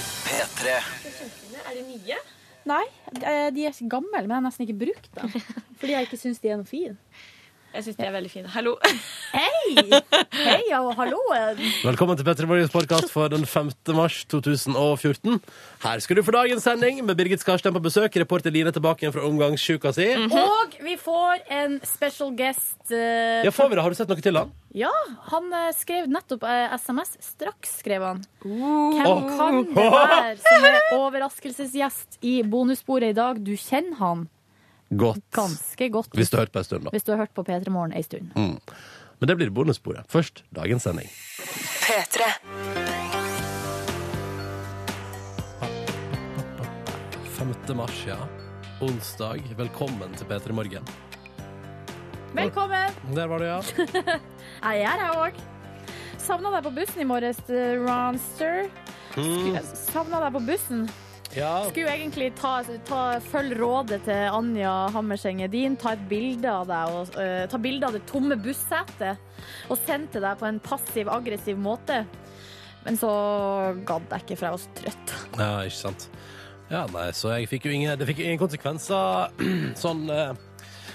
P3. Er de nye? Nei, eh, de er så gamle, men jeg har nesten ikke brukt dem. Fordi jeg ikke syns de er noe fin. Jeg syns de er veldig fine. Hallo. Hei! Hei og halloen! Velkommen til Petter Morgens podkast for den 5. mars 2014. Her skal du få dagens sending med Birgit Skarstein på besøk. Reporter Line er tilbake igjen fra omgangssjuka si. Og vi får en special guest. eh, Ja, får vi det? Har du sett noe til han? Ja, han eh, skrev nettopp eh, SMS. Straks skrev han. Hvem Åh. kan det være som er overraskelsesgjest i bonussporet i dag? Du kjenner han Godt. ganske godt Hvis du Mm. har hørt på en stund, da. hvis du har hørt på P3 Morgen ei stund. Men det blir bonussporet. Først dagens sending. P3. P3. 5. mars, ja. Onsdag. Velkommen til P3 Morgen. Velkommen! Der var du, ja. Jeg er her òg. Savna deg på bussen i morges, eh, Ronster. Savna deg på bussen. ja. Skulle egentlig ta, ta, følge rådet til Anja Hammerseng Edin. Ta et bilde av deg og, eh, ta bilde av det tomme bussetet og send til deg på en passiv, aggressiv måte. Men så gadd jeg ikke, for jeg var så trøtt. Ja, ikke sant. Ja, nei, så jeg fikk jo ingen, det fikk jo ingen konsekvenser sånn eh,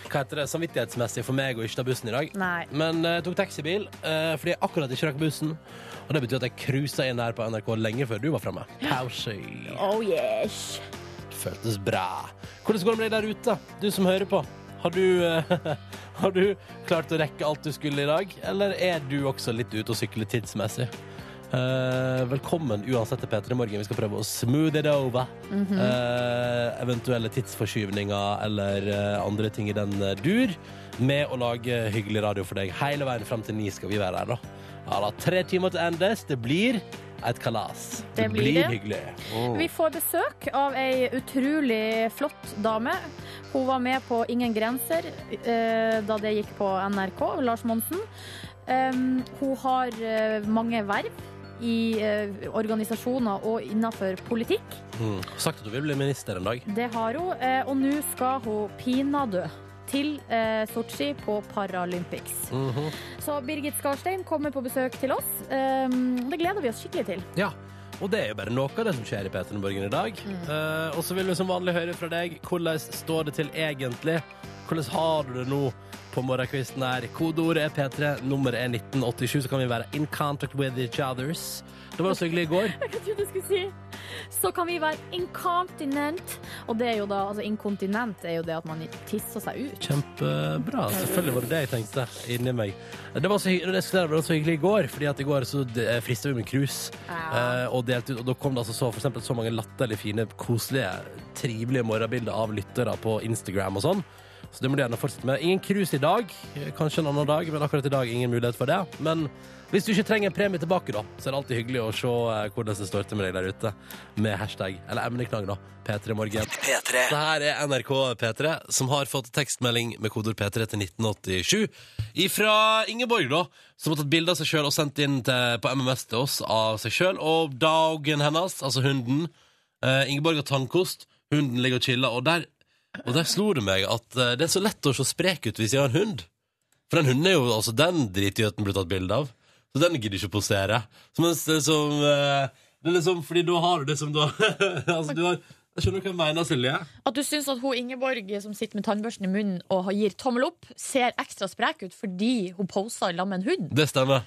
hva heter det, samvittighetsmessig for meg å ikke ta bussen i dag. Nei. Men eh, jeg tok taxibil eh, fordi jeg akkurat ikke rakk bussen. Og det betyr at jeg cruisa inn her på NRK lenge før du var framme. Pause. Oh yes. Det føltes bra. Hvordan går det med deg der ute, du som hører på? Har du, eh, har du klart å rekke alt du skulle i dag, eller er du også litt ute og sykler tidsmessig? Eh, velkommen uansett til P3 Morgen. Vi skal prøve å smooth it over. Mhm. Eh, eventuelle tidsforskyvninger eller eh, andre ting i den eh, dur. Med å lage hyggelig radio for deg hele veien fram til ni skal vi være her, da. Ja, da tre timer til endes. Det blir et kalas. Det blir det. hyggelig. Vi får besøk av ei utrolig flott dame. Hun var med på Ingen grenser eh, da det gikk på NRK, Lars Monsen. Um, hun har eh, mange verv i eh, organisasjoner og innenfor politikk. Mm. Sagt at du vil bli minister en dag. Det har hun, eh, og nå skal hun pinadø til eh, Sotsji på Paralympics. Mhm. Så Birgit Skarstein kommer på besøk til oss. Um, det gleder vi oss skikkelig til. Ja, og det er jo bare noe av det som skjer i P3 Morgen i dag. Eh, og så vil vi som vanlig høre fra deg hvordan står det til egentlig. Hvordan har du det nå på morgenkvisten her? Kodeordet er P3, nummeret er 1987, så kan vi være in contact with each others. Det var jo så hyggelig i går. Jeg trodde du skulle si Så kan vi være inkontinent. Og det er jo da, altså inkontinent er jo det at man tisser seg ut. Kjempebra. Selvfølgelig var det det jeg tenkte inni meg. Det var så, hy- det skulle være- det var så hyggelig i går, fordi at i går så eh, frista vi med krus. Ja. eh, Og delte ut, og da kom det altså så, for eksempel, så mange latterlig fine, koselige, trivelige morgenbilder av lyttere på Instagram og sånn. Så det må du gjerne fortsette med. Ingen krus i dag, eh, kanskje en annen dag, men akkurat i dag ingen mulighet for det. Men hvis du ikke trenger premie tilbake, da, så er det alltid hyggelig å se eh, hvordan det står til med deg der ute med hashtag eller emneknagg, da. P3morgen. P3. Det her er NRK P3, som har fått tekstmelding med kodord P3 til 1987. Ifra Ingeborg, da, som har tatt bilde av seg sjøl og sendt inn til, på MMS til oss av seg sjøl. Og dagen hennes, altså hunden. Eh, Ingeborg har tannkost, hunden ligger og chiller. Og der, og der slo det meg at eh, det er så lett å se sprek ut hvis jeg har en hund. For den hunden er jo altså den dritgjøten blir tatt bilde av. Så den gidder ikke å posere. Så mens det er som eh, Det er liksom fordi da har du det som da Altså, du har Jeg skjønner hva jeg mener, Silje. At du syns at hun Ingeborg som sitter med tannbørsten i munnen og gir tommel opp, ser ekstra sprek ut fordi hun poser sammen med en hund. Det stemmer.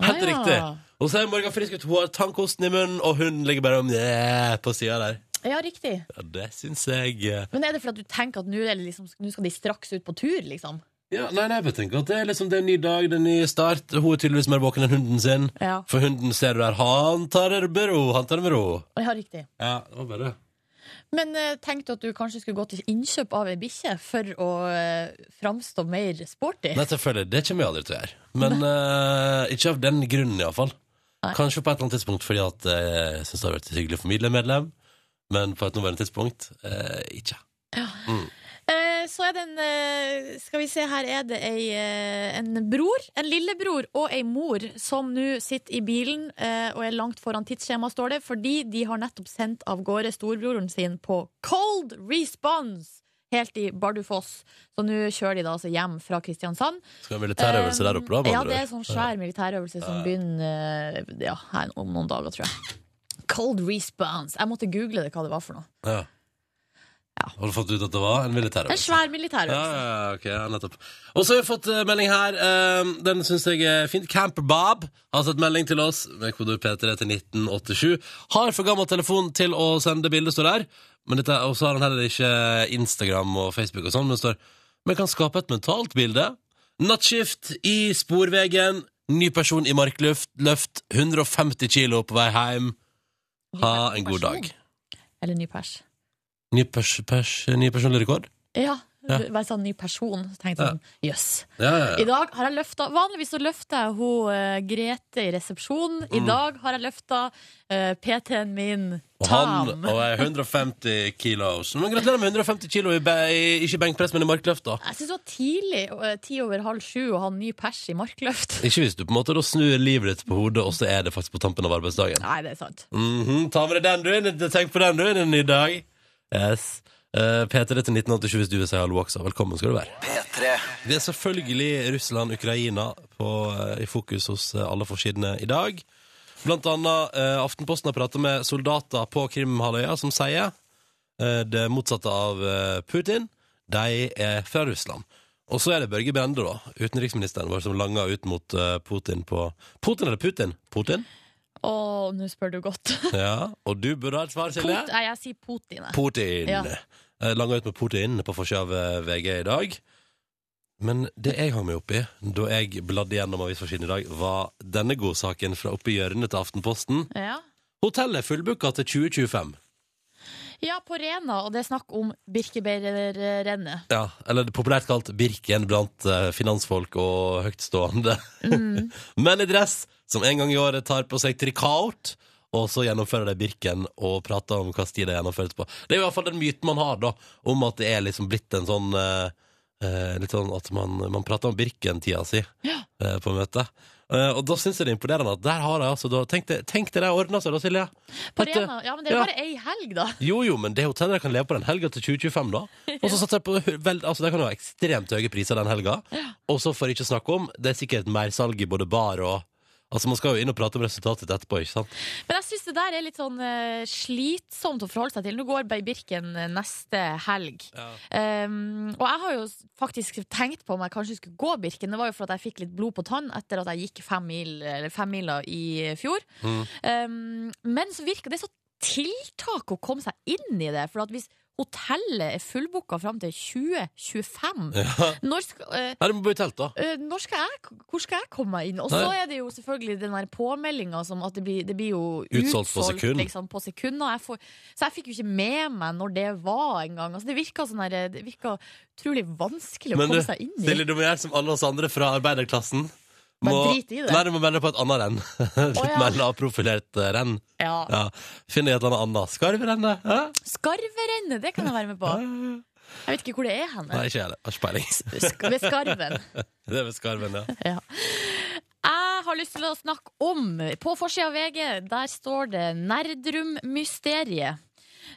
Helt Ah, ja. riktig. Og så er Morgan frisk ut. Hun har tannkosten i munnen, og hunden ligger bare om yeah, på sida der. Ja, riktig. Ja, det syns jeg eh, Men er det fordi at du tenker at nå er det liksom, nå skal de straks ut på tur, liksom? Ja, nei, nei, jeg bare tenker at det er liksom det er en ny dag, det er en ny start. Hun er tydeligvis mer våken enn hunden sin. Ja. For hunden ser du der, han tar det med ro, han tar det med ro. Ja, riktig. Ja, det var bare det. Men eh, tenkte du at du kanskje skulle gå til innkjøp av ei bikkje for å eh, framstå mer sporty? Nei, selvfølgelig, det kommer jeg aldri til å gjøre. Men eh, ikke av den grunnen, iallfall. Nei. Kanskje på et eller annet tidspunkt fordi at eh, jeg syns det har vært hyggelig å formidle medlem, men på et nåværende tidspunkt eh, ikke. Eh, så er det en eh, Skal vi se, her er det ei, eh, en bror, en lillebror og ei mor som nå sitter i bilen eh, og er langt foran tidsskjema, står det, fordi de har nettopp sendt av gårde storebroren sin på Cold Response helt i Bardufoss. Så nå kjører de da altså hjem fra Kristiansand. Eh, Skal vi ha militærøvelse der oppe, da? med Ja, andre det er ord? sånn svær militærøvelse som begynner eh, ja, her om noen dager, tror jeg. Cold response. Jeg måtte google det hva det var for noe. Ja. Har du fått ut at det var en militær En svær militærøvelse. Ja, ja, ja, ok, ja, nettopp. Og så har vi fått eh, melding her. eh, den syns jeg er fint. Camper Bob har sett melding til oss med kodeord P3 til 1987. Har for gammel telefon til å sende bilde, står der. Men dette, og så har han heller ikke Instagram og Facebook og sånn, men det står Men kan skape et mentalt bilde. Nattskift i sporvegen. Ny person i markløft. Løft 150 kilo på vei hjem. Ha en god dag. Eller ny pers. Ny, pers, pers, ny personlig rekord? Ja. Ja. Bare sånn ny person. Så tenkte jeg sånn, jøss. Ja, ja, ja. I dag har jeg løfta Vanligvis så løfter jeg hun eh, Grete i resepsjonen. I dag har jeg løfta eh, PT-en min, Mm. Og han Tam. og er 150 kilos. Men gratulerer med 150 kilo i, be- i ikke benkpress, men i markløft, da. Jeg syns det var tidlig, eh, ti over halv sju, å ha ny pers i markløft. Ikke hvis du på en måte da snur livet ditt på hodet, og så er det faktisk på tampen av arbeidsdagen. Nei, det er sant. Mhm, Ta med deg den, du. inn- Tenk på den, du, inn en ny dag. Yes. Eh, P3 til 1987 hvis du vil si hallo også. Velkommen skal du være. P3 Det er selvfølgelig Russland, Ukraina på, eh, i fokus hos eh, alle forsidene i dag. Blant annet eh, Aftenposten har pratet med soldater på Krimhalvøya som sier eh, det motsatte av eh, Putin. De er fra Russland. Og så er det Børge Brende, da, utenriksministeren vår, som langer ut mot eh, Putin på Putin eller Putin? Putin? Å, nå spør du godt. Ja. Og du burde ha et svar, Pot, Silje. nei, jeg sier Putin. jeg. Putin. Ja. Eh, Langa ut med Putin på forsida av eh, VG i dag. Men det jeg hang meg opp i da jeg bladde gjennom avisforsiden i dag, var denne godsaken fra oppe i hjørnet til Aftenposten. Ja. Hotellet er fullbooka til 2025. ja, på Rena, og det er snakk om Birkebeinerrennet. Ja, Eller populært kalt Birken blant eh, finansfolk og høytstående. Menn i dress som en gang i året tar på seg trikaot, og så gjennomfører de Birken og prater om hva sti det gjennomføres på. Det er jo iallfall den myten man har, da, om at det er liksom blitt en sånn eh, eh, Litt sånn at man, man prater om Birken-tida si eh, på møtet. Eh, og da syns jeg det er imponerende at der har de altså da, Tenk det, tenk det de har ordna seg, da, Silje. På At, eh, Rena, ja, men det er ja. bare ei helg, da. jo, jo, men det er hotellet jeg kan leve på den helga til 2025, da. Og så satser jeg på vel, altså Det kan jo være ekstremt høye priser den helga. Og så får jeg ikke snakke om Det er sikkert mersalg i både bar og Altså Man skal jo inn og prate om resultatet etterpå, ikke sant? Men jeg syns det der er litt sånn eh, slitsomt å forholde seg til. Nå går Bay Birken eh, neste helg. Um, og jeg har jo s- faktisk tenkt på om jeg kanskje skulle gå Birken. Det var jo for at jeg fikk litt blod på tann etter at jeg gikk fem mil, eller femmila i fjor. Um, men så virker det så tiltak å komme seg inn i det. For at hvis hotellet er fullbooka fram til 2025, Ja. når skal eh, Nei, du må bo i telt, da. Eh, når skal jeg, hvor skal jeg komme meg inn? Og så Nei. er det jo selvfølgelig den der påmeldinga som at det blir, det blir jo Utsolgt på sekund. Liksom, på sekund og jeg får, så jeg fikk jo ikke med meg når det var engang. Altså, det virka sånn her- Det virka utrolig vanskelig å Men du, komme seg inn i. Silje, du må gjøre som alle oss andre fra arbeiderklassen. Bare drit i det. Nei, du må melde på et annet renn. Litt Å, ja. mer lavprofilert eh, renn. Ja. Ja. Finn deg et eller annet skarvrenn, da. Ja? Skarverennet, det kan jeg være med på. Jeg vet ikke hvor det er Nei, hen. ikke jeg det. Har ikke peiling. Sk- Ved Skarven. Det er ved skarven, ja. Jeg har lyst til å snakke om På forsida av VG der står det Nerdrum-mysteriet.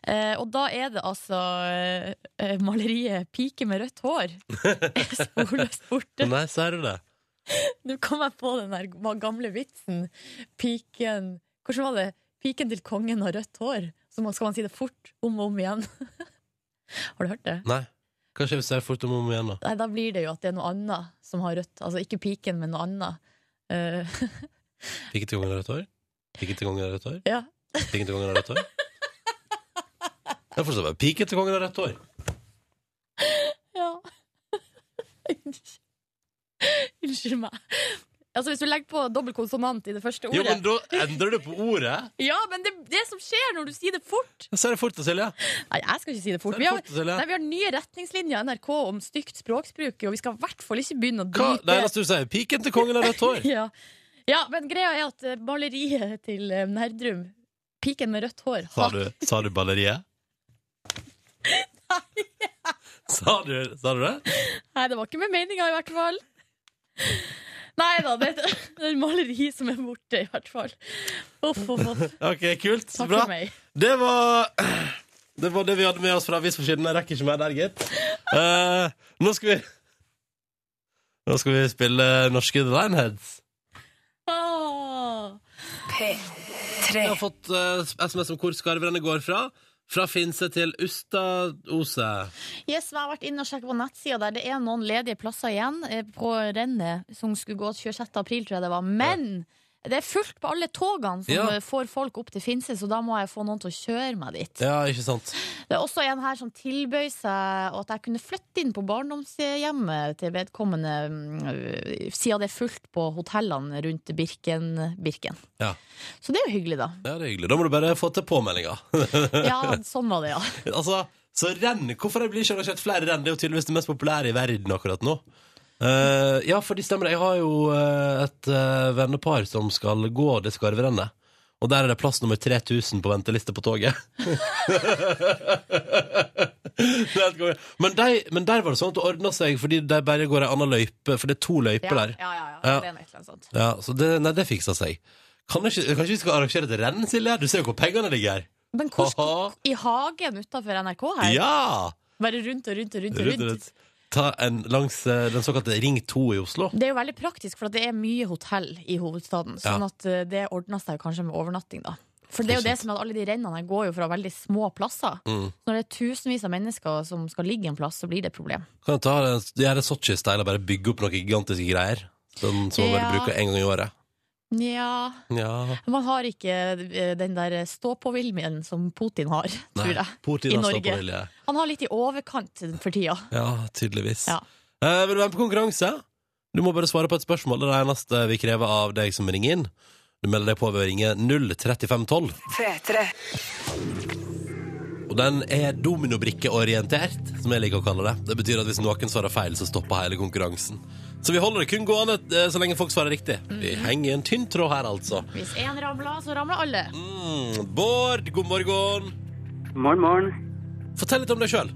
Eh, og da er det altså eh, eh, maleriet 'Pike med rødt hår'. Sporløst borte. Nei, sier du det? Nå kom jeg på den der gamle vitsen. Piken Hvordan var det? Piken til kongen har rødt hår. Så man- skal man si det fort om og om igjen. har du hørt det? Nei. Kanskje vi ser fort om og om igjen, da. Nei, da blir det jo at det er noe annet som har rødt. Altså ikke piken, men noe annet. Eh, Fikk ikke til kongen av rødt hår? Fikk ikke til kongen av rødt hår? ja. Fikk ikke til kongen av rødt hår? Jeg forstår bare Pike til kongen av rødt hår. Ja. Unnskyld meg. Altså Hvis du legger på dobbel konsonant i det første ordet Jo, men da endrer du på ordet. Ja, men det, det som skjer når du sier det fort Så er det fort, Silje. Nei, jeg skal ikke si det fort. Så er Vi det har, fort, Silje. nei, vi har nye retningslinjer i NRK om stygt språkbruk, og vi skal i hvert fall ikke begynne å Hva? Det drite eneste du sier, piken til kongen av rødt hår. ja. ja, men greia er at eh, maleriet til eh, Nerdrum, piken med rødt hår Sa har- du, sa du balleriet? Sa du, sa du det? Nei, det var ikke med meninga, i hvert fall. Nei da, det det er et maleri som er borte, i hvert fall. Uff, uff, uff. Ok, kult. Så Takk bra. for meg. Det var Det var det vi hadde med oss fra avisforsiden. Jeg rekker ikke mer der, gitt. Eh, nå skal vi Nå skal vi spille norske The Lineheads. Ah. P3 Jeg har fått eh, SMS om hvor skarverne går fra. Fra Finse til Ustaose. Yes, men jeg har vært inne og sjekket på nettsida der. Det er noen ledige plasser igjen eh, på rennet som skulle gå 26. april, tror jeg det var. Men det er fullt på alle togene som Ja. eh, får folk opp til Finse, så da må jeg få noen til å kjøre meg dit. Ja, ikke sant? Det er også en her som tilbød seg at jeg kunne flytte inn på barndomshjemmet til vedkommende, mm, siden det er fullt på hotellene rundt Birken. Birken. Ja. Så det er jo hyggelig, da. Ja, det er hyggelig. Da må du bare få til påmeldinga. Ja, sånn var det, ja. altså, så renn. Hvorfor det blir ikke arrangert flere renn? Det er jo tydeligvis det mest populære i verden akkurat nå. Eh, ja, for de stemmer det. Jeg har jo eh, et eh, vennepar som skal gå det skarverennet. Og der er det plass nummer 3000 på venteliste på toget. Det er helt konge. men, de, men der var det sånn at det ordna seg, fordi de bare går ei anna løype. For det er to løyper der. Ja, ja, ja. Ja. Det er noe et eller annet sånt. Ja, så det, nei, det fiksa seg. Kan det ikke, kanskje vi skal arrangere et renn, Silje? Du ser jo hvor pengene ligger. Men hvor skal Ha-ha. I hagen utafor NRK her? Ja! Bare rundt og rundt og rundt. og Rundt, rundt. rundt. Ta en langs eh, den såkalte Ring 2 i Oslo. Det er jo veldig praktisk, for at det er mye hotell i hovedstaden. Sånn Ja. at eh, det ordner seg jo kanskje med overnatting, da. For det er jo det Ikke sant. som er at alle de rennene her går jo fra veldig små plasser. Mm. Når det er tusenvis av mennesker som skal ligge en plass, så blir det et problem. Kan du ta en- gjøre Sotsji-style og bare bygge opp noen gigantiske greier? Sånn som man Ja. bare bruker en gang i året. Nja Ja. Man har ikke eh, den der stå-på-viljen som Putin har, tror jeg. Putin I har Norge. ståpåvilje. Han har litt i overkant for tida. Ja, tydeligvis. Ja. Eh, vil du være med på konkurranse? Du må bare svare på et spørsmål. Det er det eneste vi krever av deg som ringer inn. Du melder deg på ved å ringe 03512. Og den er dominobrikkeorientert, som jeg liker å kalle det. Det betyr at hvis noen svarer feil, så stopper hele konkurransen. Så vi holder det kun gående eh, så lenge folk svarer riktig. Vi henger i en tynn tråd her, altså. Mhm. Hvis én ramler, så ramler alle. Mm. Bård, god morgen. Morgen, morgen. Fortell litt om deg sjøl.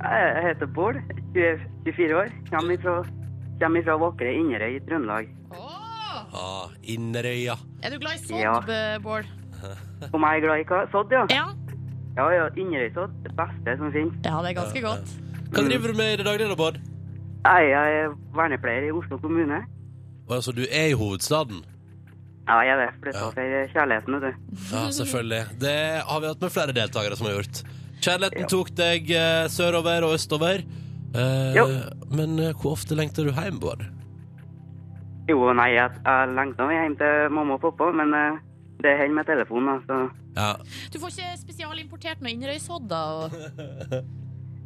Jeg heter Bård, 24 år. Kommer ifra, kommer ifra vakre Inderøy i Trøndelag. Åh! Ah, Inderøya. Er du glad i Ja. sånn, Bård? Om jeg er glad i hva- sodd, ja? Ja. Ja, ja, Inderøysodd. Det beste som finnes. ja, det er ganske godt. Hva driver du med i det daglige, da, Bård? Jeg er vernepleier i Oslo kommune. Å, Altså, du er i hovedstaden. Ja, jeg er det. Flytta Ja. for kjærligheten, vet du. Ja, selvfølgelig. Det har vi hatt med flere deltakere som har gjort. Kjærligheten tok deg eh, sørover og østover. Eh, Jo. men eh, hvor ofte lengter du hjem, Bård? Jo, nei, jeg, jeg lengter meg hjem til mamma og pappa, men eh, det hender med telefonen, da. Så Ja, Du får ikke spesialimportert noe Inderøysodda? og-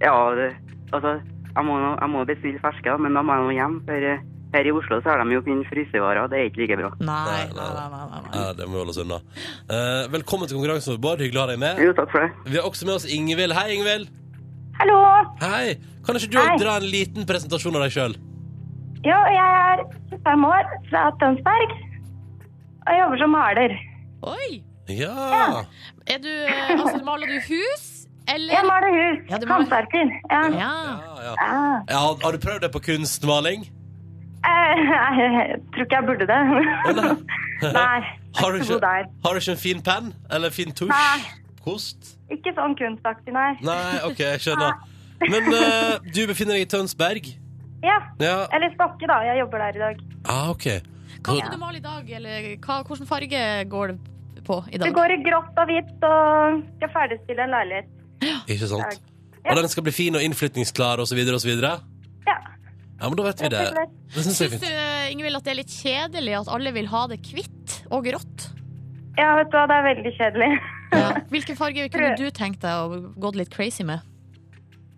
ja, det, altså jeg må, nå- jeg må bestille ferske, da, men da må jeg nå hjem. For eh, her i Oslo så har de jo kun frysevarer, det er ikke like bra. Nei, Nei, nei, nei, nei. nei, nei. ja det må vi holde oss unna. Eh, velkommen til konkurransen vår, Bård. Hyggelig å ha deg med. Jo, takk for det. Vi har også med oss Ingvild. Hei, Ingvild. Hallo! Hei. Kan ikke du Hei. dra en liten presentasjon av deg sjøl? Jo, jeg er 25 år fra Tønsberg og jobber som maler. Oi! Ja. Er du, eh, altså, maler du hus, eller? Jeg maler hus. Ja, du maler- Håndverker. Ja. Ja. Ja, ja. Ja. ja. Har du prøvd deg på kunstmaling? Eh, Nei, jeg tror ikke jeg burde det. Nei, jeg Har er du ikke ikke, god der. har du ikke en fin penn? Eller fin Nei. tusj? Kost? Ikke sånn kunstaktig, nei. Nei, ok, jeg skjønner. Men eh, du befinner deg i Tønsberg? Ja. Ja. Eller Stokke, da. Jeg jobber der i dag. Ah, ok. Hva skal du male i dag, eller hva, hvilken farge går det på i Det dag? går i grått og hvitt og skal ferdigstille en leilighet. Ikke sant? Og den skal bli fin og innflyttingsklar osv. osv.? Ja, Ja. men da vet vi det. rett og slett. Det synes jeg er Syns du, fint. eh, Ingvild, at det er litt kjedelig at alle vil ha det hvitt og grått? Ja, vet du hva, det er veldig kjedelig. Hvilken farge kunne du tenkt deg å gå litt crazy med?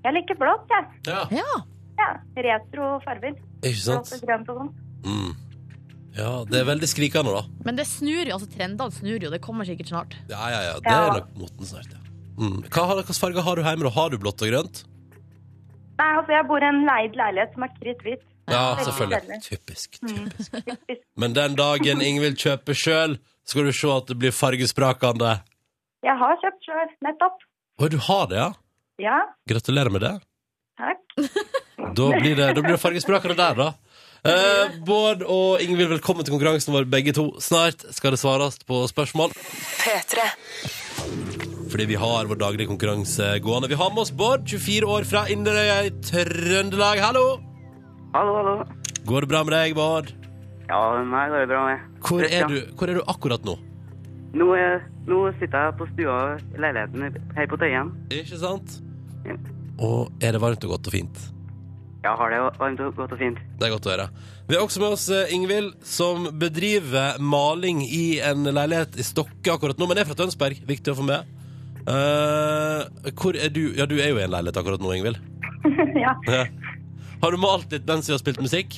Jeg liker blått, jeg. Ja, Ja. Ja. Retro farger. ikke Blått sant? og grønt og sånn. Mm. Ja, det er veldig skrikende, da. Men det snur jo, altså trendene snur jo, det kommer sikkert snart. Ja, ja, ja. Det er nok moten snart, ja. Mm. Hva har- Hvilke farger har du hjemme? da? Har du blått og grønt? Nei, altså, jeg bor i en leid leilighet som er kritthvit. Ja, Veldig selvfølgelig. kjedelig. Mm. Typisk. typisk. Men den dagen Ingvild kjøper sjøl, skal du se at det blir fargesprakende. Jeg har kjøpt sjøl, nettopp. Å, du har det, ja? Ja, Gratulerer med det. takk. Da blir det, da blir det fargesprakere der, da. Eh, Bård og Ingvild, velkommen til konkurransen vår, begge to. Snart skal det svares på spørsmål. Fordi vi har vår daglige konkurranse gående. Vi har med oss Bård, 24 år fra Inderøya i Trøndelag. Hallo! Hallo, hallo. Går det bra med deg, Bård? Ja, meg går det bra med. Hvor Frisk, er ja. du, hvor er du akkurat nå? Nå, eh, nå sitter jeg på stua i leiligheten her på Tøyen. Ikke sant? Ja. Og er det varmt og godt og fint? Ja, har det varmt og godt og fint. Det er godt å høre. Vi har også med oss eh, Ingvild, som bedriver maling i en leilighet i Stokke akkurat nå, men er fra Tønsberg. Viktig å få med. Eh, hvor er du? Ja, du er jo i en leilighet akkurat nå, Ingvild. ja. Ja. Har du malt litt mens vi har spilt musikk?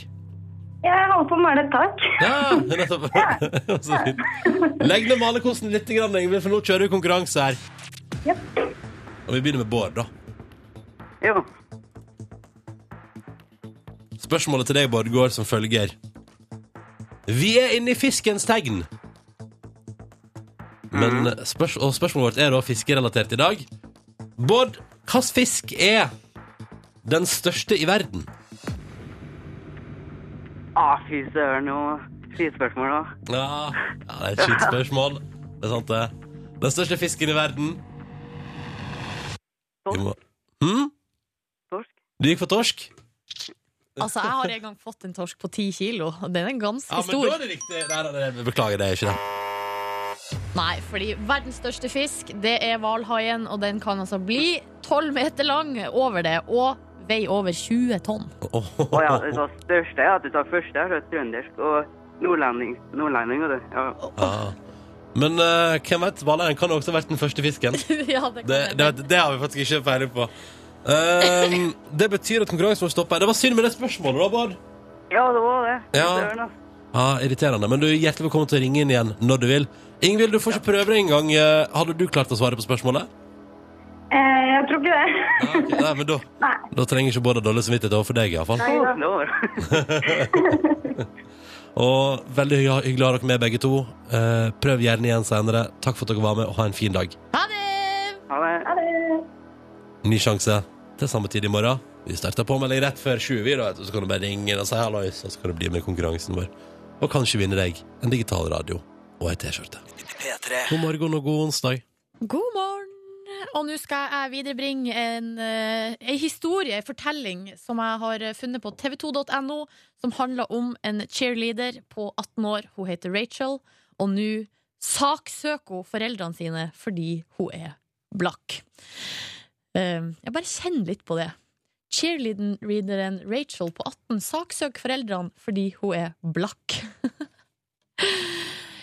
Jeg holder på å male et tak. Ja, nettopp. Så fint. Legg ned malerkosten litt, grann, Ingvild, for nå kjører vi konkurranse her. Ja. Og vi begynner med Bård, da. Jo. Spørsmålet til deg, Bård, går som følger. Vi er inne i fiskens tegn. Men spørs og spørsmålet vårt er da fiskerelatert i dag. Bård, hvilken fisk er den største i verden? Ah, fy søren, nå Skytespørsmål nå. Ja, ja det er et skitt spørsmål. Det er sant, det. Den største fisken i verden. Vi må- Hm? Torsk. Du gikk for torsk? Altså, jeg har en gang fått en torsk på ti kilo. og Den er ganske Ja, men stor. da er det riktig. Nei, nei, nei, beklager, det er ikke det. Nei, fordi verdens største fisk, det er hvalhaien, og den kan altså bli tolv meter lang over det, og veier over 20 tonn. Å Å ja, det var største ja, det var første jeg hørte trøndersk og nordlending. Nordlending, vet du. Ja. Ja. Men eh, hvem vet? Hvalhaien kan også ha vært den første fisken. ja, det kan Det, jeg det, tenke. det har vi faktisk ikke peiling på. Ehm, det betyr at konkurransen vår stopper. Det var synd med det spørsmålet, da, Bård. ja, det var det. Fy Ja. søren, altså. Ja, Irriterende. Men du er hjertelig velkommen til å ringe inn igjen når du vil. Ingvild, du får ikke prøve det engang. Eh, Hadde du klart å svare på spørsmålet? Eh, jeg tror ikke det. Ja, ok. Nei, men da, Nei. da trenger ikke Bård ha dårlig samvittighet overfor deg, iallfall. Nei, da. Det var Og veldig hy- hyggelig å ha dere med, begge to. Eh, prøv gjerne igjen senere. Takk for at dere var med, og ha en fin dag. Ha det! Ha det. Ha det. Ny sjanse til samme tid i morgen. Vi starter påmelding rett før 20, vi, da, vet du, så kan du bare ringe og si hallois, og så kan du bli med i konkurransen vår. Og kanskje vinne deg en digital radio og ei T-skjorte. God morgen og god onsdag. God morgen! Og nå skal jeg viderebringe en, eh, en historie, en fortelling, som jeg har eh, funnet på tv2.no, som handler om en cheerleader på 18 år. Hun heter Rachel, og nå saksøker hun foreldrene sine fordi hun er blakk. Eh, Jeg bare kjenner litt på det. Cheerleaderen Rachel på 18 saksøker foreldrene fordi hun er blakk.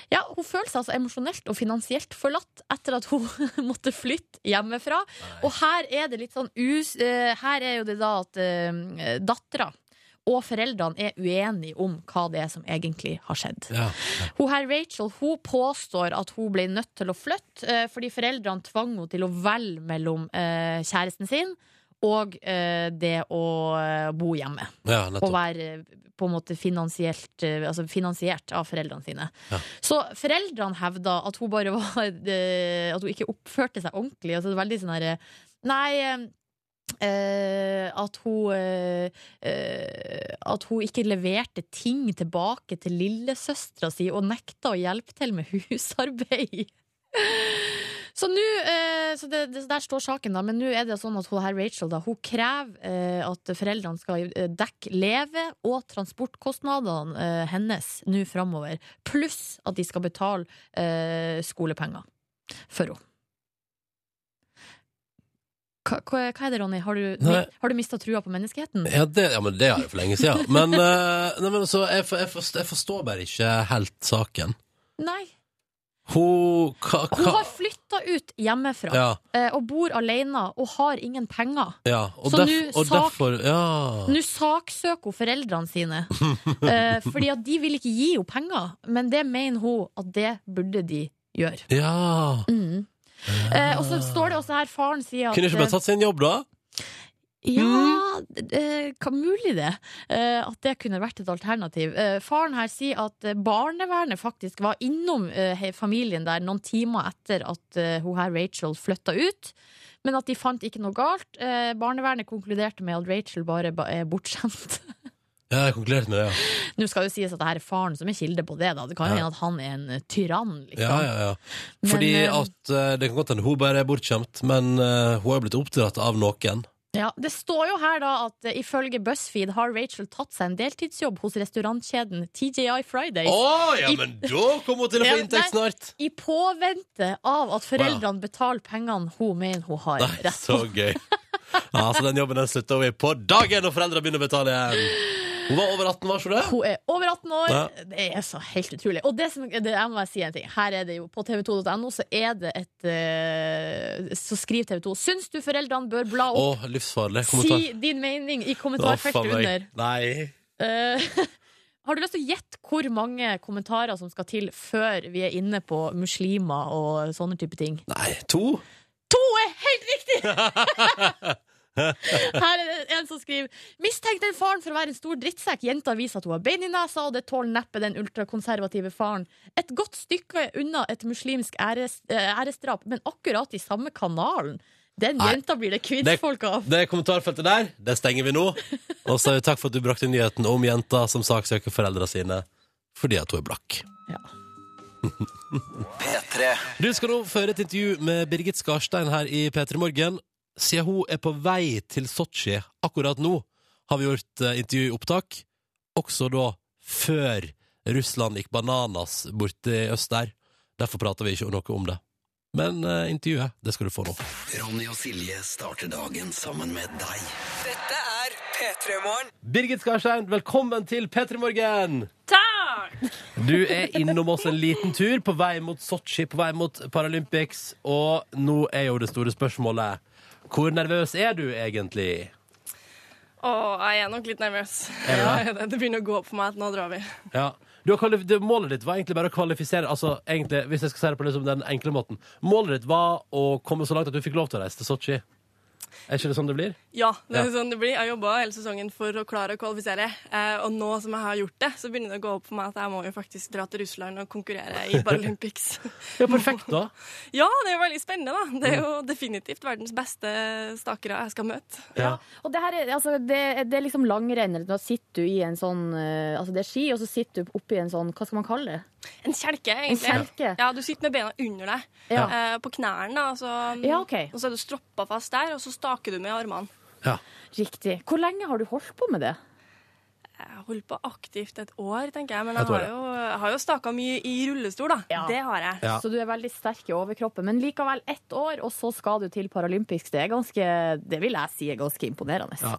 Ja, Hun føler seg altså emosjonelt og finansielt forlatt etter at hun måtte flytte hjemmefra. Og her er det litt sånn us... eh, her er jo det da at uh, dattera og foreldrene er uenige om hva det er som egentlig har skjedd. Ja. Hun her Rachel hun påstår at hun ble nødt til å flytte eh, fordi foreldrene tvang henne til å velge mellom eh, kjæresten sin og eh, det å eh, bo hjemme ja, å nettopp. være eh, på en måte finansiert, eh, altså finansiert av foreldrene sine. Ja. Så foreldrene hevda at hun bare var eh, At hun ikke oppførte seg ordentlig. Altså, det er veldig sånn herre Nei. eh, eh, at hun eh, eh, At hun ikke leverte ting tilbake til lillesøstera si og nekta å hjelpe til med husarbeid. Så nå, eh, så det, det, der står saken da, men nå er det sånn at hun her Rachel da, hun krever eh, at foreldrene skal eh, dekke leve- og transportkostnadene eh, hennes nå framover, pluss at de skal betale eh, skolepenger for henne. Hva, hva hva er det, Ronny? Har du, Nei. Eh, har du mista trua på menneskeheten? Ja, det, ja, men det er jo for lenge siden. Men, eh, nei, men altså, jeg, for- jeg, forstår, jeg forstår bare ikke helt saken. Nei. Hun hva, Hun hva? har flytta ut hjemmefra Ja, eh, og bor alene og har ingen penger. ja. Og, Så derf, nå og sak- derfor Ja. Nå saksøker hun foreldrene sine. Eh, fordi at de vil ikke gi henne penger, men det mener hun at det burde de gjøre. ja. Mm. Eh, og så står det også her faren sier at Kunne ikke bare Mm. tatt seg en jobb, da? Ja, eh, hva mulig det? Eh, at det kunne vært et alternativ. Eh, faren her sier at eh, barnevernet faktisk var innom eh, he- familien der noen timer etter at eh, hun her Rachel flytta ut. Men at de fant ikke noe galt. Eh, barnevernet konkluderte med at Rachel bare ba er bortskjemt. Ja, jeg konkluderte med det, ja. Nå skal jo sies at det her er faren som er kilde på det. da Det kan jo Ja. hende at han er en eh, tyrann. Liksom. Ja, ja, ja. Men, Fordi eh, at eh, det kan godt hende hun bare er bortskjemt, men eh, hun er blitt oppdratt av noen. Ja, Det står jo her da at eh, ifølge BuzzFeed har Rachel tatt seg en deltidsjobb hos restaurantkjeden TJI Fridays. Å, ja, men da kommer hun til å Ja, få nei. inntekt snart! I påvente av at foreldrene betaler pengene hun mener hun har Nei, rett så gøy. Ja, så den jobben den slutta vi på dagen når foreldra begynner å betale igjen. Hun var over 18, var ikke hun det? Hun er over 18 år. Ja. Det er så helt utrolig. Og det som, det, jeg må bare si en ting. Her er det jo, på tv2.no så er det et eh, Så skriver TV2 Syns du foreldrene bør bla Å, opp? livsfarlig kommentar. si din mening i Å, faen kommentarfeltet meg. under. Nei. Eh, har du lyst til å gjette hvor mange kommentarer som skal til før vi er inne på muslimer og sånne type ting? Nei, to? To er helt riktig! Her er det en som skriver Mistenk den faren for å være en stor drittsekk. Jenta viser at hun har bein i nesa, og det tåler neppe den ultrakonservative faren. Et godt stykke unna et muslimsk æres, eh, æresdrap, men akkurat i samme kanalen. Den Nei. jenta blir det Det- kvinnfolk av. Det kommentarfeltet der, det stenger vi nå. Og så takk for at du brakte nyheten om jenta som saksøker foreldra sine fordi at hun er blakk. Ja. Du skal nå føre et intervju med Birgit Skarstein her i P3 Morgen. Siden hun er på vei til Sotsji akkurat nå, har vi gjort eh, intervjuopptak. Også da før Russland gikk bananas borti øst der. Derfor prater vi ikke noe om det. Men eh, intervjuet, det skal du få nå. Ronny og Silje starter dagen sammen med deg. Dette er P3 Morgen. Birgit Skarstein, velkommen til P3 Morgen! Takk! Du er innom oss en liten tur på vei mot Sotsji, på vei mot Paralympics. Og nå er jo det store spørsmålet Hvor nervøs er du egentlig? Åh, jeg er nok litt nervøs. Er du Ja, det? jeg er det. det begynner å gå opp for meg at nå drar vi. Ja. Du har kvalif- det- målet ditt var egentlig bare å kvalifisere altså, egentlig, Hvis jeg skal si det på liksom den enkle måten Målet ditt var å komme så langt at du fikk lov til å reise til Sotsji. Er ikke det sånn det blir? Ja, det er Ja. sånn det blir. Jeg har jobba hele sesongen for å klare å kvalifisere. Eh, og nå som jeg har gjort det, så begynner det å gå opp for meg at jeg må jo faktisk dra til Russland og konkurrere i Paralympics. Ja, perfekt, da. ja, det er jo veldig spennende, da. Det er jo definitivt verdens beste stakere jeg skal møte. Ja. Og det, her er, altså, det, det er liksom langrenn. eller Da sitter du i en sånn eh, Altså, det er ski, og så sitter du oppi en sånn Hva skal man kalle det? En kjelke, En egentlig. kjelke. Ja, du sitter med bena under deg, Ja. eh, på knærne, da, og så, Ja, ok. og så er du stroppa fast der, og så staker du med armene. Ja. Riktig. Hvor lenge har du holdt på med det? Jeg holdt på aktivt et år, tenker jeg, men Et jeg år, har ja. jo, jeg har jo staka mye i rullestol, da. Ja. Det har jeg. Ja. Så du er veldig sterk i overkroppen. Men likevel ett år, og så skal du til Paralympics. Det er ganske, det vil jeg si er ganske imponerende. Ja.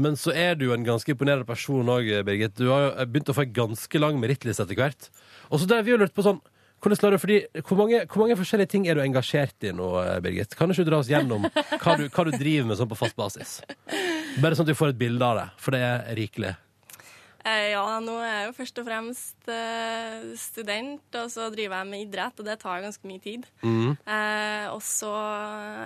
Men så er du jo en ganske imponerende person òg, Birgit. Du har jo eh, begynt å få en ganske lang merittliste etter hvert. Og så drev vi og lurte på sånn hvordan klarer du, fordi, hvor, mange, hvor mange forskjellige ting er du engasjert i nå, eh, Birgit? Kan ikke du dra oss gjennom hva du, hva du driver med sånn på fast basis? Bare sånn at vi får et bilde av det, for det er rikelig. Eh, ja, nå er jeg jo først og fremst eh, student, og så driver jeg med idrett, og det tar ganske mye tid. Mm. Eh, og så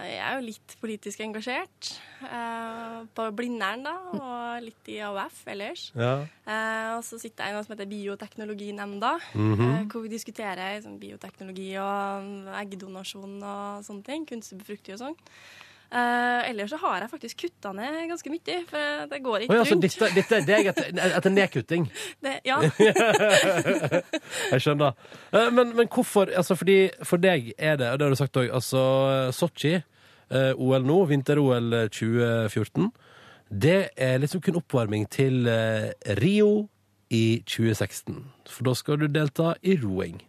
er jeg jo litt politisk engasjert eh, på Blindern, da, og litt i AUF ellers. Ja. Eh, og så sitter jeg i noe som heter Bioteknologinemnda, Mhm. eh, hvor vi diskuterer liksom, bioteknologi og mm, eggdonasjon og sånne ting. Kunstig befruktning og sånn. Eh, ellers så har jeg faktisk kutta ned ganske mye, for eh, det går ikke Å ja, så rundt. dette, dette er deg etter, etter nedkutting. Det, ja. Jeg skjønner. Eh, Men, men hvorfor altså fordi For deg er det, og det har du sagt òg, altså Sotsji, eh, OL nå, vinter-OL 2014, det er liksom kun oppvarming til eh, Rio i 2016. For da skal du delta i roing.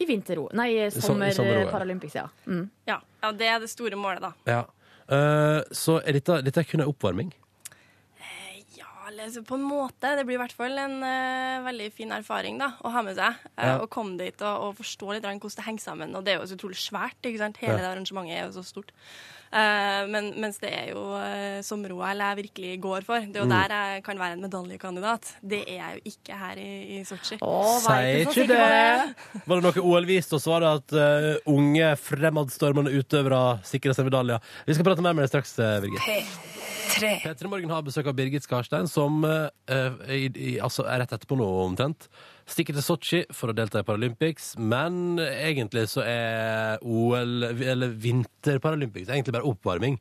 I vinter-O. Nei, i Som- i sommer-OL. sommer-Paralympics, ja. Mm. ja. ja, det er det store målet, da. Ja. Eh, Så er dette, dette er kun en oppvarming. Ja, eller så på en måte. Det blir i hvert fall en eh, veldig fin erfaring da, å ha med seg. eh, Ja. Å komme dit og, og forstå litt grann hvordan det henger sammen. Og det er jo så utrolig svært. ikke sant? Hele Ja. det arrangementet er jo så stort. Eh, men, mens det er jo uh, sommer-OL jeg virkelig går for. Det er jo Mm. der jeg kan være en medaljekandidat. Det er jeg jo ikke her i, i Sotsji. Å, vær Sier ikke så ikke sikker det! på det! Var det noe OL viste, og så var det at eh, unge fremadstormende utøvere sikra seg medaljer. Vi skal prate mer med deg straks, eh, Birgit. P3 Morgen har besøk av Birgit Skarstein, som eh, i, i, altså er rett etterpå nå omtrent. Stikker til Sotsji for å delta i Paralympics, men egentlig så er OL, eller vinter-Paralympics, egentlig bare oppvarming.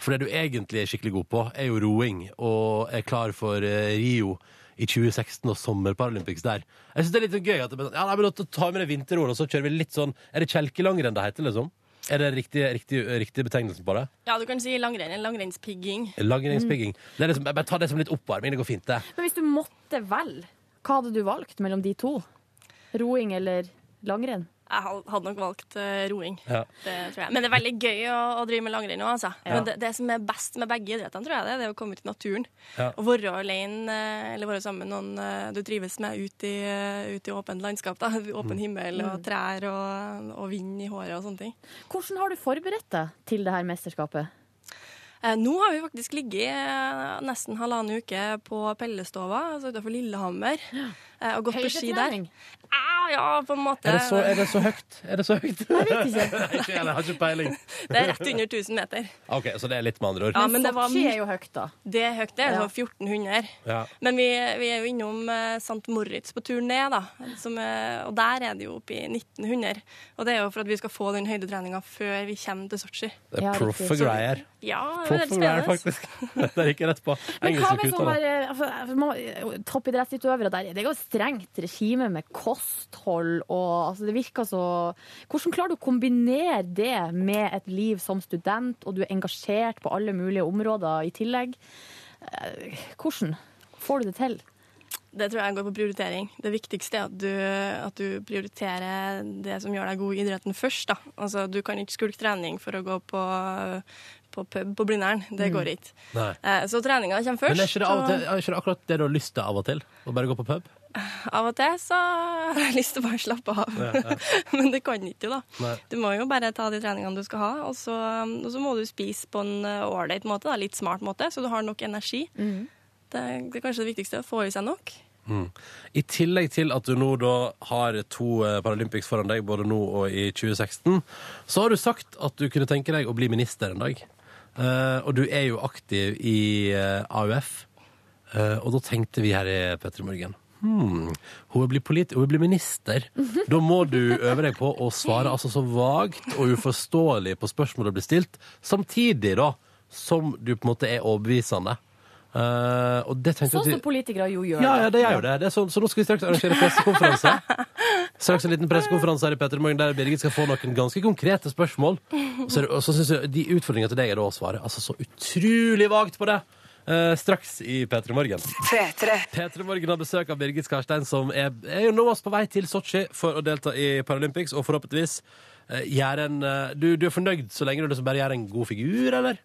For det du egentlig er skikkelig god på, er jo roing, og er klar for eh, Rio i 2016 og sommer-Paralympics der. Jeg synes det er litt gøy at det blir sånn, ja, nei, men da tar vi med det vinter-OL, og så kjører vi litt sånn Er det kjelkelangrenn det heter, liksom? Er det riktig, riktig, riktig betegnelsen på det? Ja, du kan si langrenn eller langrennspigging. Lagringspigging. Det er liksom, jeg bare tar det som litt oppvarming. Det går fint, det. Men hvis du måtte velge, hva hadde du valgt mellom de to? Roing eller langrenn? Jeg hal- hadde nok valgt eh, roing. Ja. Det tror jeg. Men det er veldig gøy å, å drive med langrenn òg, altså. Men det, det som er best med begge idrettene, tror jeg det, er det å komme ut i naturen. Ja. Å være alene, eh, eller være sammen med noen eh, du trives med, ut i, eh, ut i åpent landskap. da. Mm. Åpen himmel og trær og, og vind i håret og sånne ting. Hvordan har du forberedt deg til det her mesterskapet? Eh, Nå har vi faktisk ligget eh, nesten halvannen uke på Pellestova, altså utenfor Lillehammer, eh, og gått på ski der. Høydetrening? Ah, ja, på en måte. Er det, så, er det så høyt? Er det så høyt? Jeg vet ikke. jeg har ikke peiling. Det er rett under 1000 meter. Ok, Så det er litt, med andre ord. Ja, men det var Sotsji er jo høyt, da. Det er høyt, det. er Ja. sånn 1400. Ja. Men vi, vi er jo innom eh, St. Moritz på tur ned, da. Som er, og der er det jo oppe i 1900. Og det er jo for at vi skal få den høydetreninga før vi kommer til Sotsji. Det Ja, er riktig. proffe greier. Ja, det er Proffe veldig greier, spennende. faktisk. Der gikk jeg rett på. Men hva med Engelske sånn gutter, da. der, altså, man- toppidrettsutøvere der? Det er jo et strengt regime med kosthold og altså, Det virker så Hvordan klarer du å kombinere det med et liv som student, og du er engasjert på alle mulige områder i tillegg? Eh, Hvordan får du det til? Det tror jeg går på prioritering. Det viktigste er at du, at du prioriterer det som gjør deg god i idretten først. Da. Altså, du kan ikke skulke trening for å gå på, på pub på Blindern. Det går ikke. Nei. Eh, Så treninga kommer Mm. først. Men er ikke, det av og til, og er ikke det akkurat det du har lyst til av og til? Å bare gå på pub? av og til så har jeg lyst til å bare slappe av. Men det kan ikke, da. Nei. Du må jo bare ta de treningene du skal ha, og så, og så må du spise på en eh, ålreit måte, da. litt smart måte, så du har nok energi. Det, det er kanskje det viktigste, å få i seg nok. I tillegg til at du nå da har to eh, Paralympics foran deg, både nå og i 2016, så har du sagt at du kunne tenke deg å bli minister en dag. Eh, og du er jo aktiv i eh, AUF. Eh, og da tenkte vi her i Petter Morgen hmm, hun, blir polit hun blir minister. Mhm. Da må du øve deg på å svare altså så vagt og uforståelig på spørsmål det blir stilt, samtidig da som du på en måte er overbevisende. Eh, og det tenkte jeg Sånn at vi- som politikere jo gjør. ja, ja, da. det gjør jo det. det er sånn- så, så nå skal vi straks arrangere pressekonferanse. Straks en liten pressekonferanse her i Petter i Morgen der Birgit skal få noen ganske konkrete spørsmål. Og så, er det- og så synes jeg de utfordringene til deg er da å svare altså så utrolig vagt på det. Eh, straks i P3 Morgen. P3 Morgen har besøk av Birgit Skarstein, som er, er jo nå oss på vei til Sotsji for å delta i Paralympics, og forhåpentligvis eh, gjøre en eh, du, du er fornøyd så lenge du liksom bare gjør en god figur, eller?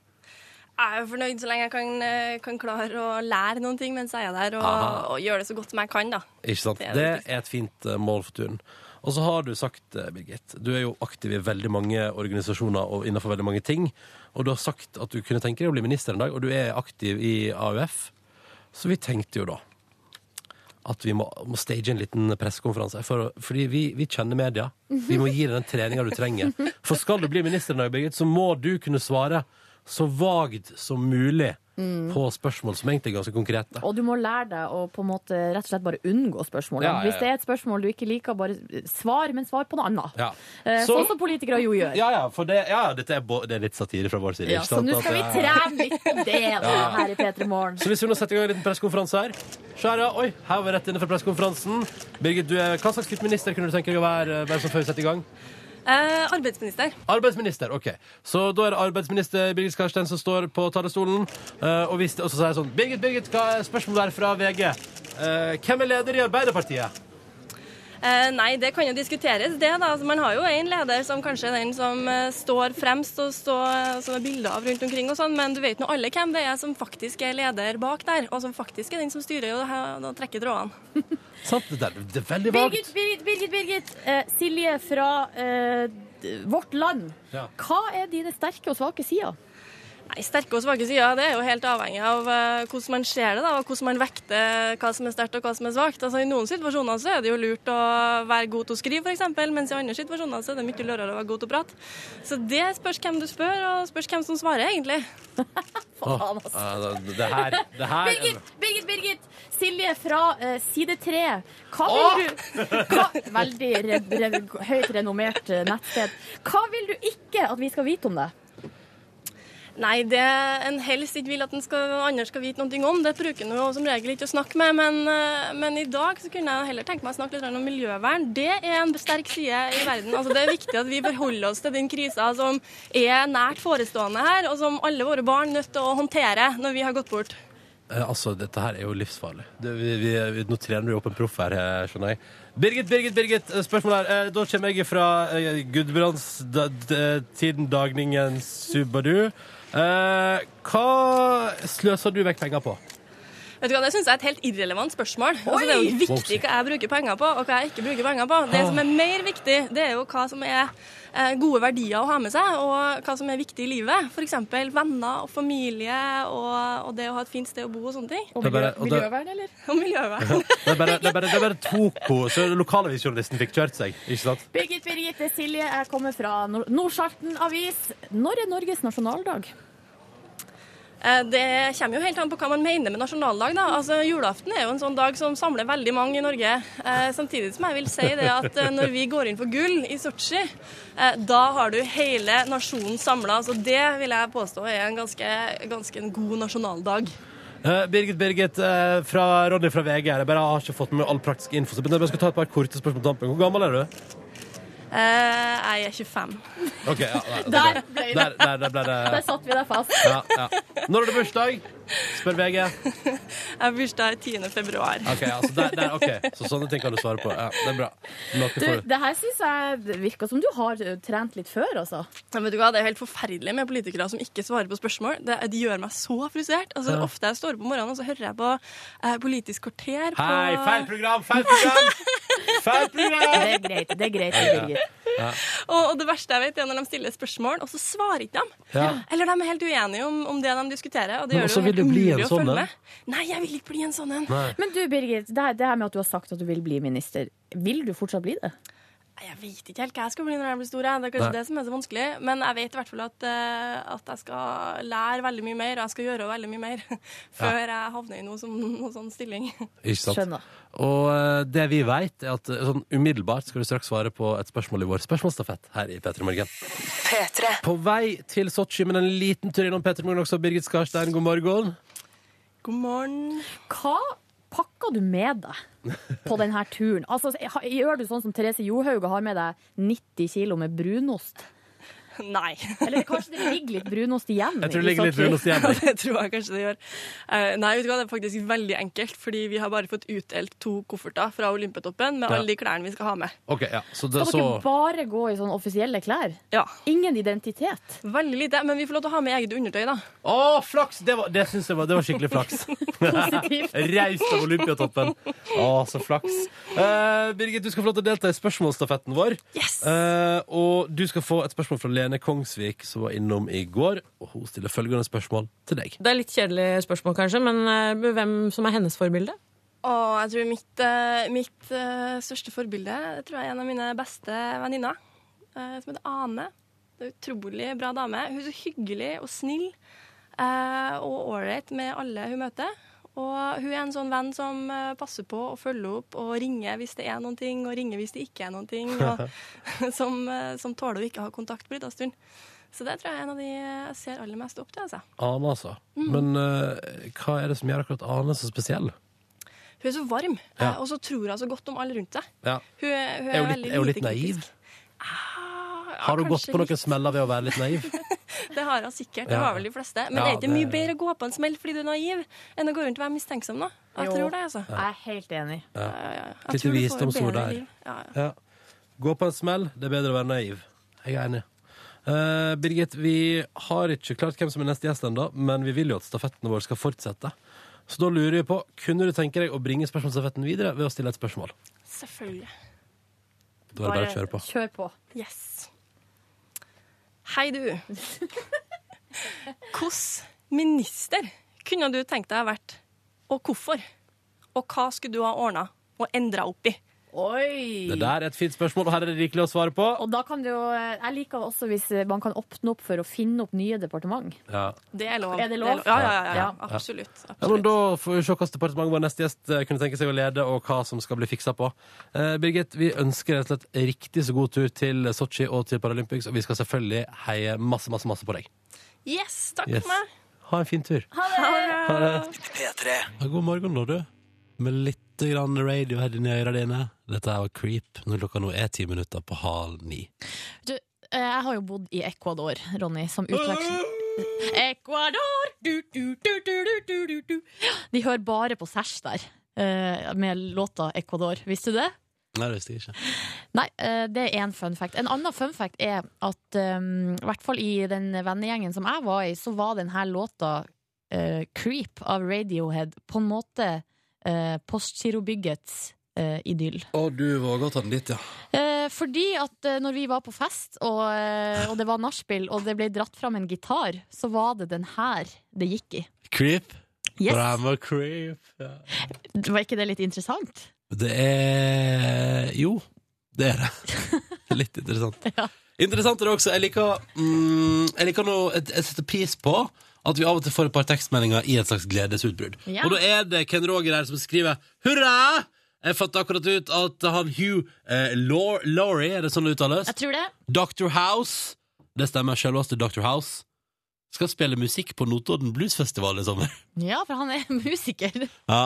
Jeg er jo fornøyd så lenge jeg kan, eh, kan klare å lære noen ting mens jeg er der, Aha. og, og gjøre det så godt som jeg kan, da. Ikke sant? Det Det er er, det et fint eh, mål for turen. Og så har du sagt, eh, Birgit, du er jo aktiv i veldig mange organisasjoner og innenfor veldig mange ting, og du har sagt at du kunne tenke deg å bli minister en dag, og du er aktiv i AUF. Så vi tenkte jo da at vi må, må stage en liten pressekonferanse, for, fordi vi, vi kjenner media. Vi må gi deg den treninga du trenger. For skal du bli minister en dag, Birgit, så må du kunne svare så vagt som mulig Mm. på spørsmål som egentlig er ganske konkrete. Og du må lære deg å på en måte rett og slett bare unngå spørsmålet. Ja, ja, ja. Hvis det er et spørsmål du ikke liker, bare svar, men svar på noe annet. Ja. Eh, Så- Sånn som politikere jo gjør. Ja, ja, for det, ja, ja, dette er, bo- det er litt satire fra vår side. Ja, ikke så sant? nå At skal vi det- trene litt på det da, her i P3 Morgen. Så hvis vi nå setter i gang en liten pressekonferanse her Så her, ja, oi, her var vi rett inne fra pressekonferansen. Birgit, du er, hva slags type minister kunne du tenke deg å være? Bare så før vi setter i gang Eh, arbeidsminister. Arbeidsminister, ok. Så da er det arbeidsminister Birgit Skarstein som står på talerstolen. eh, og, hvis, og så sier jeg sånn Birgit, Birgit, hva er spørsmålet her fra VG? Eh, hvem er leder i Arbeiderpartiet? Eh, nei, det kan jo diskuteres, det, da. Altså, man har jo en leder som kanskje er den som eh, står fremst, og står, som er bilder av rundt omkring og sånn, men du vet nå alle hvem det er som faktisk er leder bak der, og som faktisk er den som styrer og, ha- og trekker trådene. Sant, det, der, det er veldig Birgit, vagt. Birgit, Birgit, Birgit. Eh, Silje fra eh, d- Vårt Land. Ja. Hva er dine sterke og svake sider? Nei, Sterke og svake sider det er jo helt avhengig av eh, hvordan man ser det, da, og hvordan man vekter hva som er sterkt og hva som er svakt. Altså, I noen situasjoner så er det jo lurt å være god til å skrive, f.eks., mens i andre situasjoner så er det mye lurere å være god til å prate. Så det spørs hvem du spør, og spørs hvem som svarer, egentlig. Åh, eh, det, det her, det her Birgit, Birgit, Birgit. Silje fra eh, side 3. Hva vil du hva, Veldig re, re, høyt renommert eh, nettsted. Hva vil du ikke at vi skal vite om deg? Nei, det en helst ikke vil at en skal, noen andre skal vite noe om, det bruker en jo som regel ikke å snakke med. Men, eh, men i dag så kunne jeg heller tenke meg å snakke litt om miljøvern. Det er en sterk side i verden. Altså, det er viktig at vi forholder oss til den krisa som er nært forestående her, og som alle våre barn er nødt til å håndtere når vi har gått bort. Eh, altså, dette her er jo livsfarlig. Det, vi, vi, vi, nå trener vi opp en proff her, eh, skjønner jeg. Birgit, Birgit, Birgit, eh, spørsmål her. Eh, da kommer jeg fra eh, Gudbrandstiden, dagningen Subadu. Eh, hva sløser du vekk penger på? Vet du hva, Det synes jeg er et helt irrelevant spørsmål. Altså, det er jo viktig hva jeg bruker penger på, og hva jeg ikke bruker penger på. Det som er mer viktig, det er jo hva som er eh, gode verdier å ha med seg, og hva som er viktig i livet. F.eks. venner og familie, og, og det å ha et fint sted å bo og sånne ting. Det er bare- og det- Miljøvern, eller? Og miljøvern. Det er bare, det er bare, det er bare toko. Så lokalavisjournalisten fikk kjørt seg, ikke sant? Birgit Birgitte Silje, jeg kommer fra Nord- Nordsjalten avis. Når er Norges nasjonaldag? Eh, Det kommer jo helt an på hva man mener med nasjonaldag. da. Altså, Julaften er jo en sånn dag som samler veldig mange i Norge. Eh, Samtidig som jeg vil si det at eh, når vi går inn for gull i Sotsji, eh, da har du hele nasjonen samla. Så det vil jeg påstå er en ganske, ganske en god nasjonaldag. Eh, Birgit, Birgit, eh, fra Ronny fra VG her. Jeg bare har ikke fått med all praktisk info. Så jeg bare skal ta et par korte spørsmål på tampen. Hvor gammel er du? Eh, Jeg er 25. Ok, ja, Der ble det! Der, der, der ble det Der satt vi der fast. ja, ja. Når er det bursdag? Spør VG. Jeg har bursdag 10. februar. Ok, altså der, der, ok. Så sånne ting kan du svare på. Ja, det er bra. Noe Du, for... det her syns jeg det virker som du har eh, trent litt før, altså. Men vet du hva, Det er helt forferdelig med politikere som ikke svarer på spørsmål. Det, de gjør meg så frustrert. Altså, Ja. Ofte jeg står opp om morgenen og så hører jeg på eh, Politisk kvarter. på- Hei, feil program, feil program! Feil program! Det er greit. det er greit, Birgit. Og, og det verste jeg vet, er når de stiller spørsmål, og så svarer ikke de. Ja. Eller de er helt uenige om, om det de diskuterer. Og det Men gjør også det jo vil helt du bli umulig en å følge sånn en? med. Nei, jeg vil ikke bli en sånn en. Nei. Men du, Birgit, det her, det her med at du har sagt at du vil bli minister, vil du fortsatt bli det? Nei, Jeg vet ikke helt hva jeg skal bli når jeg blir stor. jeg. Det er kanskje Nei. det som er så vanskelig. Men jeg vet i hvert fall at, eh, at jeg skal lære veldig mye mer, og jeg skal gjøre veldig mye mer før jeg havner i noe, som, noe sånn stilling. Ikke sant? Skjønner. Og eh, det vi vet, er at eh, sånn umiddelbart skal du straks svare på et spørsmål i vår spørsmålsstafett her i P3 Morgen. P3. På vei til Sotsji, men en liten tur innom P3 Morgen også. Birgit Skarstein, god morgen. God morgen. Hva pakka du med deg på denne turen? Altså, ha- gjør du sånn som Therese Johaug og har med deg 90 kilo med brunost? Nei. Eller kanskje det ligger litt brunost igjen? Jeg tror i det ligger litt Sotsji? brunost igjen. Ja, det tror jeg kanskje det gjør. Eh, nei, vet du hva, det er faktisk veldig enkelt, fordi vi har bare fått utdelt to kofferter fra Olympiatoppen med Ja. alle de klærne vi skal ha med. Ok, ja. Så det, Skal så... dere bare gå i sånn offisielle klær? Ja, Ingen identitet? Veldig lite, men vi får lov til å ha med eget undertøy, da. Å, flaks! Det, var, det syns jeg var, det var skikkelig flaks. Positivt. Reist av Olympiatoppen. Å, så flaks. Eh, Birgit, du skal få lov til å delta i spørsmålsstafetten vår. Yes! Eh, og du skal få et spørsmål fra Lene Kongsvik, som var innom i går. Og hun stiller følgende spørsmål til deg. Det er litt kjedelig spørsmål, kanskje, men eh, hvem som er hennes forbilde? Og jeg tror mitt, eh, mitt eh, største forbilde det tror jeg er en av mine beste venninner, eh, som heter Ane. Det er en utrolig bra dame. Hun er så hyggelig og snill eh, og ålreit med alle hun møter. Og hun er en sånn venn som eh, passer på å følge opp og ringe hvis det er noen ting, og ringe hvis det ikke er noen ting, og som, eh, som tåler å ikke ha kontakt på en liten stund. Så det tror jeg er en av de jeg ser aller mest opp til. altså. Ane, altså. Men eh, hva er det som gjør akkurat Ane så spesiell? Hun er så varm, Ja. eh, og så tror hun så godt om alle rundt seg. Ja. Hun er, Er hun hun litt, veldig er hun litt lite kritisk. naiv? Ah, Har hun gått på noen smeller ved å være litt naiv? Det har hun sikkert. Det Ja. har vel de fleste. Men Ja, er det ikke mye det- bedre å gå på en smell fordi du er naiv, enn å gå rundt og være mistenksom, da? Jeg Jo. tror det, altså. Jeg er helt enig. Ja, ja, ja. Jeg Litt tror du får et visdomsord bedre der. liv. Ja, ja. Ja. Gå på en smell. Det er bedre å være naiv. Jeg er enig. Eh, Birgit, vi har ikke klart hvem som er neste gjest ennå, men vi vil jo at stafetten vår skal fortsette. Så da lurer vi på, kunne du tenke deg å bringe spørsmålsstafetten videre ved å stille et spørsmål? Selvfølgelig. Da er det bare å kjøre på. Kjør på. Yes. Hei, du. Hvordan minister kunne du tenkt deg å ha vært, og hvorfor? Og hva skulle du ha ordna og endra opp i? Oi! Det der er et fint spørsmål, og her er det rikelig å svare på. Og da kan det jo Jeg liker også hvis man kan åpne opp for å finne opp nye departement. Ja. Det er lov. Er det lov? Ja, ja, ja. ja, Ja. Absolutt. Ja, men absolutt. Da får vi se hvilket departement vår neste gjest eh, kunne tenke seg å lede, og hva som skal bli fiksa på. Eh, Birgit, vi ønsker rett og slett riktig så god tur til Sotsji og til Paralympics, og vi skal selvfølgelig heie masse, masse, masse på deg. Yes, takk Yes. for meg. Ha en fin tur. Ha det. P3. Ja, God morgen, da, du. Med litt grann radio her inne i øra dine. Dette er jo Creep når klokka nå er ti minutter på halv ni. Eh, Jeg har jo bodd i Ecuador, Ronny, som utveksling. Ecuador! Du, du, du, du, du, du, du, du. De hører bare på Sæsj der, eh, med låta Ecuador. Visste du det? Nei, det visste jeg ikke. Nei, eh, det er én fun fact. En annen fun fact er at um, i hvert fall i den vennegjengen som jeg var i, så var denne låta eh, 'Creep' av Radiohead på en måte uh, Postgirobyggets eh, idyll. Å, du våga å ta den dit, ja. Eh, fordi at eh, når vi var på fest, og, eh, og det var nachspiel, og det ble dratt fram en gitar, så var det den her det gikk i. Creep. Yes. I'm a creep. Ja. Var ikke det litt interessant? Det er Jo, det er det. Litt interessant. Ja. Interessant er det også. Jeg liker, mm, jeg liker noe jeg, jeg setter pris på at vi av og til får et par tekstmeldinger i et slags gledesutbrudd. Ja. Og da er det Ken Roger her som skriver 'Hurra!' Jeg fatta akkurat ut at han Hugh eh, Laur- Laurie, er det sånn det uttales? Jeg tror det. Dr. House, det stemmer, selveste Dr. House, skal spille musikk på Notodden Bluesfestival i sommer. Ja, for han er musiker. Ja.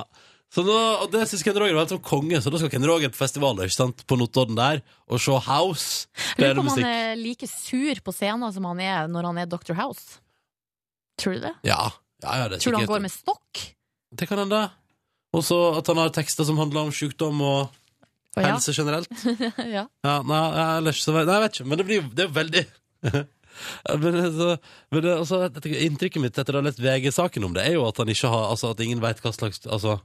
Så nå, og det syns Ken Roger var helt som konge, så da skal Ken Roger på festival ikke sant? på Notodden der og se House. Det Lurer er på om han musikk. er like sur på scenen som han er når han er Dr. House. Tror du det? Ja, ja, ja, det er Tror du han sikkert- går med stokk? Det kan hende. Og så at han har tekster som handler om sykdom og Å, ja. helse generelt. ja. Ja, nei, ja, ellers så vet- Nei, jeg vet ikke, men det blir jo det er jo veldig Ja, men, det- så, men det, altså, jeg tenker, Inntrykket mitt etter å ha lest VG-saken om det, er jo at, han ikke har, altså, at ingen veit hva slags altså,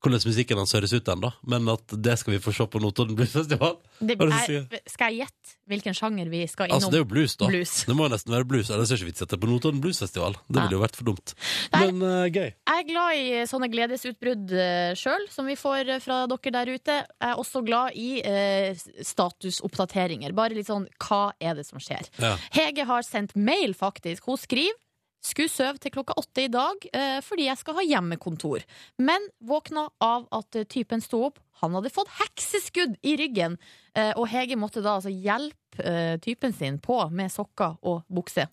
hvordan musikken hans høres ut ennå, men at det skal vi få se på Notodden Bluesfestival. Det, Hva er det du er, skal jeg gjette hvilken sjanger vi skal innom? Altså, det er jo blues, da. Blues. Det må jo nesten være blues. Ellers er det ikke vits i at det er på Notodden Bluesfestival. Det Nei. ville jo vært for dumt. Nei. Men eh, gøy. Jeg er glad i sånne gledesutbrudd uh, sjøl, som vi får eh, fra dere der ute. Jeg er også glad i eh, statusoppdateringer. Bare litt sånn hva er det som skjer? Ja. Hege har sendt mail, faktisk. Hun skriver skulle søve til klokka åtte i dag eh, fordi jeg skal ha hjemmekontor. Men våkna av at eh, typen sto opp. Han hadde fått hekseskudd i ryggen. Eh, og Hege måtte da altså hjelpe eh, typen sin på med sokker og bukse.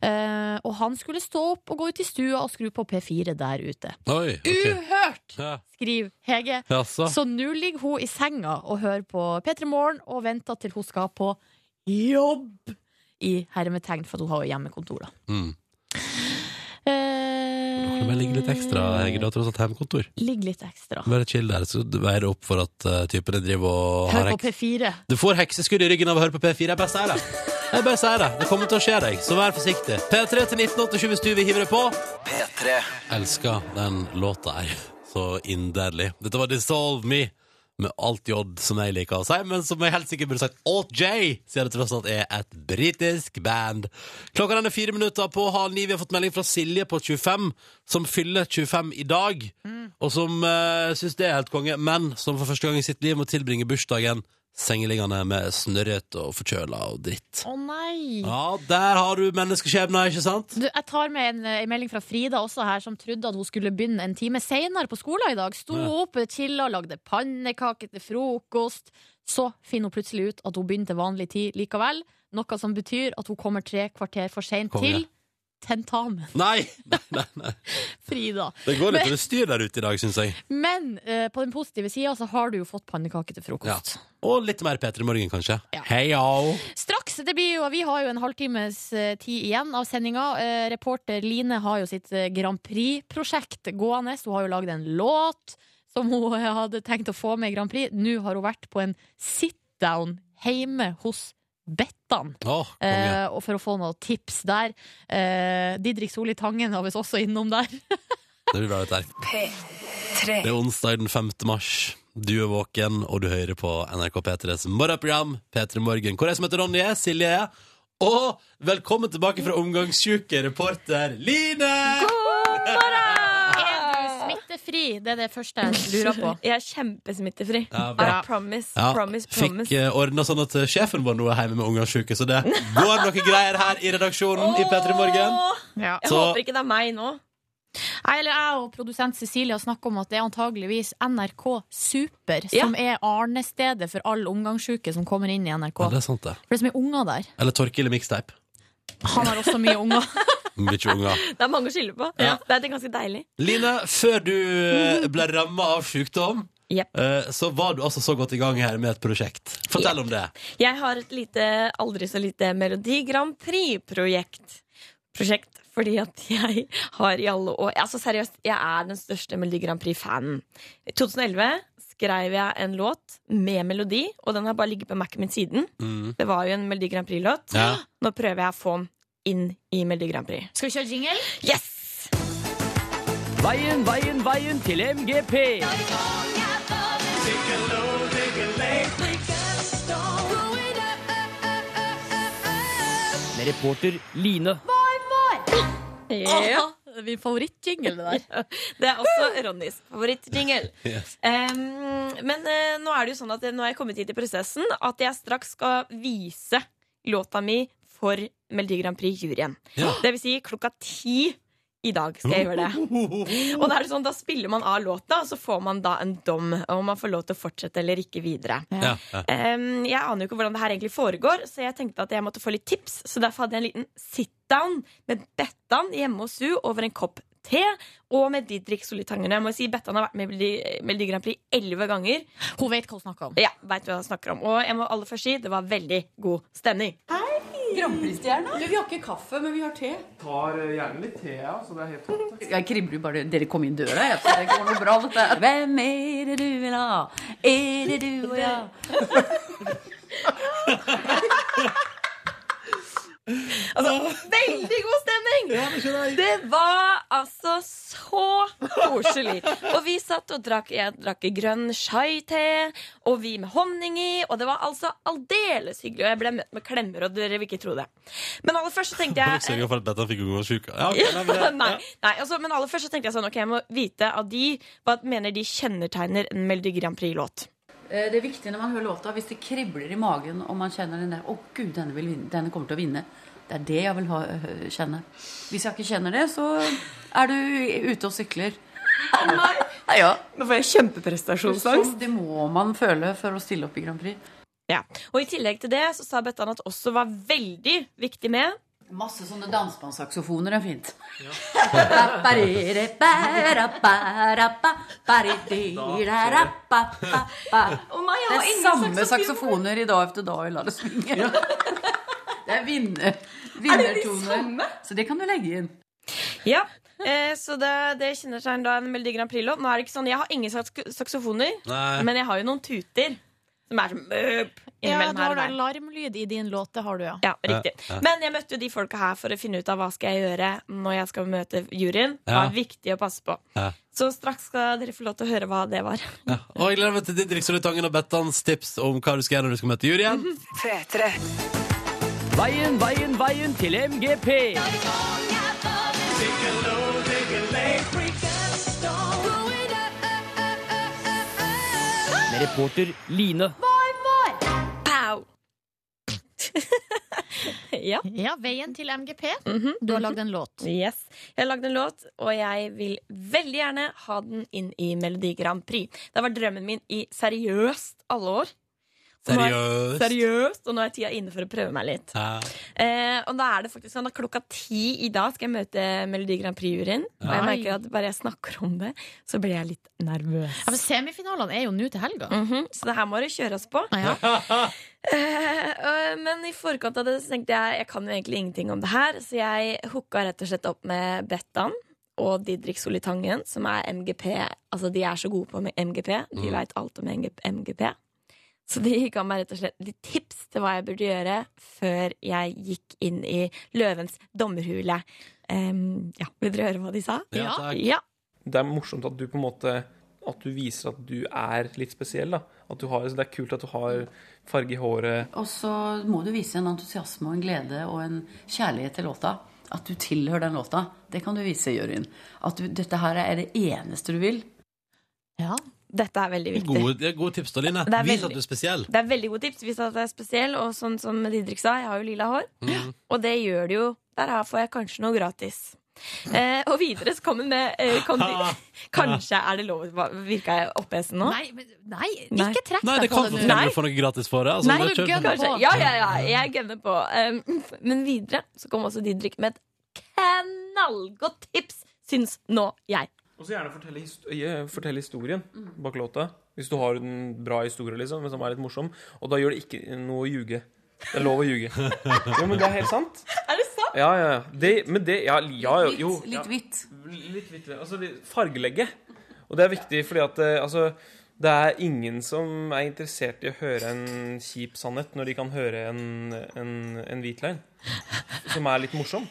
Eh, og han skulle stå opp og gå ut i stua og skru på P4 der ute. Oi. ok. Uhørt! Ja. Skriver Hege. Jaså. Så nå ligger hun i senga og hører på P3 Morgen og venter til hun skal på jobb! I hermetegn, for at hun har jo hjemmekontor, da. Mm. Eh, Men ligg litt ekstra, Hege. Du har tross alt hjemmekontor. Ligger litt ekstra. Bare chill der, så veier det opp for at eh, typen din driver og har Hør på heks. P4. Du får hekseskudd i ryggen av å høre på P4. Jeg bare sier det. Jeg bare sier det. Det kommer til å skje deg, så vær forsiktig. P3 til 1987 hvis du vil hive deg på. P3. Elsker den låta her så inderlig. Dette var Dissolve Me med alt J som jeg liker å si, men som jeg helt sikkert burde sagt Alt J, siden det tross alt er et britisk band. Klokka den er fire minutter på halv ni. Vi har fått melding fra Silje på 25, som fyller 25 i dag, og som uh, syns det er helt konge, men som for første gang i sitt liv må tilbringe bursdagen sengeliggende med snørret og forkjøla og dritt. Å nei! Ja, der har du menneskeskjebner, ikke sant? Du, jeg tar med en, en melding fra Frida også her, som trodde at hun skulle begynne en time senere på skolen i dag. Sto Ja. opp, chilla, lagde pannekaker til frokost. Så finner hun plutselig ut at hun begynner til vanlig tid likevel. Noe som betyr at hun kommer tre kvarter for seint Konge. til tentamen. Nei! nei, nei, nei. Frida. Det går litt under styr der ute i dag, syns jeg. Men eh, på den positive sida så har du jo fått pannekaker til frokost. Og litt mer P3 Morgen, kanskje. Ja. Heia! Straks, det blir jo, Vi har jo en halvtimes eh, tid igjen av sendinga. Eh, reporter Line har jo sitt eh, Grand Prix-prosjekt gående. Hun har jo lagd en låt som hun eh, hadde tenkt å få med i Grand Prix. Nå har hun vært på en sit-down hjemme hos Bettan. Åh, konge. Eh, og for å få noen tips der. Eh, Didrik Solli Tangen var visst også innom der. Det blir bra, dette her. Det er onsdag den 5. mars. Du er våken, og du hører på NRK P3s morgenprogram P3 Morgen, hvor jeg som heter Ronny er, Silje er. Og velkommen tilbake fra omgangssjuke reporter Line! Er du smittefri smittefri? Det er det første jeg lurer på. Jeg er kjempesmittefri. Ja, I bra. promise, Ja, promise, fikk promise. uh, ordna sånn at eh, sjefen vår nå er hjemme med ungansjuke, så det går noe greier her i redaksjonen i P3 Morgen. Åh, Ja. Jeg Så- håper ikke det er meg nå. Nei, eller jeg og produsent Cecilia snakker om at det er antageligvis NRK Super Ja. som er arnestedet for all omgangssyke som kommer inn i NRK. Ja, det er sant, det. For det er så mye unger der. Eller Torkil i mixtape. Han har også mye unger. Mye unger. Det er mange å skylde på. Ja. Det er ganske deilig. Line, før du eh, ble ramma av sykdom, Jepp. eh, så var du altså så godt i gang her med et prosjekt. Fortell om det. Jeg har et lite, aldri så lite Melodi Grand Prix-projekt. Prosjekt fordi at jeg har i alle år Altså seriøst, jeg er den største Melodi Grand Prix-fanen. I 2011 skrev jeg en låt med melodi, og den har bare ligget på Mac-en min siden. Mm. Det var jo en Melodi Grand Prix-låt. Ja. Nå prøver jeg å få den inn i Melodi Grand Prix. Skal vi kjøre jingle? Yes! Veien, veien, veien til MGP. Med reporter Line. Ja. Åh, Min favorittjingle, det der. Det er også Ronnys favorittjingle. Yes. Em, men eh, nå er det jo sånn at eh, nå er jeg kommet hit i prosessen at jeg straks skal vise låta mi for Melodi Grand Prix-juryen. Ja. Det vil si klokka ti i dag skal jeg gjøre det. Og da er det sånn, da spiller man av låta, og så får man da en dom om man får lov til å fortsette eller ikke videre. Ja, ja. Em, jeg aner jo ikke hvordan det her egentlig foregår, så jeg tenkte at jeg måtte få litt tips. Så derfor hadde jeg en liten sit-down med Bettan hjemme hos Su over en kopp te, og med Didrik Solitangerne. Jeg må si Bettan har vært med i Melodi- Melodi Grand Prix elleve ganger. Hun vet hva hun snakker om. Ja, vet hva jeg snakker om. Og jeg må aller først si det var veldig god stemning. Tar gjerne litt te, ja, så det er helt topp. Jeg kribler jo bare Dere kom inn døra, jeg. Så det går noe bra, dette. Hvem er det du vil ha? Er det du og jeg? Altså, veldig god stemning! Det var altså så koselig. Og vi satt og drakk Jeg drakk grønn chai-te, og vi med honning i, og det var altså aldeles hyggelig. Og jeg ble møtt med klemmer, og dere vil ikke tro det. Men aller først så tenkte Jeg jeg for at Bettan fikk ungansjuke. Ja, ok, nei, men det- Nei, nei altså, men aller først så tenkte jeg sånn Ok, jeg må vite av de hva mener de kjennetegner en Melodi Grand Prix-låt. Eh, Det er viktig når man hører låta, hvis det kribler i magen og man kjenner den der Å, gud, denne, vil vinne, denne kommer til å vinne. Det er det jeg vil ha, øh, kjenne. Hvis jeg ikke kjenner det, så er du ute og sykler. Nei, ja. Nå får jeg Sånn, kjempeprestasjonsangst. det må man føle for å stille opp i Grand Prix. Ja. Og i tillegg til det så sa Bettan at også var veldig viktig med Masse sånne dansbandssaksofoner er fint. Ba-ba-re-re, ba-ra-ba-ra-ba, ba-ri-di-ra-ra-ba-ba-ba. Å nei, jeg Det har er ingen samme saksofon. saksofoner i dag etter dag i La det svinge. Det er vinner, samme? vinnertoner. Så det kan du legge inn. Ja, eh, så det, det kjenner seg da en Melodi Grand Prix-låt. Nå er det ikke sånn, Jeg har ingen saks saksofoner, Nei. men jeg har jo noen tuter som er sånn møp, Ja, innimellom du her har og da der. alarmlyd i din låt, det har du, ja. Ja, riktig. Men jeg møtte jo de folka her for å finne ut av hva skal jeg gjøre når jeg skal møte juryen. Hva Ja. er viktig å passe på. Ja. Så straks skal dere få lov til å høre hva det var. Ja. Og jeg gleder meg til Didrik Solitangen og Bettans tips om hva du skal gjøre når du skal møte juryen. Mhm. P3. Veien, veien, veien til MGP. Med reporter Line. Pow! ja. Ja, Veien til MGP. Du har lagd en låt. Yes. Jeg har lagd en låt, og jeg vil veldig gjerne ha den inn i Melodi Grand Prix. Det var drømmen min i seriøst alle år. Og nå er- Seriøst. Seriøst, og nå er tida inne for å prøve meg litt. Ja. Eh, og da er det faktisk sånn at Klokka ti i dag skal jeg møte Melodi Grand Prix-juryen. Og jeg merker at bare jeg snakker om det, så blir jeg litt nervøs. Ja, men Semifinalene er jo nå til helga. Mhm, Så det her må det kjøres på. Ja. Eh, eh, Men i forkant av det så tenkte jeg Jeg kan jo egentlig ingenting om det her Så jeg hooka rett og slett opp med Bettan Og Didrik Solitangen Som er MGP Altså de er så gode på med MGP De Mm. vet alt om MGP Så de ga meg rett og slett litt tips Til hva jeg burde gjøre Før jeg gikk inn i løvens dommerhule Em, Ja, vil dere høre hva de sa? Ja, takk. Ja, Det er morsomt at du på en måte at du viser at du er litt spesiell. da. At du har, Det er kult at du har farge i håret. Og så må du vise en entusiasme og en glede og en kjærlighet til låta. At du tilhører den låta. Det kan du vise i juryen. At du, dette her er det eneste du vil. Dette er veldig viktig. Gode, det er gode tips, da, Line. Det er Vis veldig- at du er spesiell. Det er veldig gode tips hvis at det er spesiell, og sånn som Didrik sa, jeg har jo lilla hår. Mm. Og det gjør det jo. Der her får jeg kanskje noe gratis. Eh, og videre så kom hun med eh, kondi- Kanskje er det lov hva- Virka jeg opphesen nå? Nei, men- nei, Nei. ikke trekk Nei, deg det på kan det godt nå. hende du får noe gratis for det. Altså, Nei, bare du kjør gønner på. på. Ja, ja, ja, jeg gønner på. Um, men videre så kom også Didrik med et knallgodt tips, syns nå jeg. Og så gjerne fortelle, hist eh, fortelle historien Mm. bak låta. Hvis du har en bra historie liksom, som er litt morsom. Og da gjør det ikke noe å ljuge. Det er lov å ljuge. Jo, men det er helt sant. Er det sant? Ja, ja. ja. Det, men det ja, ja, jo, jo. ja. Litt hvitt. Litt hvitt. Altså litt fargelegge. Og det er viktig fordi at eh, altså, det er ingen som er interessert i å høre en kjip sannhet når de kan høre en, en, en hvit løgn som er litt morsom.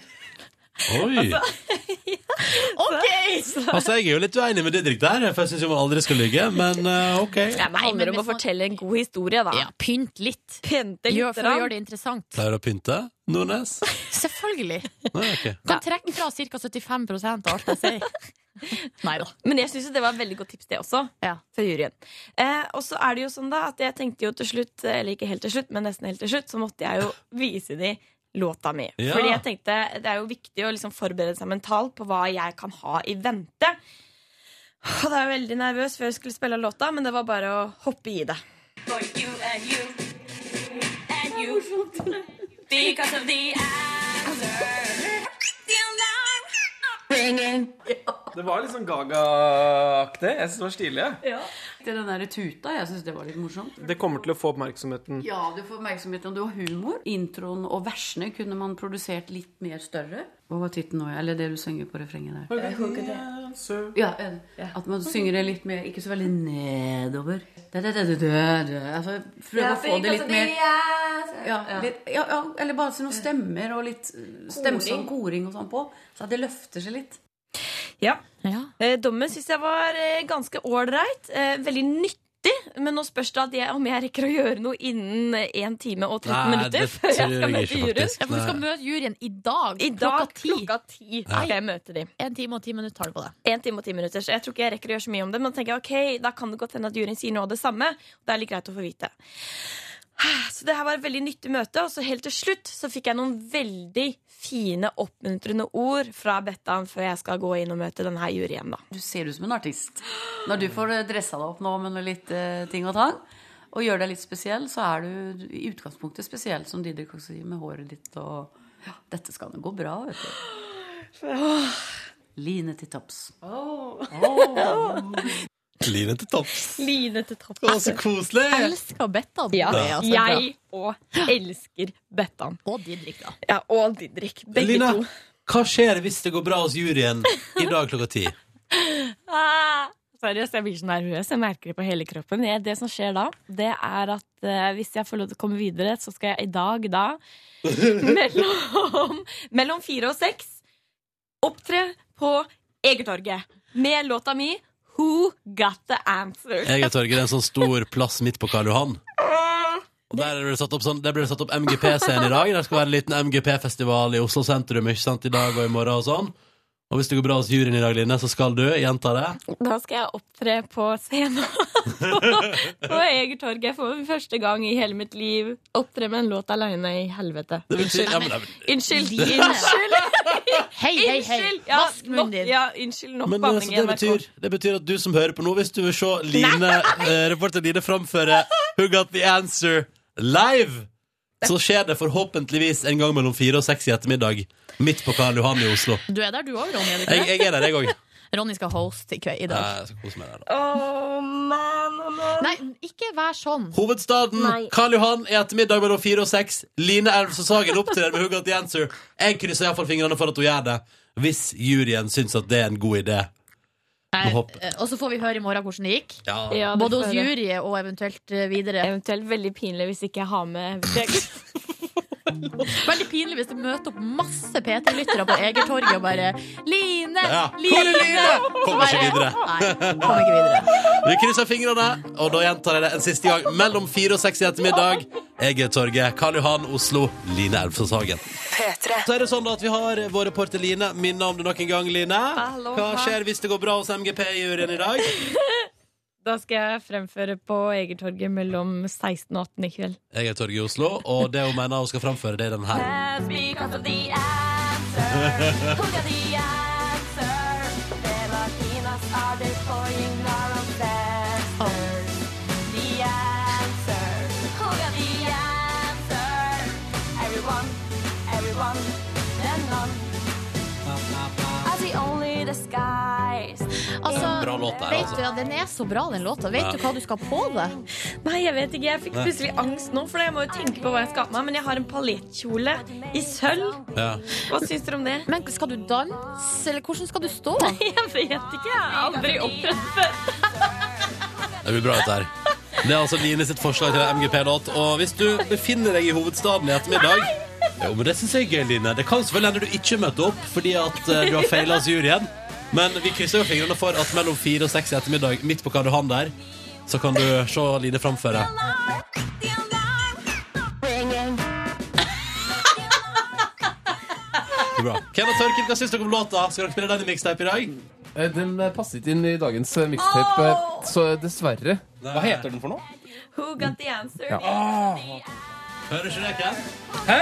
Oi! OK! Altså, jeg er jo litt uenig med Didrik der, for jeg syns jo man aldri skal ligge, men eh, OK. Ja, men det handler om å fortelle en god historie, da. Ja, Pynt litt. Pynte Gjør, litt. for å gjøre det interessant. Pleier du å pynte, Nordnes? Selvfølgelig. Nei, ok. Kan trekke fra ca. 75 av alt jeg sier. Nei da. Men jeg syns jo det var et veldig godt tips, det også. Fra juryen. Eh, og så er det jo sånn da at jeg tenkte jo til slutt, eller ikke helt til slutt, men nesten helt til slutt, så måtte jeg jo vise de låta mi. Ja. Fordi jeg tenkte det er jo viktig å liksom forberede seg mentalt på hva jeg kan ha i vente. Og da var jeg veldig nervøs før jeg skulle spille låta, men det var bare å hoppe i det. Because of the Det var litt sånn Gaga-aktig. Jeg syns det var stilig. jeg. Til den der tuta, jeg syns det var litt morsomt. Det kommer til å få oppmerksomheten. Ja, du får oppmerksomhet om du har humor. Introen og versene kunne man produsert litt mer større. Hva var tittelen nå? Eller det du synger på refrenget der? Ja, en- At man synger det litt mer, ikke så veldig nedover. Da, da, da, da, da, da. Altså, prøve å få det litt mer ja, litt, ja, ja, Eller bare si noen stemmer og litt eh, stemsang, koring og sånn på. Så at det løfter seg litt. Ja. Eh, dommen syns jeg var eh, ganske ålreit. Eh, veldig nyttig. Men nå spørs det at jeg, om jeg rekker å gjøre noe innen 1 time og 13 Nei, minutter. det Før jeg tror skal jeg møte ikke, juryen. faktisk. Ja, for du skal Nei. møte juryen i dag. I dag klokka ti. klokka ti skal jeg møte dem. En time og ti minutter har du på deg. En time og ti minutter, så jeg tror ikke jeg rekker å gjøre så mye om det. Men da tenker jeg, ok, da kan det godt hende at juryen sier noe av det samme. Det er litt greit å få vite. Så det her var et veldig nyttig møte, og så helt til slutt så fikk jeg noen veldig fine, oppmuntrende ord fra Bettan før jeg skal gå inn og møte denne her juryen, da. Du ser ut som en artist. Når du får eh, dressa deg opp nå med noe litt eh, ting og tang, og gjør deg litt spesiell, så er du i utgangspunktet spesiell, som Didrik også sier, med håret ditt og ja, Dette skal nå gå bra, vet du. Line til topps. Line til topps. Line til toppen. Å, så koselig! Elsker Bettan. Ja, Det er altså jeg òg elsker Bettan. Og Didrik, da. Ja, og Didrik. Begge Line, to. hva skjer hvis det går bra hos juryen i dag klokka ti? Ah, seriøst, jeg blir så nervøs. Jeg merker det på hele kroppen. Jeg, det som skjer da, det er at eh, hvis jeg får lov til å komme videre, så skal jeg i dag da mellom, mellom fire og seks opptre på Egertorget med låta mi Who Got The Answer. Egertorget er en sånn stor plass midt på Karl Johan. Og der ble det satt opp, sånn, der ble det satt opp MGP-scene i dag. Der skal være en liten MGP-festival i Oslo sentrum ikke sant, i dag og i morgen og sånn. Og hvis det går bra hos juryen i dag, Line, så skal du gjenta det. Da skal jeg opptre på scenen på, på Egertorget for første gang i hele mitt liv. Opptre med en låt aleine i helvete. Det betyr- Unnskyld. ja, men det er- Unnskyld. Line. Unnskyld. Hei, hei, hei. Unnskyld. Ja, Vask munnen nok- din. Ja, unnskyld. Nok Men altså, banning i det, NRK. betyr, det betyr at du som hører på nå, hvis du vil se Line, eh, reporter Line framføre Who Got The Answer live, så skjer det forhåpentligvis en gang mellom fire og seks i ettermiddag. Midt på Karl Johan i Oslo. Du er der du òg, Ronny. er du ikke Jeg, det? jeg er der, jeg òg. Ronny skal hoste i kveld i dag. Oh, man, oh, man. Nei, ikke vær sånn. Hovedstaden, Nei. Karl Johan i ettermiddag mellom fire og seks. Line Elvsås Hagen opptrer med Who Got The Answer. Jeg krysser iallfall fingrene for at hun gjør det, hvis juryen syns at det er en god idé. Må Nei, håpe. eh, Og så får vi høre i morgen hvordan det gikk. Ja. Ja, det Både hos får jeg. jury og eventuelt eh, videre. Eventuelt veldig pinlig hvis ikke jeg har med Veldig pinlig hvis det møter opp masse PT-lyttere på Egertorget og bare Line! Ja. Line! Hvor er Line? Og så Kommer ikke bare- videre. Kom ikke videre. Vi krysser fingrene, og da gjentar jeg det en siste gang. Mellom fire og seks i ettermiddag. Egertorget, Karl Johan, Oslo. Line Elvsås Hagen. Så er det sånn da at vi har vår reporter Line. Minner om det nok en gang, Line. Hallo, Hva hei. skjer hvis det går bra hos MGP-juryen i dag? Da skal jeg fremføre på Egertorget mellom 16 og 18 i kveld. Jeg er Torg i Oslo, og det hun mener hun skal framføre, det er den her. Altså, Bra låt der, vet altså. du, ja, Den er så bra, den låta. Vet Ja. du hva du skal på deg? Nei, jeg vet ikke. Jeg fikk Nei. plutselig angst nå, for jeg må jo tenke på hva jeg skal ha på meg. Men jeg har en paljettkjole i sølv. Ja. Hva syns dere om det? Men skal du danse, eller hvordan skal du stå? Jeg vet ikke. Jeg har aldri opprørt Det blir bra, dette her. Det er altså Line sitt forslag til en MGP-låt. Og hvis du befinner deg i hovedstaden i ettermiddag Jo, men det syns jeg er gøy, Line. Det kan selvfølgelig hende du ikke møter opp fordi at eh, du har feila oss i juryen. Men vi krysser jo fingrene for at mellom fire og seks i ettermiddag, midt på Karl Johan der, så kan du se Line framføre. Det er Bra. Ken og Tørkin, hva syns dere om låta? Skal dere spille den i mixtape i dag? Eh, Den eh, passer ikke inn i dagens eh, mixtape, eh, så dessverre. Hva heter den for noe? Who got the answer? Ja. Hører ikke det, Ken? Hæ?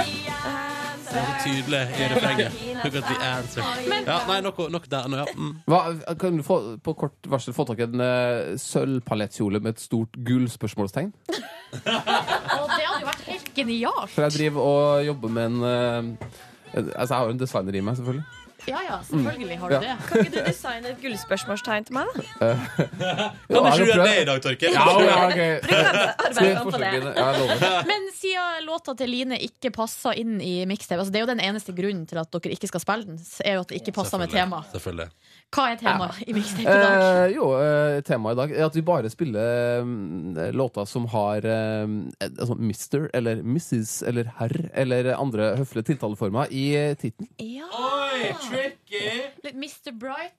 Det er så tydelig i refrenget. Look at the answer. Ja, nei, noe, noe der nå, ja. Mm. Hva, kan du få, på kort varsel få tak i en eh, sølvpalettkjole med et stort gull-spørsmålstegn? Å, det hadde jo vært helt genialt. For jeg driver og jobber med en eh, en- Altså, jeg har jo en designer i meg, selvfølgelig. Ja ja, selvfølgelig har du Ja. det. Kan ikke du designe et gullspørsmålstegn til meg, da? Kan Ja, du ikke jeg gjøre prøver. det i dag, Torkild? Ja, ja, ok. Du kan arbeide Skriv på det. forslagene. Ja, jeg lover. Men siden låta til Line ikke passer inn i mixtape, altså det er jo den eneste grunnen til at dere ikke skal spille den, er jo at det ikke passer med Selvfølgelig, temaet. Selvfølgelig. Hva er temaet i mixtape i dag? Eh, jo, eh, temaet i dag er at vi bare spiller eh, låter som har eh, altså Mr. eller Mrs. eller Herr eller andre høflige tiltaleformer i eh, tittelen. Ja. Oi, tricky! Litt Mr. Bright.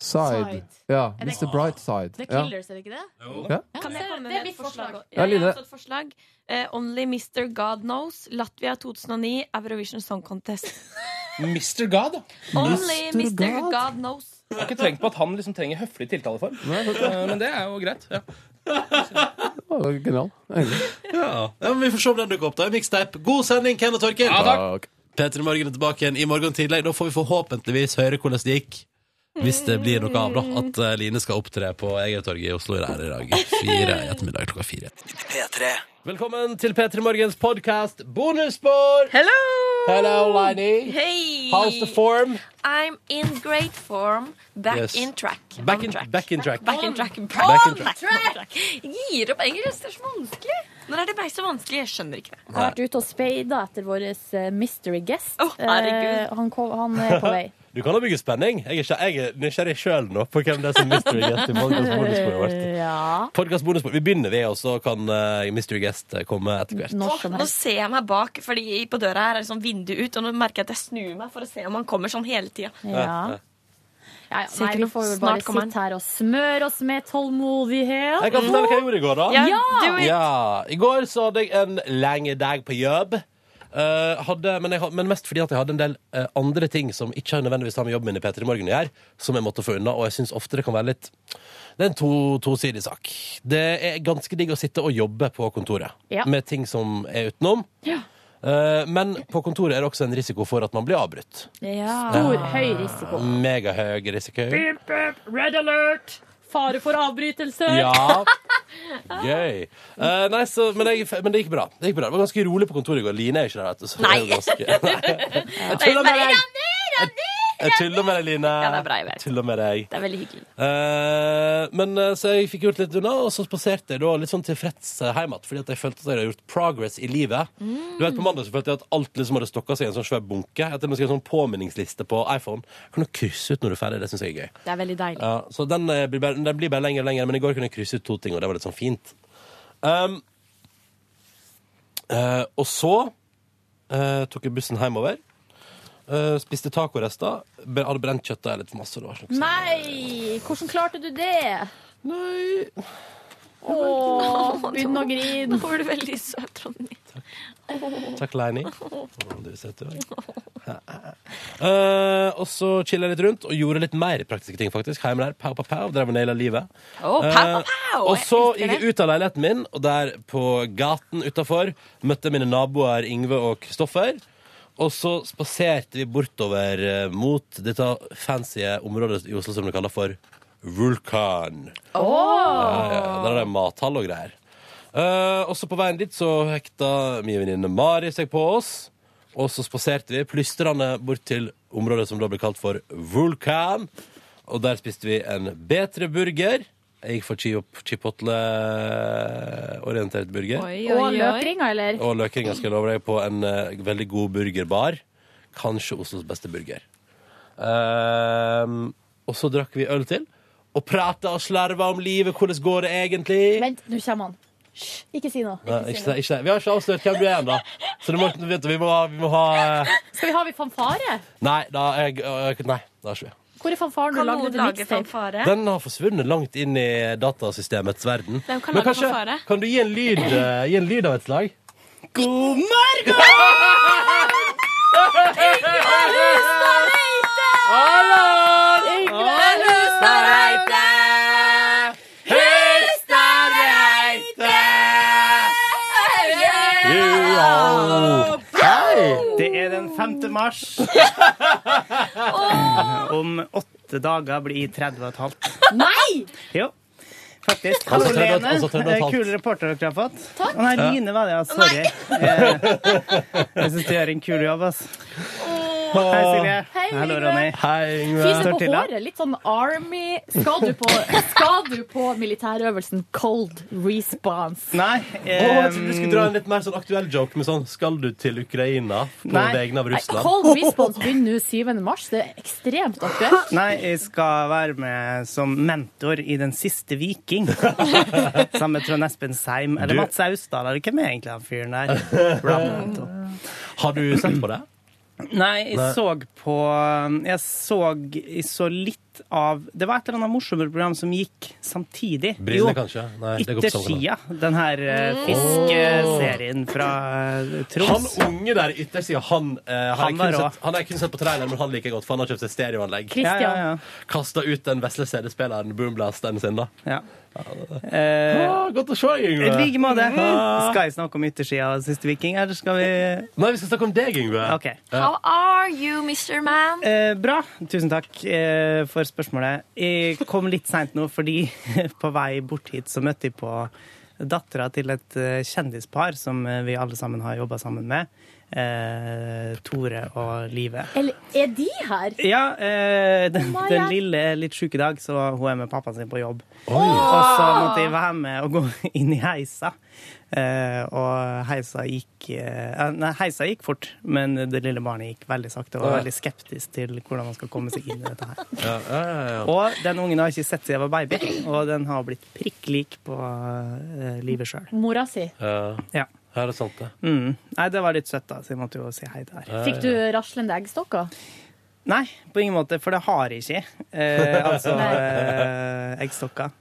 Side. Side. Ja, Er det- Mr. Bright Side. The Ja. Killers, er det ikke det? Ja. Kan jeg komme det er med mitt et forslag? forslag. Ja, jeg Line. har også et forslag. Eh, Only Mr. God Knows, Latvia 2009, Eurovision Song Contest. Mr. God. Only Mr. God, Knows. Jeg har ikke tenkt på at han liksom trenger høflig tiltaleform. Eh, Men det er jo greit. Ja. Det var genial. egentlig. Ja. ja, men Vi får se om den dukker opp. da Mixtape. God sending, Ken og Torkild. Ja, takk. Peter i Morgen er tilbake igjen i morgen tidlig. Da får vi forhåpentligvis høre hvordan det gikk. Hvis det blir noe av, da. At eh, Line skal opptre på Egertorget i Oslo i dag, i dag. Fire i ettermiddag klokka fire. P3. Velkommen til P3 Morgens podkast Bonusspor! Hello! Hello, Lini. Hey! How's the form? I'm in great form. Back Yes. in track. Back in, back in track. Back in track. Back in On track. Gir opp engelsk. Det er så vanskelig. Når er det meg så vanskelig? Jeg skjønner ikke det. Jeg har vært ute og speida etter vår eh, mystery guest. herregud. Eh, han, kom, han er på vei. Du kan da bygge spenning. Jeg er, ikke, jeg er nysgjerrig sjøl nå på hvem det er som mystery guest i Podcast Bonusspor har vært. Ja. Podcast Bonusspor. Vi begynner, vi, og så kan eh, mystery guest komme etter hvert. Åh, nå ser jeg meg bak, fordi på døra her er det sånn vindu ut, og nå merker jeg at jeg snur meg for å se om han kommer sånn hele tida. Ja. Ja, ja. Nei, Sikkert vi får jo snart bare kommer sitte her og smøre oss med tålmodighet. Jeg kan fortelle hva jeg gjorde i går, da. Ja, do it. Ja, I går så hadde jeg en lang dag på jobb. Eh, hadde, men, jeg, had- men mest fordi at jeg hadde en del eh, andre ting som ikke har nødvendigvis har med jobben min i Peter i morgen å gjøre, som jeg måtte få unna. Og jeg syns ofte det kan være litt Det er en to- tosidig sak. Det er ganske digg å sitte og jobbe på kontoret Ja. med ting som er utenom. Eh, men på kontoret er det også en risiko for at man blir avbrutt. Stor, Ah. høy risiko. Megahøy risiko. Beep, beep, red alert! Fare for avbrytelse. Ja. Gøy. Eh, nei, så, men, jeg, men det gikk bra. Det gikk bra. Det var ganske rolig på kontoret i går. Line er jo ikke der. vet du, så det er jo ganske, Jeg tuller med deg! Jeg tuller med deg, Line. Ja, det er bra, jeg vet. Tuller med deg. Det er veldig hyggelig. Eh, men eh, Så jeg fikk gjort litt unna, og så spaserte jeg da litt sånn tilfreds eh, hjem igjen. Fordi at jeg følte at jeg hadde gjort progress i livet. Du vet, På mandag så følte jeg at alt liksom hadde stokka seg i en sånn svær bunke. Jeg har til og med skrevet en sånn påminningsliste på iPhone. Kan du krysse ut når du er ferdig? Det syns jeg er gøy. Det er veldig deilig. Ja, så den, eh, blir bare, den blir bare lenger og lenger, men i går kunne jeg krysse ut to ting, og det var litt sånn fint. Um, eh, og så eh, tok jeg bussen hjemover. eh, spiste tacorester. be- Hadde brent kjøttet litt for masse. Det var Mm. sånn. Nei! Hvordan klarte du det? Nei Åh, begynn å grine. Nå var du veldig søt, Ronny. Takk, Leini. Å, Du er søt, du òg. Eh, og så chilla jeg litt rundt og gjorde litt mer praktiske ting, faktisk. Hjemme der. Pow, pow, pow. Drev og naila livet. Å, pow, pow, pow! Eh, og så Jeg elsker gikk jeg det. ut av leiligheten min, og der på gaten utafor møtte jeg mine naboer Ingve og Kristoffer. Og så spaserte vi bortover eh, mot dette fancy området i Oslo som de kaller for Vulkan. Ja, ja, ja. Der er det mathall og greier. Eh, og så på veien dit så hekta min venninne Mari seg på oss. Og så spaserte vi plystrende bort til området som da ble kalt for Vulkan. Og der spiste vi en bedre burger. Jeg gikk for chip- chipotle-orientert burger. Og løkringer, eller? Og løkringa skal jeg love deg på en eh, veldig god burgerbar. Kanskje Oslos beste burger. Ehm, og så drakk vi øl til. Og prata og slarva om livet. Hvordan går det egentlig? Vent, nå kommer han. Hysj, ikke si noe. Nei, ikke, si- ikke, si- vi har ikke avslørt hvem du er ennå. Så du må, vet du, vi må, ha- vi må ha eh, Skal vi ha vi fanfare? Nei, da, jeg, eh, nei, det har ikke vi. Hvor er fanfaren du Kan lagde noen til lage mixtape? Den har forsvunnet langt inn i datasystemets verden. Hvem kan Men lage kanskje, fanfare? kan du gi en lyd, eh, gi en lyd av et slag? God morgen! Yngve Hustad Reite! Yngve Hustad Reite! Hustad Reite! Yo! Det er den 5. mars. Om åtte dager blir 30 og et halvt. Nei! Jo. Faktisk. Hallo, Altså 30 og- Lene. altså 30 og et Eh, halvt. Kule reporter dere har fått. Takk. Å, nei, Ja. Line var det, ja. Sorry. Eh, Jeg syns du gjør en kul jobb, ass. Hei, Silje. Hei, Hallo, Yngve. Ronny. Fyser Står på til, da? håret, litt sånn Army. Skal du på, skal du på militærøvelsen Cold Response? Nei. Å, jeg trodde du skulle Ehm. dra en litt mer sånn aktuell joke med sånn Skal du til Ukraina på Nei. vegne av Russland? Cold Response begynner nå 7. mars. Det er ekstremt aktuelt. Nei, jeg skal være med som mentor i Den siste viking. Sammen med Trond Espen Seim. Eller Du- Mats Austdal, eller hvem er egentlig han fyren der? Blant annet. Har du sett på det? Nei, jeg Nei. så på Jeg så, jeg så litt av Det var et eller annet morsommere program som gikk samtidig. Brille, kanskje? Nei, det går på samme Yttersida. Den her eh, fiskeserien fra Han eh, Troms. unge der i yttersida, han, eh, har Han jeg kun var rå. sett- han har jeg kun sett på traileren, men han liker jeg godt, for han har kjøpt seg stereoanlegg. Christian. Ja, ja, ja. Kasta ut den vesle CD-spilleren, boomblasteren sin, da. Ja. Ah, godt å se deg, I Yngve. Eh, like måte. Ah. Skal jeg snakke om yttersida av Siste viking, eller skal vi Nei, vi skal snakke om deg, Yngve. How are you, Mr. Man? Eh, bra. Tusen takk eh, for spørsmålet. Jeg kom litt seint nå, fordi på vei bort hit så møtte jeg på dattera til et eh, kjendispar som eh, vi alle sammen har jobba sammen med. Eh, Tore og Live. Eller er de her? Ja, eh, den, Maja. den lille er litt sjuk i dag, så hun er med pappaen sin på jobb. Oi. Og så måtte jeg være med og gå inn i heisa. Eh, og heisa gikk eh, Nei, heisa gikk fort, men det lille barnet gikk veldig sakte. Og var Ja. veldig skeptisk til hvordan man skal komme seg inn i dette her. Ja, ja, ja, ja. Og den ungen har jeg ikke sett siden jeg var baby, og den har blitt prikk lik på eh, livet sjøl. Mora si. Ja. Ja. Ja, det er sant, det. Mm. Nei, det var litt søtt, da, så jeg måtte jo si hei der. Fikk du raslende eggstokker? Nei, på ingen måte, for det har jeg ikke. Eh, altså Nei. eh, eggstokker.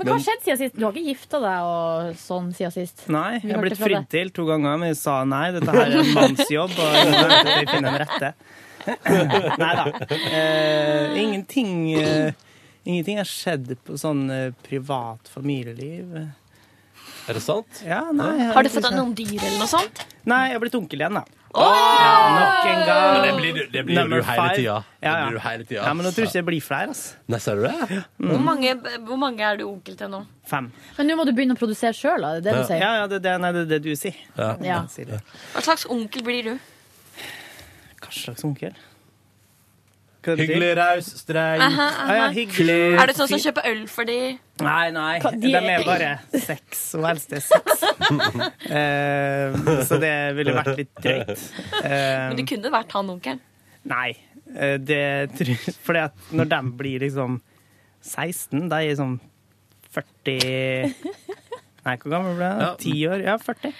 Men hva har skjedd siden sist? Du har ikke gifta deg og sånn siden sist? Nei, Vi jeg har hørte blitt fra fridd deg. til to ganger, men jeg sa nei, dette her er en mannsjobb, og jeg må vente til jeg finner den rette. Nei da. Eh, ingenting, eh, ingenting har skjedd på sånn eh, privat familieliv. Er det sant? Ja, nei. jeg Har du fått ikke- deg noen dyr eller noe sånt? Nei, jeg har blitt onkel igjen, da. Ja, nok en gang. Men det blir du- det blir jo Number du hele five. tida. Det Ja, ja. blir du hele tida. Ja, men nå tror jeg ikke det blir flere, altså. Nei, ser du det? Mm. Hvor mange, hvor mange er du onkel til nå? Fem. Men nå må du begynne å produsere sjøl, da. Det er det du sier. Ja, ja, det, er det, nei, det er det du sier. Ja. Ja. Sier det. Hva slags onkel blir du? Hva slags onkel? Hva det betyr? Hyggelig, raus, streng Aha, Ja, ja, aha. hyggelig. Er du sånn som kjøper øl for de? Nei, nei. Hva- de De er er- bare seks, og helst er seks. Eh, så det ville vært litt drøyt. Eh, Men du kunne vært han onkelen. nei, eh, det tror For når de blir liksom 16, de er sånn 40 Nei, hvor gammel ble jeg? Ja. Ti år? Ja, 40.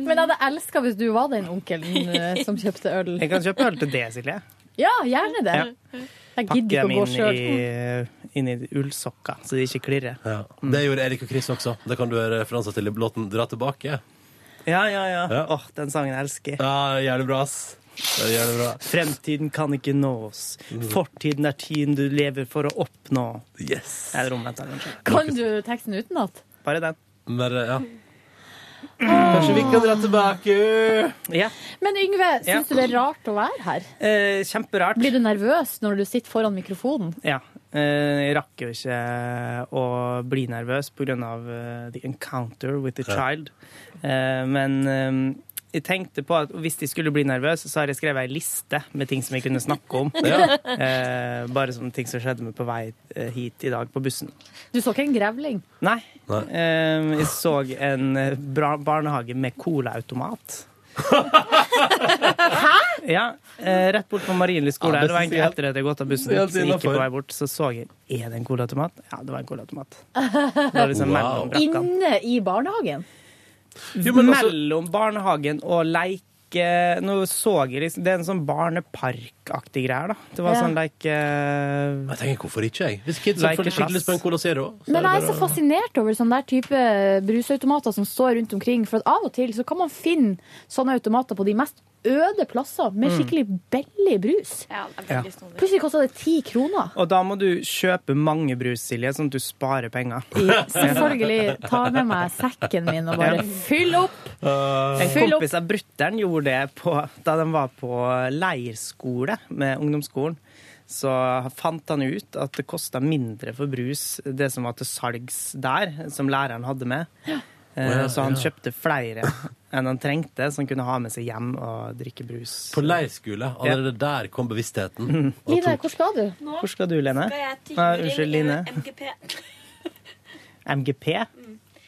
Men jeg hadde elska hvis du var den onkelen eh, som kjøpte øl. Jeg kan kjøpe øl til det, Silje. Ja, gjerne det. Jeg Pakker gidder dem ikke å gå inn sjøl. i, inn i ullsokker, så de ikke klirrer. Ja. Mm. Det gjorde Erik og Chris også. Det kan du gjøre referanser til i låten 'Dra tilbake'. Ja, ja, ja. Ja. Åh, den sangen jeg elsker. Ja, Jævlig bra, ass. Fremtiden kan ikke nås. Fortiden er tiden du lever for å oppnå. Eller omvendt, da, kanskje. Kan du teksten utenat? Bare den. Bare, eh, ja. Kanskje vi kan dra tilbake. Ja. Men Yngve, Ja. syns du det er rart å være her? Eh, kjemperart. Blir du nervøs når du sitter foran mikrofonen? Ja. eh, Jeg rakk jo ikke å bli nervøs pga. eh, the encounter with the Ja. child. Eh, Men eh, jeg tenkte på at hvis jeg skulle bli nervøs, så har jeg skrevet ei liste med ting som jeg kunne snakke om. Ja. Eh, Bare sånne ting som skjedde med på vei eh, hit i dag på bussen. Du så ikke en grevling? Nei. Eh, Jeg så en eh, bra barnehage med colaautomat. Hæ?! Ja, eh, rett bort på Marienlyst skole. Ja, her. det var det synes egentlig jeg- etter at jeg hadde gått av bussen. det er Så helt jeg gikk jeg innenfor. på vei bort, så så jeg Er det en colaautomat? Ja, det var en colaautomat. Det var liksom mellom brakkene. Inne i barnehagen? altså- Mellom barnehagen og leike Nå så jeg liksom Det er en sånn barneparkaktig greie her, da. Det var Ja. sånn leike... Jeg tenker, hvorfor ikke, jeg? Hvis kidsa føler skyld lyst på en Cola Zero Men jeg er så fascinert over sånne der type eh, brusautomater som står rundt omkring. For at av og til så kan man finne sånne automater på de mest øde plasser med Mm. skikkelig billig brus. veldig Ja. Plutselig kosta det ti kroner. Og da må du kjøpe mange brus, Silje, sånn at du sparer penger. Ja, Selvfølgelig. Ta med meg sekken min og bare Ja. Ah. fyll opp. En Fyll opp. kompis av brutter'n gjorde det på, da de var på leirskole med ungdomsskolen. Så fant han ut at det kosta mindre for brus, det som var til salgs der, som læreren hadde med. Eh, Å ja, Så han ja. kjøpte flere enn han trengte, så han kunne ha med seg hjem og drikke brus. På leirskole. Allerede der kom Mm. bevisstheten. Og Line, tok- hvor skal du? Hvor skal du, Lene? Skal jeg tyve Nei, inn unnskyld, i Line. MGP? MGP?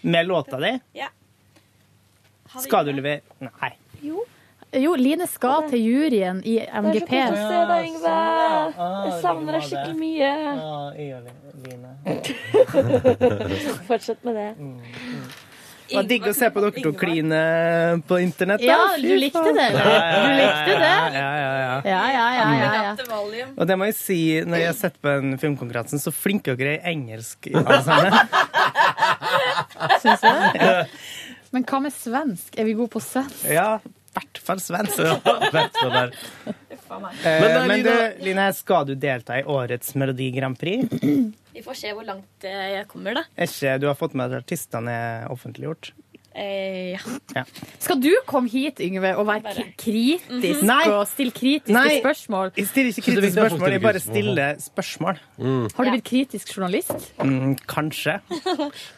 Med låta di? Mm. Ja. Skal du levere Nei. Jo. Jo, Line skal til juryen i MGP. Det er så koselig å se sånn, deg, Yngve. Jeg det Ah, var savner deg det. skikkelig mye. Fortsett med det. Det var digg å se på dere to kline eh, på internett. da. Ja, Fy du likte faen. det, eller? Du likte det? Ja, ja, ja. Ja, ja, ja. ja, ja. Og det må jeg si, når jeg har sett på den filmkonkurransen, så flinke dere er i engelsk, alle sammen. Syns du det? Men hva med svensk? Er vi gode på svensk? Ja, i hvert fall svensk. Ja, i hvert fall der. Eh, Men da, Men du, Line- Line, skal du delta i årets Melodi Grand Prix? Vi får se hvor langt eh, jeg kommer, da. Er ikke, du har fått med at artistene er offentliggjort? Eh, ja. Ja. Skal du komme hit, Yngve, og være k- kritisk Mhm. Nei. og stille kritiske Nei. spørsmål? Jeg stiller ikke kritiske spørsmål, jeg bare stiller spørsmål. Har du blitt kritisk journalist? Mm, kanskje.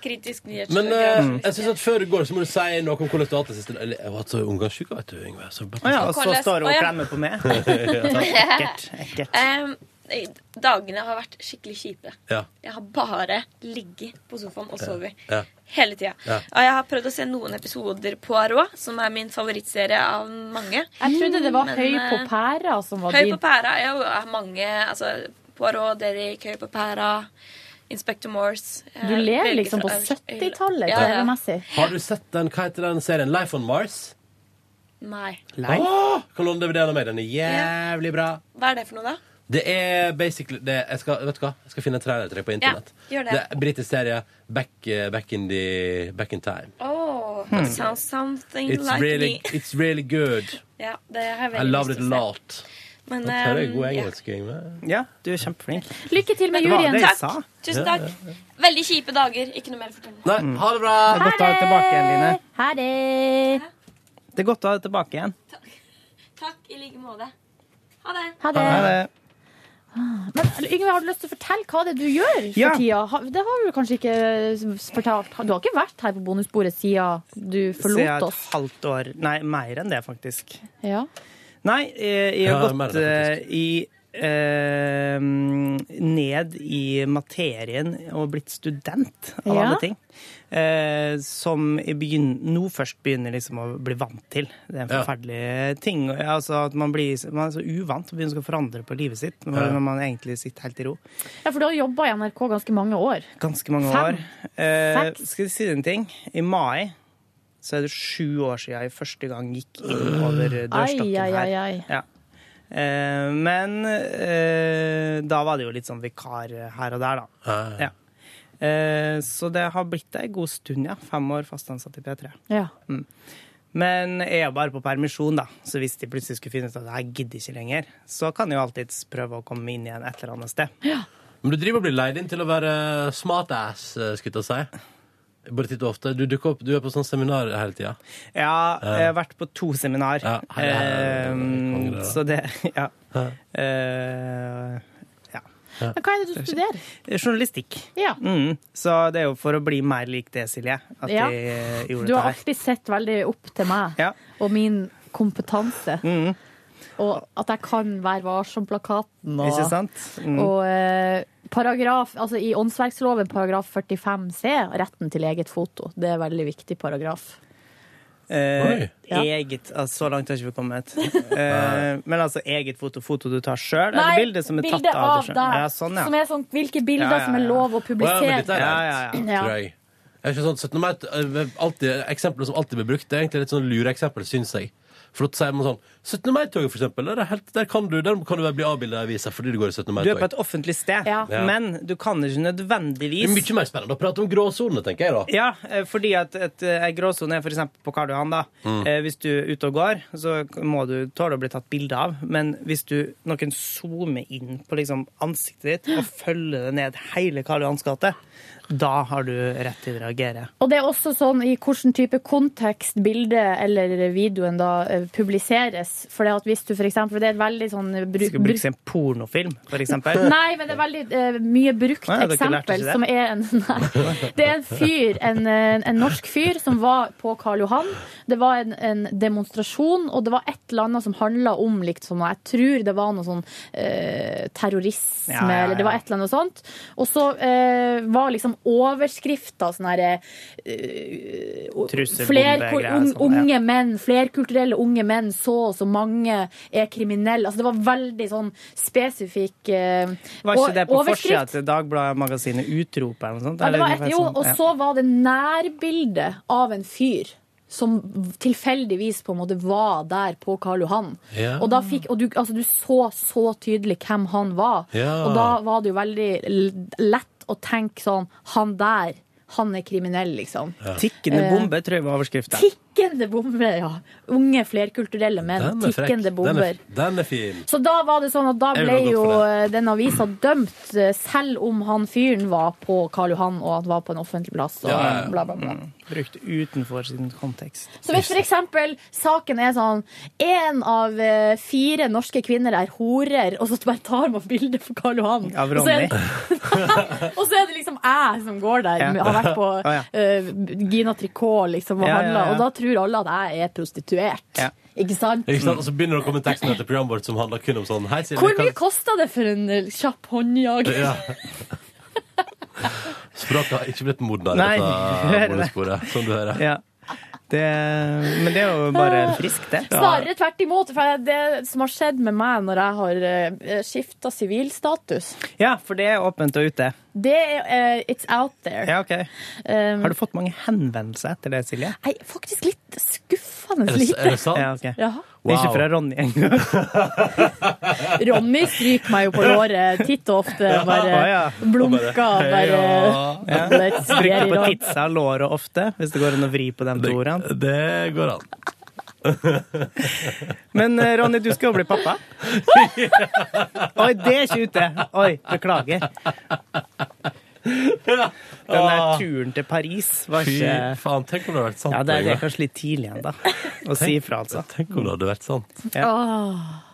Kritisk Men eh, nyhetsprogram. jeg synes at før du går, så må du si noe om hvordan du har hatt det siste. Eller, jeg har hatt så omgangssyke, vet du, Yngve. Så bare- Å ja, og så Hvordan- står hun og Å ja. klemmer på meg. Ja. Ekkelt. ekkelt. Em, eh, dagene har vært skikkelig kjipe. Ja. Jeg har bare ligget på sofaen og sovet. Ja. Hele tida. Ja. Og jeg har prøvd å se noen episoder på Arå, som er min favorittserie av mange. Jeg trodde det var Men, Høy på eh, pæra som var Høy din. på pæra er jo er mange altså, Poirot, Derrick, Høy på pæra, Inspector Morse eh, Du lever velger liksom fra på øverst til 70-tallet, Ja, ja. TV-messig. Har du sett den, hva heter den serien? Life on Mars? Nei. Åh, kan låne DVD-en av meg. Den er jævlig bra. Hva er det for noe, da? Det er basically det, jeg, skal, vet du hva? jeg skal finne en trailer til deg på internett. Ja, gjør det. er en britisk serie. Back, eh, back, in the, back in time. Oh, Hmm. it sounds something It's like really, me. it's really good. Ja, det har jeg I veldig loved lyst it a til å se. lot. Men, Nå tar jeg em, god ja. engelsk, Yngve. Ja, du er kjempeflink. Lykke til med Men- juryen. Takk. Tusen takk. Veldig kjipe dager. Ikke noe mer å fortelle. Nei, ha det bra! Det er godt å ha deg tilbake igjen, Line. Ha det. Det er godt å ha deg tilbake igjen. Takk i like måte. Ha det. Ha det. Men Yngve, har du lyst til å fortelle hva det er du gjør for Ja. tida? Ha- Det har du kanskje ikke eh, s- fortalt. Du har ikke vært her på bonusbordet siden du Siden forlot et oss? halvt år Nei, mer enn det, faktisk. Ja. Nei, eh, jeg har Ja, mer enn gått det, eh, i eh, ned i materien og blitt student, av Ja. alle ting. Eh, som jeg begyn- nå først begynner liksom å bli vant til. Det er en Ja. forferdelig ting. Altså at man, blir, man er så uvant og begynner å forandre på livet sitt når, Ja. når man egentlig sitter helt i ro. ja, for du har jobba i NRK ganske mange år. Ganske mange Fem. år. Eh, Seks. skal jeg si en ting? I mai så er det sju år siden jeg første gang gikk inn over dørstokken Ai, ai, ai, ai. her. Ja. Eh, men eh, da var det jo litt sånn vikar her og der, da. Ja. Eh, så det har blitt ei god stund, ja. Fem år fast ansatt i P3. Ja. Mm. Men jeg er jo bare på permisjon, da, så hvis de plutselig skulle finne ut at jeg gidder ikke lenger, så kan jeg jo alltids prøve å komme inn igjen et eller annet sted. Men du driver og blir leid inn til å være smartass, skulle jeg til å si. Bare titt og ofte. Du dukker opp, du er på sånn seminar hele tida. Ja, Ja. jeg har vært på to seminar. her er- konge, Ehm, det da. så det Ja. Eh, ja. Men hva er det du studerer? Journalistikk. Ja. Mm, så det er jo for å bli mer lik det, Silje, at Ja. jeg gjorde Du har dette her. alltid sett veldig opp til meg og min kompetanse. Mm. Og at jeg kan være varsom-plakaten. Og, Ikke sant? Mm. og eh, paragraf, altså i åndsverksloven paragraf 45 c, retten til eget foto. Det er en veldig viktig paragraf. Eh, Ja. eget altså, Så langt har ikke vi kommet. Eh, men altså eget foto, foto du tar sjøl, eller Nei, bilde som er tatt bilde av av deg sjøl? deg. Ja, sånn, Som ja. er sånn, hvilke bilder Ja, ja, som er ja. lov å Å, ja, publisere. men dette er rart, Ja. tror jeg. Det er ikke sånn 17. mai eh, alltid, Eksempler som alltid blir brukt, det er egentlig litt sånn lure eksempel, syns jeg. For da sier man sånn 17. mai-toget, for eksempel. Der, er helt, der, kan du, der kan du vel bli avbildet i avisa fordi du går i 17. Du er på mai-tog. et offentlig sted, Ja. men du kan ikke nødvendigvis Det er mye mer spennende å prate om gråsonene, tenker jeg da. Ja, eh, fordi at et, eh, en gråsone er for eksempel på Karl Johan. da. Mm. Eh, Hvis du er ute og går, så må du tåle å bli tatt bilde av. Men hvis du noen zoomer inn på liksom ansiktet ditt og følger det ned hele Karl Johans gate, da har du rett til å reagere. Og det er også sånn i hvilken type kontekst bildet eller videoen da eh, publiseres. For det at hvis du for eksempel, det er et veldig sånn bruk, Skal brukes i en pornofilm, for eksempel. Nei, men det er veldig eh, mye brukt Nei, dere lærte ikke eksempel det. som er en Nei. Det er en fyr, en, eh, en norsk fyr, som var på Karl Johan. Det var en, en demonstrasjon, og det var et eller annet som handla om liksom, Jeg tror det var noe sånn eh, terrorisme, Ja, ja, ja. eller det var et eller annet sånt. Og så eh, var liksom overskrifta sånn herre Trussel, Fler, bombe, hvor, greier, un, sånn, ja. unge menn, flerkulturelle unge menn, så og så mange er kriminelle. Altså, det var veldig sånn spesifikk eh, Var ikke og- det på forsida overskrift. til Dagbladet-magasinet Utrop eller noe sånt? Ja, det var Eller et, noe jo, sånt, og ja. så var det nærbilde av en fyr. Som tilfeldigvis på en måte var der på Karl Johan. Ja. Og, da fikk, og du, altså, du så så tydelig hvem han var. Ja. Og da var det jo veldig l- lett å tenke sånn Han der, han er kriminell, liksom. Tikkende Eh, bombe, tror jeg var overskrifta. Tikkende bombe, ja. Unge flerkulturelle menn. Den er frekk. Tikkende Den bomber. er, den er fin. Så da var det sånn at da Jeg vil ble ha gått jo for eh, den avisa dømt, eh, selv om han fyren var på Karl Johan og han var på en offentlig plass. Og Ja, ja, ja. bla, bla, bla. Mm. Brukt utenfor sin kontekst. Så hvis for eksempel saken er sånn Én av eh, fire norske kvinner er horer, og så bare tar man bilde på Karl Johan. Av og, så Ronny. er det, og så er det liksom jeg som går der, Ja. har vært på Å, ja. eh, Gina Tricot liksom, og Ja, ja, handla, ja. og da tror alle at jeg er prostituert. Ja. Ikke sant? Ikke sant? Og så begynner det å komme teksten etter programmet vårt som handler kun om sånn Hei, Silje. Hvor kan- mye kosta det for en eh, kjapp håndjager? Ja. Språket har ikke blitt modnere Nei, på hører dette det. bonussporet, som du hører. Ja. Det, men det er jo bare friskt, det. Snarere tvert imot. For det som har skjedd med meg når jeg har skifta sivilstatus, Ja, for det er åpent og ute. det er eh, It's out there. Ja, ok. Um, Har du fått mange henvendelser etter det, Silje? Nei, faktisk litt skuffende Er det- lite. er det sant? Ja, ok. Det er ikke fra Ronny engang. Ronny stryker meg jo på låret titt og ofte. Bare Ja, ja. blunker. Bare, Ja. Let's get Bruker it på on. titsa og låret ofte, hvis det går an å vri på de to ordene. Det går an. Men eh, Ronny, du skal jo bli pappa. Oi, det er ikke ute! Oi, beklager. Den der turen til Paris var Fy ikke faen, tenk om det hadde vært sant. Ja, det er, det er Børge. kanskje litt tidlig ennå å si ifra, altså. Tenk om det hadde vært sant. Ja.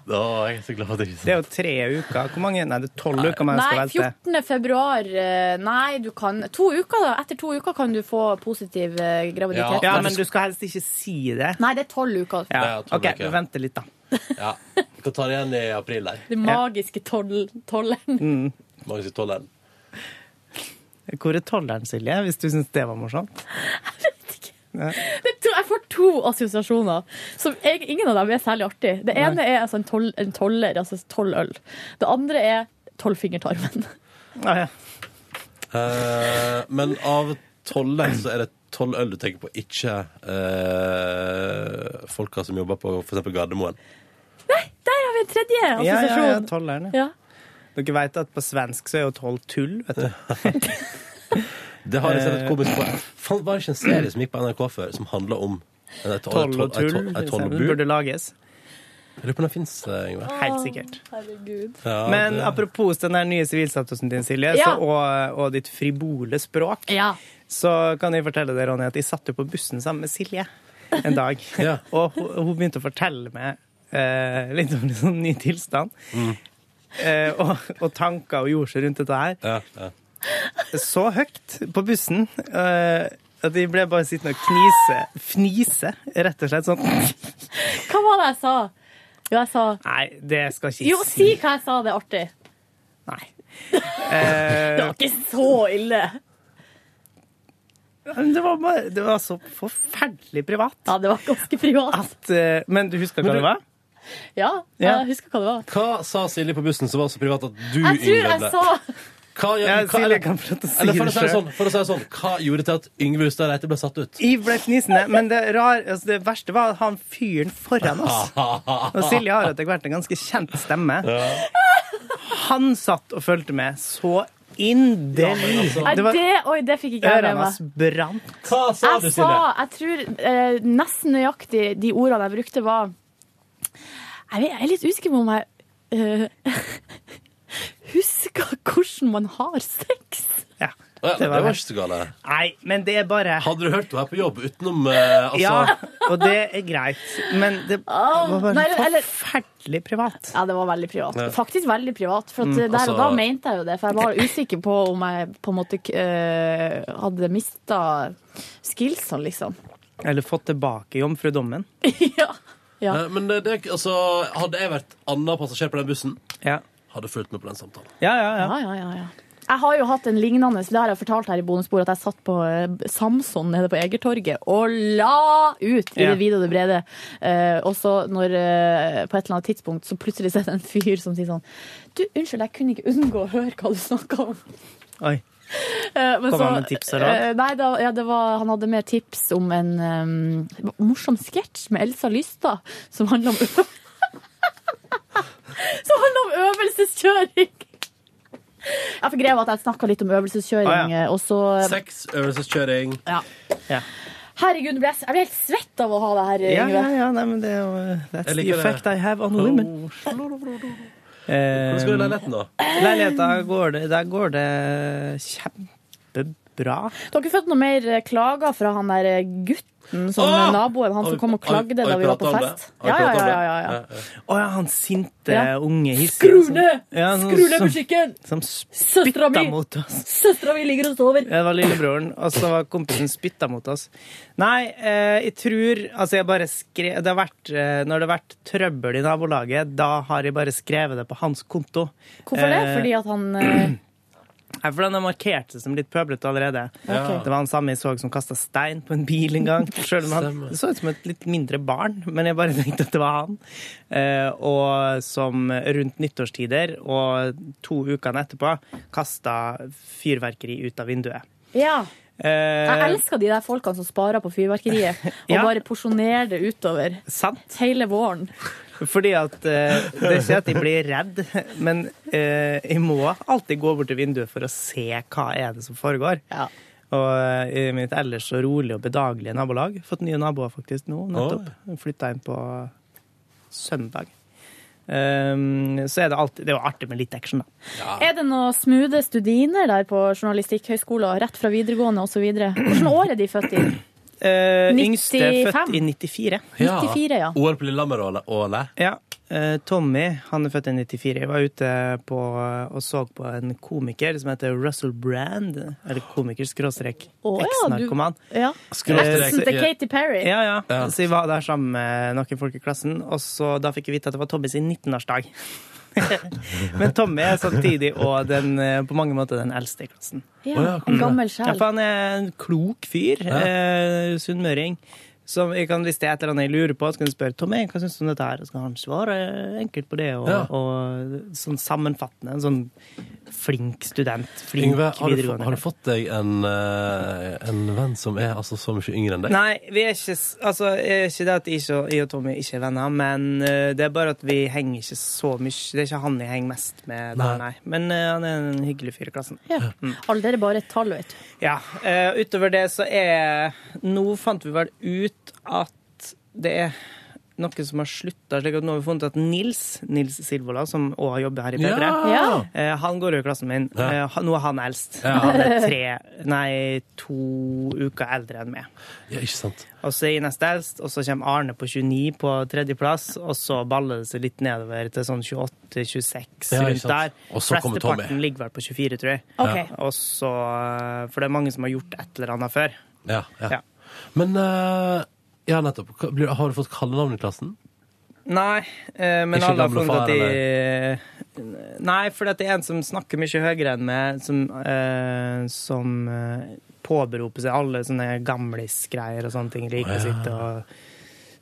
Å, jeg er så glad for at det ikke Det er jo tre uker. Hvor mange? Nei, det er tolv uker man skal Nei, velte. 14. februar eh, Nei, du kan To uker, da. Etter to uker kan du få positiv eh, Ja, graviditet. men du skal helst ikke si det. Nei, det er tolv uker. Ja, Ja, tolv OK, uker. vi venter litt, da. Ja. Vi kan ta det igjen i april der. Det magiske tol- tolleren. Mm. Mange sier tolv Hvor er tolleren, Silje, hvis du syns det var morsomt? Jeg vet ikke. Det tror jeg får to assosiasjoner. Som jeg, ingen av dem er særlig artig. Det Nei. ene er altså en, tol, en toller, altså tolv øl. Det andre er tolvfingertarmen. Ah, Ja. Eh, men av tollen så er det tolv øl du tenker på, ikke eh, folka som jobber på for eksempel Gardermoen. Der har vi en tredje Ja, ja, assosiasjon. ja, tolleren, ja. Dere veit at på svensk så er jo tolv tull, vet du. Det har jeg sett et komisk på. Faen, var det ikke en serie som gikk på NRK før, som handla om Nei, tolv- Toll og tolv- ei, tull tolv- ei, tolv og bur. burde lages. Jeg lurer på om den fins, Yngve. Helt sikkert. Herregud. Ja, Men det- apropos den der nye sivilstatusen din, Silje, Ja. så, og, og ditt fribole språk, så kan jeg fortelle deg, Ronny, at jeg satt jo på bussen sammen med Silje en dag. Og hun, hun begynte å fortelle meg eh, litt om en sånn ny tilstand. Eh, og, og tanker og gjorde seg rundt dette her. Så høyt på bussen eh, at jeg ble bare sittende og knise. Fnise, rett og slett. Sånn Hva var det jeg sa? Jo, jeg sa Nei, det skal ikke Jo, si hva jeg sa, det er artig. Eh, Det var ikke så ille. Men det var, bare, det var så forferdelig privat. Ja, det var ganske privat. At, eh, men du husker hva det var? Ja, Ja. jeg husker hva det var. Hva sa Silje på bussen som var så privat at du Jeg tror Yngve, jeg ble- sa Hva, gjør- Ja, hva- Silje eller- kan få lov til å si eller for å det si det selv. sånn, for å si det sånn, hva gjorde til at Yngve Hustad Reite ble satt ut? Jeg ble fnisende, men det, rar, altså det verste var han fyren foran oss. Og Silje har etter hvert en ganske kjent stemme. Han satt og fulgte med så inderlig. altså- Nei, Det var- det, oi, det fikk ikke jeg Ørene med hans meg. brant. Hva Jeg sa, jeg tror eh, nesten nøyaktig de ordene jeg brukte, var Jeg, vet, jeg er litt usikker på om jeg eh, husker hvordan man har sex. Å ja, Det det var var det. ikke så galt. Nei, men det er bare Hadde du hørt henne her på jobb utenom eh, altså, Ja, og det er greit, men det var Nei, bare eller- forferdelig privat. Ja, det var veldig privat. Ja. Faktisk veldig privat. For at Mm, der altså- og da mente jeg jo det, for jeg var usikker på om jeg på en måte eh, hadde mista skillsene, liksom. Eller fått tilbake jomfrudommen. Eh, Men det, det, altså, hadde jeg vært annen passasjer på den bussen, hadde fulgt med på den samtalen. Ja, ja, ja. Jeg har jo hatt en lignende, det har jeg fortalt her i bonusbordet, at jeg satt på eh, Samson nede på Egertorget og la ut i Ja. det vide og det brede. Eh, og så når eh, på et eller annet tidspunkt så plutselig er det en fyr som sier sånn Du, unnskyld, jeg kunne ikke unngå å høre hva du snakka om. Oi. Eh, men Kom så- han med tips og råd? eh, Nei, da, ja, det var, han hadde med tips om en em, morsom sketsj med Elsa Lystad som handler om ø- Som handler om øvelseskjøring! Jeg forgrev at jeg snakka litt om øvelseskjøring, Ah, ja. eh, og så Sex, øvelseskjøring. Ja. Ja. Herregud, ble jeg, s- jeg ble helt svett av å ha det her, eh, Ja, Yngve. ja, ja, nei, men det er jo eh, Jeg That's the liker det. Oh, effect I have on women. Eh, Hvordan Um, skal du i leiligheten, da? Leiligheta går det, der går det kjempebra. Du har ikke fått noe mer eh, klager fra han der eh, gutten som Åh! eh, naboen, han som kom og klagde da vi var på fest? Ja, ja, ja. ja, ja. Å ja, han sinte Ja. unge hissige. Skru som- ned! Ja, som- Skru ned som- musikken! Som Søstera spytta mi! mot oss. Søstera mi ligger og sover! Ja, det var lillebroren, og så var kompisen spytta mot oss. Nei, eh, jeg tror Altså, jeg bare skrev det har vært, eh, Når det har vært trøbbel i nabolaget, da har jeg bare skrevet det på hans konto. Hvorfor det? Eh, Fordi at han eh, Nei, for den har markert seg som litt pøblete allerede. Ok. Det var han samme jeg så som kasta stein på en bil en gang. Selv om han Stemmer. det så ut som et litt mindre barn, men jeg bare tenkte at det var han. Eh, og som rundt nyttårstider og to ukene etterpå kasta fyrverkeri ut av vinduet. Ja. Eh, Jeg elsker de der folkene som sparer på fyrverkeriet, og Ja. bare porsjonerer det utover hele våren. Fordi at eh, Det er ikke at jeg blir redd, men eh, jeg må alltid gå bort til vinduet for å se hva er det som foregår. Og eh, i mitt ellers så rolig og bedagelige nabolag Fått nye naboer faktisk nå, nettopp. Flytta inn på søndag. Ehm, så er det alltid Det er jo artig med litt action, da. Er det noen smoothe studiner der på journalistikkhøyskolen, rett fra videregående osv.? Hvilket år er de født i? Eh, yngste er født i 95. 94. 94, ja. OL på Lillehammer og Åle. Ja. eh, Tommy han er født i 94. Jeg var ute på, og så på en komiker som heter Russell Brand. Eller komiker skråstrek Å, ja, du- eksnarkoman. Ja. Eksen eh, til Katy Perry. Ja, ja. Så jeg var der sammen med noen folk i klassen, og så da fikk jeg vite at det var Tommy sin 19-årsdag. Men Tommy er samtidig og den, eh, på mange måter den eldste i klassen. Ja, Å, ja, en gammel sjel. Ja, for han er en klok fyr. Ja. Eh, Sunnmøring. Som jeg kan, hvis det er et eller annet jeg lurer på, så kan jeg spørre Tommy hva syns du om dette her? Og så kan han svare enkelt på det, og, Ja. og sånn sammenfattende. En sånn flink student. Flink Yngve, har du, fått- videregående. har du fått deg en, eh, en venn som er altså, så mye yngre enn deg? Nei, vi er ikke s- Altså, jeg er ikke det at jeg, ikke, jeg og Tommy ikke er venner, men eh, det er bare at vi henger ikke så mye Det er ikke han jeg henger mest med der, Nei. nei. Men eh, han er en hyggelig fyr i klassen. Ja. Mm. Alder er bare et tall, vet du. Ja. eh, utover det så er Nå fant vi vel ut at det er noe som har slutta. slik at Nå har vi funnet ut at Nils Nils Silvola, som òg jobber her i P3, Ja! eh, han går jo i klassen min. Eh, han- Nå er han eldst. Ja. Han er tre, nei, to uker eldre enn meg. Ja, ikke sant. Og så er Ines eldst, og så kommer Arne på 29 på tredjeplass, og så baller det seg litt nedover til sånn 28-26 Ja, ikke rundt sant. der. Og så kommer Tommy. Flesteparten ligger vel på 24, tror jeg. Ok. Og så, for det er mange som har gjort et eller annet før. Ja, ja. Men eh, Ja, nettopp. Hva- blir- Har du fått kallenavn i klassen? Nei, eh, men Ikke alle har gamle funnet far, at de Nei, for det er en som snakker mye høyere enn meg, som, eh, som eh, påberoper seg alle sånne gamlisgreier og sånne ting. Liker Å, å ja. sitte og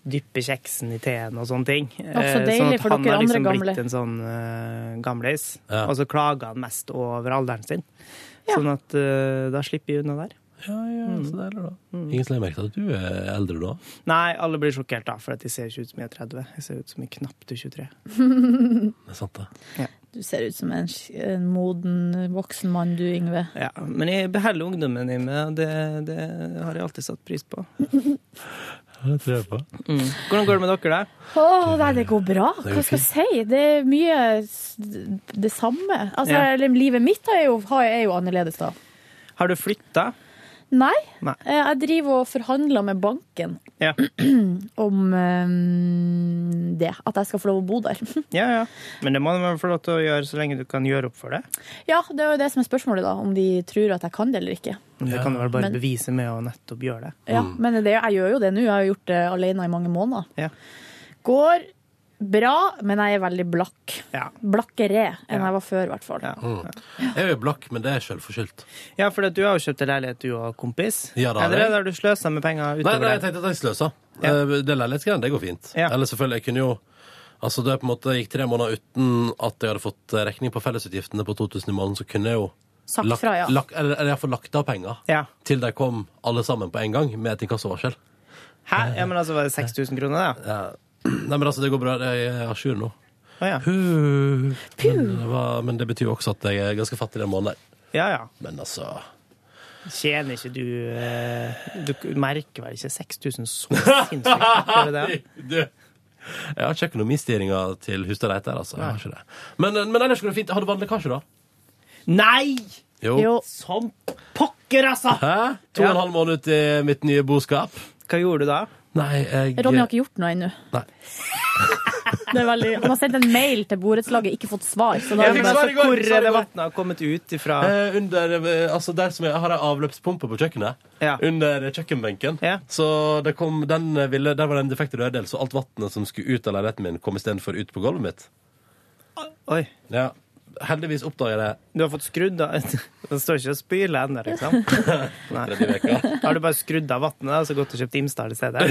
dyppe kjeksen i teen og sånne ting. Eh, Å, så deilig at for han dere har liksom andre gamle. blitt en sånn eh, gamlis. Og så klager han mest over alderen sin. Sånn at eh, da slipper jeg unna der. Ja, ja, Mm. så deilig, da. Ingen som har merket at du er eldre da? Nei, alle blir sjokkert da, for at de ser ikke ut som jeg er 30. Jeg ser ut som jeg knapt er 23. Det er sant, det. Du ser ut som en, sk- en moden voksen mann, du, Yngve. Ja, men jeg beholder ungdommen i meg, og det, det har jeg alltid satt pris på. Det tror jeg på. Hvordan går det med dere, da? Å, nei, det går bra. Det går Hva skal jeg si? Det er mye s- det samme. Altså, Ja. eller, Livet mitt er jo, har- er jo annerledes, da. Har du flytta? Nei. Nei. Eh, Jeg driver og forhandler med banken Ja. om eh, det. At jeg skal få lov å bo der. ja, ja. Men det må du vel få lov til å gjøre så lenge du kan gjøre opp for det. ja, det er jo det som er spørsmålet, da. Om de tror at jeg kan det eller ikke. Men det kan du vel bare Men- bevise med å nettopp gjøre det. Ja, men det, jeg gjør jo det nå. Jeg har jo gjort det alene i mange måneder. Mm. Ja. Går bra, men jeg er veldig blakk. Blakkere enn jeg var før, i hvert fall. Mm. Jeg er jo blakk, men det er sjølforskyldt. Ja, for at du har jo kjøpt en leilighet, du og kompis. Ja, det har Eller jeg. har du sløsa med penger Nei, utover nei, jeg det? tenkte at jeg sløsa. Eh, Det leilighetsgreiene, det går fint. Eller selvfølgelig, jeg kunne jo Altså, da jeg på en måte gikk tre måneder uten at jeg hadde fått eh, regning på fellesutgiftene på 2000 i måneden, så kunne jeg jo Sagt fra, ja. lagt, eller, eller iallfall lagt av penger Ja. til de kom alle sammen på en gang med et inkassovarsel. Hæ? Ja, men altså, var det 6000 kroner, da? Nei, men altså, det går bra. Jeg er à jour nå. Å, ja. Uh. Men det, var, men det betyr jo også at jeg er ganske fattig den måneden. Ja, ja. Men altså Tjener ikke du eh, Du merker vel ikke 6000 så sinnssykt? Gjør du det? Du. Jeg har ikke økonomistyringa til Hustad Reiter, altså. Jeg har ikke det. Men, men ellers går det fint. Har du vannlekkasje, da? Nei! Jo. Som pokker, altså! Hæ? To og en halv måned ut i mitt nye boskap. Hva gjorde du da? Nei, jeg Ronny har ikke gjort noe ennå. Nei. Det er veldig, han har sendt en mail til borettslaget, ikke fått svar. Så da er det men altså, bare så hvor hvor er det vannet har kommet ut ifra? Eh, under, eh, altså der som jeg har en avløpspumpe på kjøkkenet. Under kjøkkenbenken. Så det kom, den eh, ville, der var det en defekt rørdel, så alt vannet som skulle ut av leiligheten min, kom istedenfor ut på gulvet mitt. Oi. Ja. Heldigvis oppdaga jeg det. Du har fått skrudd av Det står ikke og spyler ennå, liksom. Tredje veka. Har du bare skrudd av vannet og så gått og kjøpt Imsdal i stedet?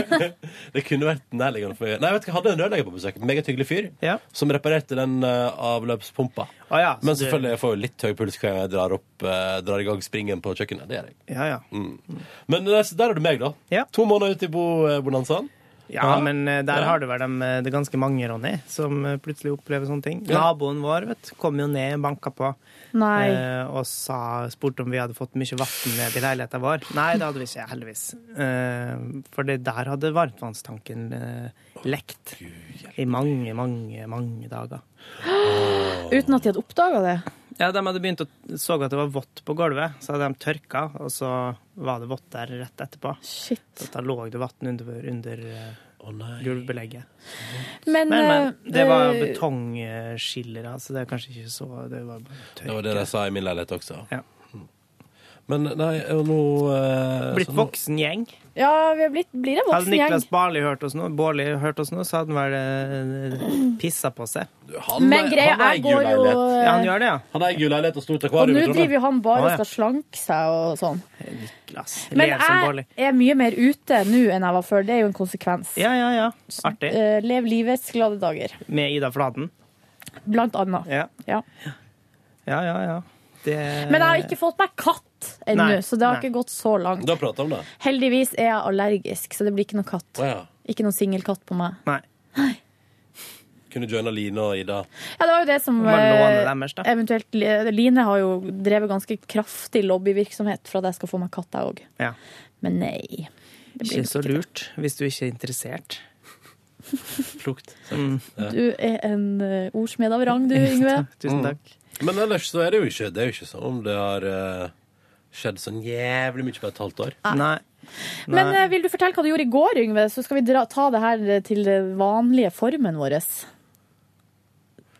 Det kunne vært nærliggende for meg. Nei, vet du, hva, jeg hadde en rørlegger på besøk. Meget hyggelig fyr. Som reparerte den eh, avløpspumpa. ja, så Men du- selvfølgelig jeg får jeg litt høy puls hver gang jeg drar, opp, eh, drar i gang springen på kjøkkenet. Det gjør jeg. Ja, ja. Mm. Men der, der er du meg, da. To måneder ut i bo, eh, bonanzaen. Ja, men eh, der Ja. har du vel dem, eh, det er ganske mange, Ronny, som eh, plutselig opplever sånne ting. Ja. Naboen vår vet, du, kom jo ned, banka på Nei. eh, og sa, spurte om vi hadde fått mye vann ned i leiligheten vår. Nei, det hadde vi ikke, heldigvis. Eh, for det der hadde varmtvannstanken eh, lekt i mange, mange, mange dager. Uten at de hadde oppdaga det. Ja, De hadde begynt å så at det var vått på gulvet, så hadde de tørka, og så var det vått der rett etterpå. Shit. Så da lå det vann under, under eh, gulvbelegget. Men, men, eh, det var eh, betongskiller, så det er kanskje ikke så Det var bare Det var tørke. det de sa i min leilighet også. Ja. Men nei, og nå eh, Blitt så nå- voksen gjeng. Ja, vi har blitt, blir en Hadde voksen gjeng. Niklas Barli hørt oss nå, Bårli hørt oss nå, så hadde han vel eh, pissa på seg. Han, Men greia han er, eier går jo leilighet. Ja, han Eh. gjør Ah, det, ja. Han eier jo leilighet og stort Og akvarium. nå i Trondheim. driver jo han bare Å, og ja. skal slanke seg og sånn. Niklas. Men Lev som jeg Bårli. er mye mer ute nå enn jeg var før. Det er jo en konsekvens. Ja, ja, ja. Artig. Eh, lev livets glade dager, Med Ida Fladen. blant annet. Ja. Ja. Ja, ja, ja. Det Men jeg har ikke fått meg katt ennå, Nei, så det har nei. ikke gått så langt. Du har prata om det? Heldigvis er jeg allergisk, så det blir ikke noe katt. Å ja. Ikke noen singelkatt på meg. Nei. Kunne joina Line og Ida. Ja, det var jo det som Man låner eh, deres, da. eventuelt Line har jo drevet ganske kraftig lobbyvirksomhet for at jeg skal få meg katt, jeg òg. Ja. Men nei. Det blir Ikke så lurt hvis du ikke er interessert. Klokt. Mm. Du er en eh, ordsmed av rang, du, Yngve. Tusen takk. Men ellers så er det jo ikke Det er jo ikke sånn om det har eh, skjedd sånn jævlig mye på et halvt år. Ah, Nei. Men eh, vil du fortelle hva du gjorde i går, Yngve? Så skal vi dra, ta det her eh, til den vanlige formen vår.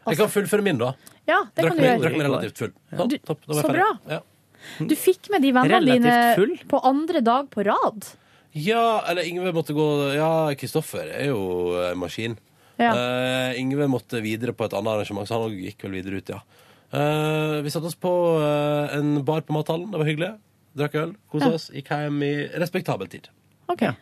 Jeg kan fullføre min, da. Ja, det drakk kan du meg- gjøre. Drakk meg relativt full. Topp, Du- topp, da var jeg så ferdig. bra. Ja. Du fikk med de vennene Relativt full? dine på andre dag på rad. Ja, eller Ingve måtte gå Ja, Kristoffer er jo en maskin. Ja. Eh, Ingve måtte videre på et annet arrangement, så han også gikk vel videre ut, ja. Eh, vi satte oss på eh, en bar på mathallen. Det var hyggelig. Drakk øl, kosa Ja. oss. Gikk hjem i respektabel tid. Ja. eh,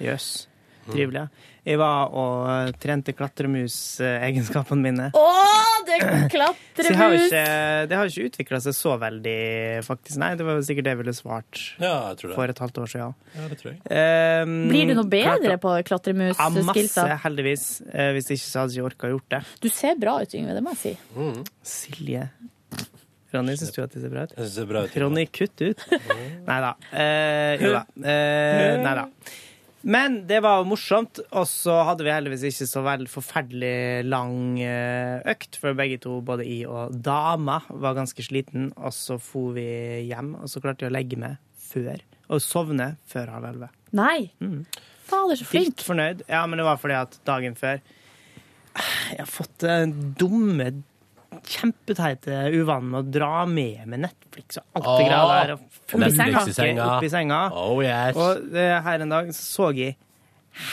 Jøss. Trivelig. Jeg var og eh, trente klatremusegenskapene mine. Å, Så det jeg har jo klatremus! ikke, det har jo ikke utvikla seg så veldig, faktisk. Nei, det var jo sikkert det jeg ville svart Ja, jeg tror det. for et halvt år siden. Ja, det tror jeg. Ehm, Blir du noe bedre klart- på Ja, masse, klatremus-skillsa? heldigvis. Eh, Hvis ikke så hadde jeg ikke orka å gjort det. Du ser bra ut, Yngve. Det må jeg si. Silje. Ronny, syns du at det ser bra ut? Jeg synes det er bra ut. Ronny, kutt ut. Nei da. Eh, jo da. Eh, nei da. Men det var jo morsomt, og så hadde vi heldigvis ikke så veldig forferdelig lang eh, økt, for begge to, både jeg og dama, var ganske sliten, og så for vi hjem, og så klarte jeg å legge meg før, og sovne før halv elleve. Nei! Mm. Fader, så flink! Dypt fornøyd. Ja, men det var fordi at dagen før Jeg har fått den dumme, kjempeteite uvanen med å dra med meg Netflix og alt det Åh, greia der. og full Netflix i pakke senga. Opp i senga. Oh, yes. Og eh, her en dag så, så jeg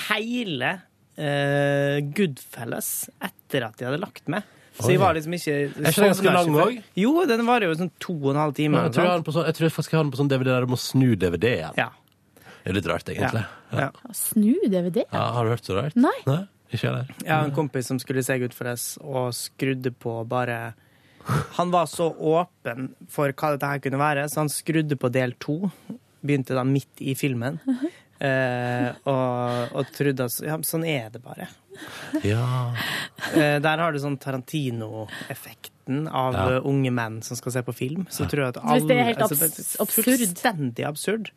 hele eh, Goodfellas etter at jeg hadde lagt meg. Så jeg Oi. var liksom ikke Er ikke den ganske lang også? Jo, den varer jo sånn to og en halv time. jeg, eller tror jeg, noe har den på sånn, jeg tror faktisk jeg har den på sånn DVD der du må snu DVD-en. Det er litt rart, egentlig. Ja. Ja. Snu DVD? har du hørt så rart? Nei. Ikke jeg der. Jeg har en kompis som skulle se Goodfellas og skrudde på bare Han var så åpen for hva dette her kunne være, så han skrudde på del to. Begynte da midt i filmen. Eh, og, og trodde at ja, men sånn er det bare. Eh, der har du sånn Tarantino-effekten av Ja. eh, unge menn som skal se på film. Så tror jeg at Hvis det er helt altså, abs- Fullstendig absurd.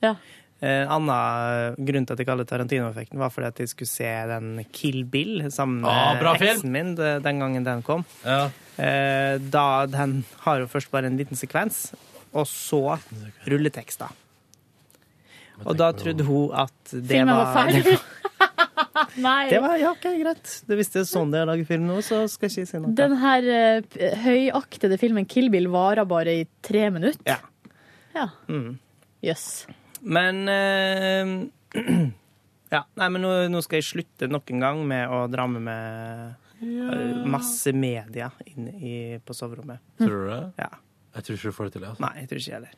En annen grunn til at jeg kaller det Tarantino-effekten, var fordi at jeg skulle se den Kill Bill sammen med Ah, bra film. eksen min de- den gangen den kom. Ja. Eh, Da den har jo først bare en liten sekvens, og så rulletekster. Og da trodde hun at det Filmen var var ferdig! Nei. Det var, ja, ok, greit. Det- Hvis det er sånn det er å lage film nå, så skal jeg ikke si noe. Den her eh, p- høyaktede filmen Kill Bill varer bare i tre minutter. Ja. Ja. Mm. Jøss. Men eh, Ja, nei, men nå, nå skal jeg slutte nok en gang med å dra med meg eh, masse media inn i, på soverommet. Tror du det? Ja. Jeg tror ikke du får det til. Altså. Nei, jeg tror ikke jeg heller.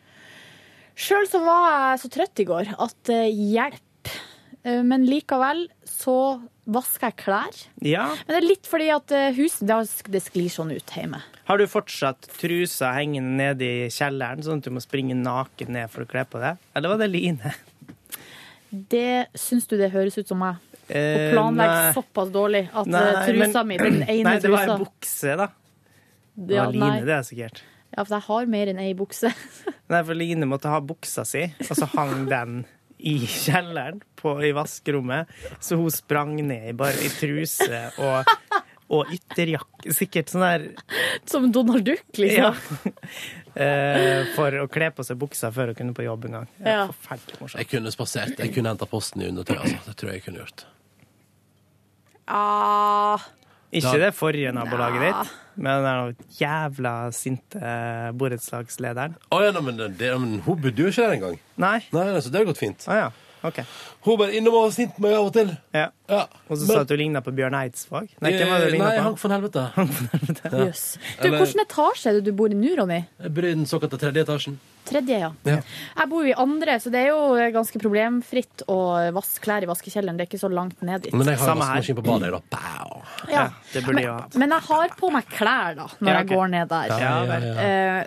Sjøl så var jeg så trøtt i går at eh, hjelp. Eh, Men likevel så vasker jeg klær. Ja. Men det er litt fordi at eh, huset det har- det sklir sånn ut hjemme. Har du fortsatt trusa hengende nede i kjelleren, sånn at du må springe naken ned for å kle på deg? Eller var det Line? Det syns du det høres ut som meg? Å Eh, planlegge nei. såpass dårlig at eh, Nei, trusa men- mi, den ene Nei, det var trusa en bukse, da. Det Ja, var nei. Line, det er sikkert. Ja, for jeg har mer enn ei bukse. Nei, for Line måtte ha buksa si, og så hang den i kjelleren på, i vaskerommet. Så hun sprang ned i bare i truse og, og ytterjakke. Sikkert sånn der Som Donald Duck, liksom. eh, For å kle på seg buksa før hun kunne på jobb en gang. Det er Ja. Forferdelig morsomt. Jeg kunne spasert. Jeg kunne henta posten i undertøy. Altså. Det tror jeg jeg kunne gjort. Ah. Ikke Da- det forrige nabolaget ditt, men den jævla sinte borettslagslederen. Å ja, nei, men, det- det, men hun bodde jo ikke der engang. Nei. nei så det har gått fint. Å ja. Ok. Hun bare innom og sint meg av og til. Ja. Og så sa du at du ligna på Bjørn Eidsvåg. Eh, Nei, hvem var det du eh, Nei, ligna Hank på? von Helvete. Ja. Jøss. Du, Eller- Hvilken etasje er det du bor i nå, Ronny? Jeg bor i den såkalte tredje etasjen. Tredje, ja. Ja. Jeg bor jo i andre, så det er jo ganske problemfritt å vaske klær i vaskekjelleren. Det er ikke så langt ned dit. Men jeg har en vaskemaskin på badet. Da. Pow. Ja. Det burde jeg ha. Men jeg har på meg klær, da, når Ja, jeg ok. går ned der. Ja, ja, ja. Eh,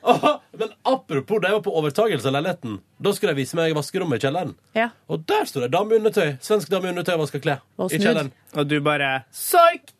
og da, Men apropos da jeg var på overtagelse av leiligheten, da skulle de vise meg vaskerommet i kjelleren. ja. Og der sto det dame i undertøy. Svensk dame i undertøy og vaska klær. Og I snudd. kjelleren. Og du bare Psyked!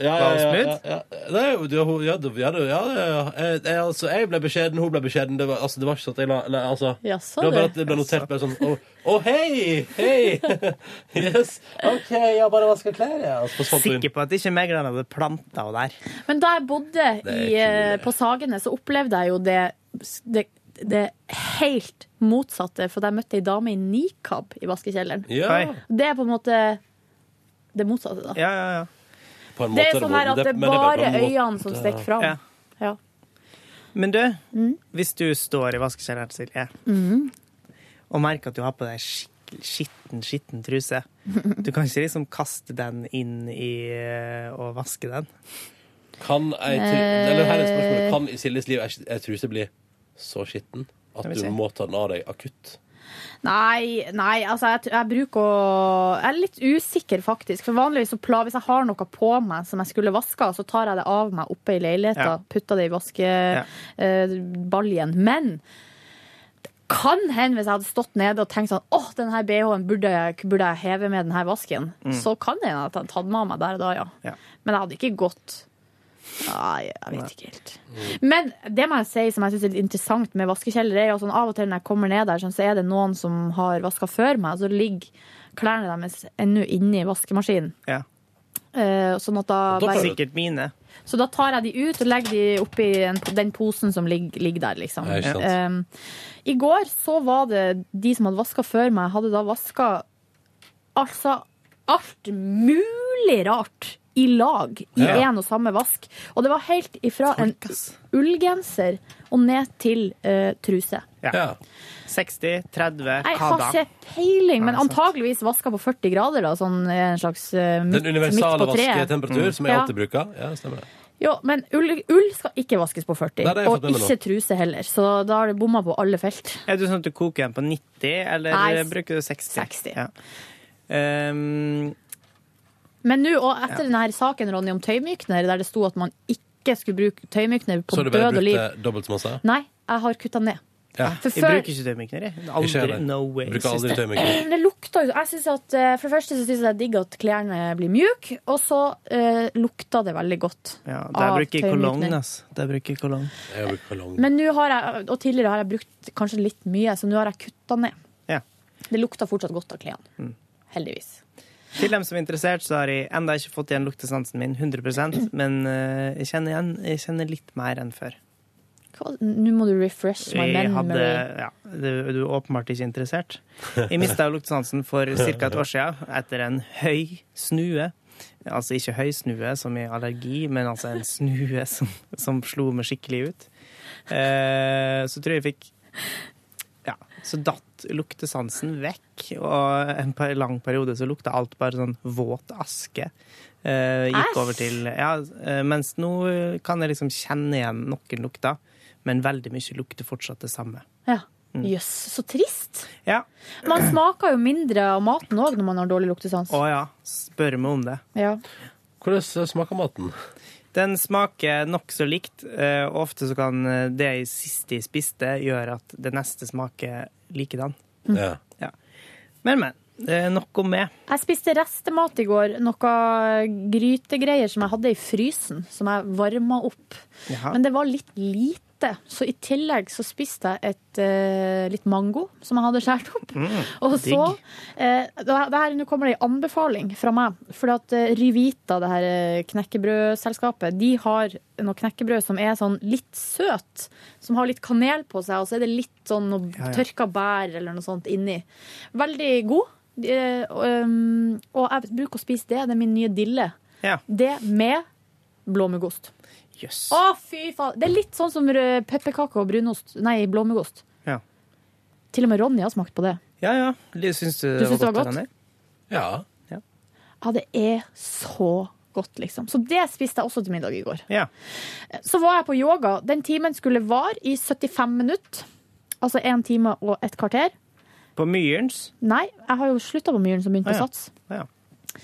Ja, Var hun ja, ja, smooth? ja, ja. Nei, jo, det- hun- ja, det- ja, det- ja, det- ja. Jeg, jeg, altså, jeg ble beskjeden, hun ble beskjeden. Det var, altså, det var ikke sånn at jeg la la- altså, Jaså, Det var bare du. at det ble notert bare sånn Å, å, hei! Hei! yes. OK, jeg har bare vaska klær, jeg. Altså, forsvant hun. Sikker på at ikke megleren hadde planta henne der. Men da jeg bodde Det er i, eh, på Sagene, så opplevde jeg jo det, det, det helt motsatte. For jeg møtte ei dame i nikab i vaskekjelleren. Ja. Oi. Det er på en måte det motsatte, da. På en Det måte er sånn var- her at det er men det er bare bare på en måte- øynene som stikker fram. Ja. Ja. Men du, hvis du står i vaskekjelleren, Silje, Mhm. og merker at du har på deg skikkelig skitten, skitten truse, du kan ikke liksom kaste den inn i eh, og vaske den? Kan ei tru... Eh. Eller her er spørsmålet. Kan i Siljes liv ei- ei truse bli så skitten at Jeg vil du si. må ta den av deg akutt? Nei, nei, altså jeg, jeg bruker å Jeg er litt usikker, faktisk. For vanligvis så pla, Hvis jeg har noe på meg som jeg skulle vaska, så tar jeg det av meg oppe i leiligheta, Ja. putter det i vaskebaljen. Men det kan hende hvis jeg hadde stått nede og tenkt sånn åh, den her BH-en burde jeg, burde jeg heve med den her vasken. Mm. Så kan det hende at jeg hadde tatt den av meg der og da, ja. Men jeg hadde ikke gått Nei, jeg vet ikke helt. Men det må jeg si som jeg synes er litt interessant med vaskekjeller, er jo sånn av og til når jeg kommer ned der, sånn, så er det noen som har vaska før meg, og så ligger klærne deres ennå inni vaskemaskinen. Ja. Eh, sånn at da, Da er det sikkert mine. Så da tar jeg de ut og legger de oppi en, den posen som ligger, ligger der, liksom. Ja, ikke sant. Em, I går så var det de som hadde vaska før meg, hadde da vaska altså alt mulig rart i lag i Ja. én og samme vask. Og det var helt ifra en ullgenser og ned til eh, truse. Ja. 60, 30, hva Jeg har da? ikke peiling, men Nei, sant. antageligvis vaska på 40 grader, da, sånn en slags eh, midt, Den universale midt på treet. Mm. vasketemperatur som jeg Ja. alltid bruker. Ja, stemmer det. Jo, men ull, ull skal ikke vaskes på Nei, 40, det har jeg fått og med meg nå. ikke truse heller, så da har det bomma på alle felt. Er du sånn at du koker den på 90, eller Nei, s- bruker du 60? Ja. Ehm, Men nå, og Ja. etter denne her saken, Ronny, om tøymykner, der det sto at man ikke skulle bruke tøymykner på Så har du bare død og brukt liv eh, dobbelt så masse? Nei, jeg har kutta ned. Ja. For Jeg før- bruker ikke tøymykner, jeg. Ikke Aldri, heller. no way. Bruker aldri tøymykner. Men det lukta jo jeg synes at, eh, For det første så syns jeg det er digg at klærne blir mjuke, og så eh, lukta det veldig godt ja, der bruker jeg kolong, altså. Der bruker jeg kolong. Jeg bruker kolong. Men nå har jeg, og tidligere har jeg brukt kanskje litt mye, så nå har jeg kutta ned. Ja. Det lukta fortsatt godt av klærne. Mm. Heldigvis. Til dem som er interessert, så har jeg enda ikke fått igjen luktesansen min 100 men eh, jeg kjenner igjen. Jeg kjenner litt mer enn før. Hva- Nå må du refresh my Jeg memory. hadde, ja, du, du er åpenbart ikke interessert. Jeg mista luktesansen for ca. et år siden etter en høy snue. Altså ikke høy snue som i allergi, men altså en snue som, som slo meg skikkelig ut. Eh, så tror jeg jeg fikk Ja, så datt luktesansen vekk, og en per, lang periode så lukta alt bare sånn våt aske. Eh, gikk over til Ja, eh, mens nå eh, kan jeg liksom kjenne igjen noen lukter, men veldig mye lukter fortsatt det samme. Ja. Jøss, Mm. så trist. Ja. Man smaker jo mindre av maten òg når man har dårlig luktesans. Å ja, spør meg om det. Ja. Hvordan smaker maten? Den smaker nokså likt. eh, og Ofte så kan eh, det jeg siste jeg spiste, gjøre at det neste smaker likedan. Mm. Ja. Ja. Men, men. Det er nok om meg. Jeg spiste restemat i går, noe grytegreier som jeg hadde i frysen, som jeg varma opp. Jaha. Men det var litt lite, så i tillegg så spiste jeg et, eh, litt mango som jeg hadde skåret opp. Mm, Og så eh, da- det her, Nå kommer det en anbefaling fra meg. For at eh, Rivita, det her eh, knekkebrødselskapet, de har noe knekkebrød som er sånn litt søt. Som har litt kanel på seg, og så er det litt sånn noe Ja, ja. tørka bær eller noe sånt inni. Veldig god. Eh, og, um, og jeg bruker å spise det. Det er min nye dille. Ja. Det med blåmuggost. Jøss. Å, fy faen! Det er litt sånn som rød pepperkake og brunost. Nei, blåmuggost. Ja. Til og med Ronny har smakt på det. Ja ja. Syns du, Du syns det var godt? Ronny? Ja. Ja, det er så godt, liksom. Så det spiste jeg også til middag i går. Ja. Så var jeg på yoga. Den timen skulle vare i 75 minutter. Altså én time og et kvarter. På Myrens? Nei, jeg har jo slutta på Myren, som Å, begynte på ja. Sats. Å, ja.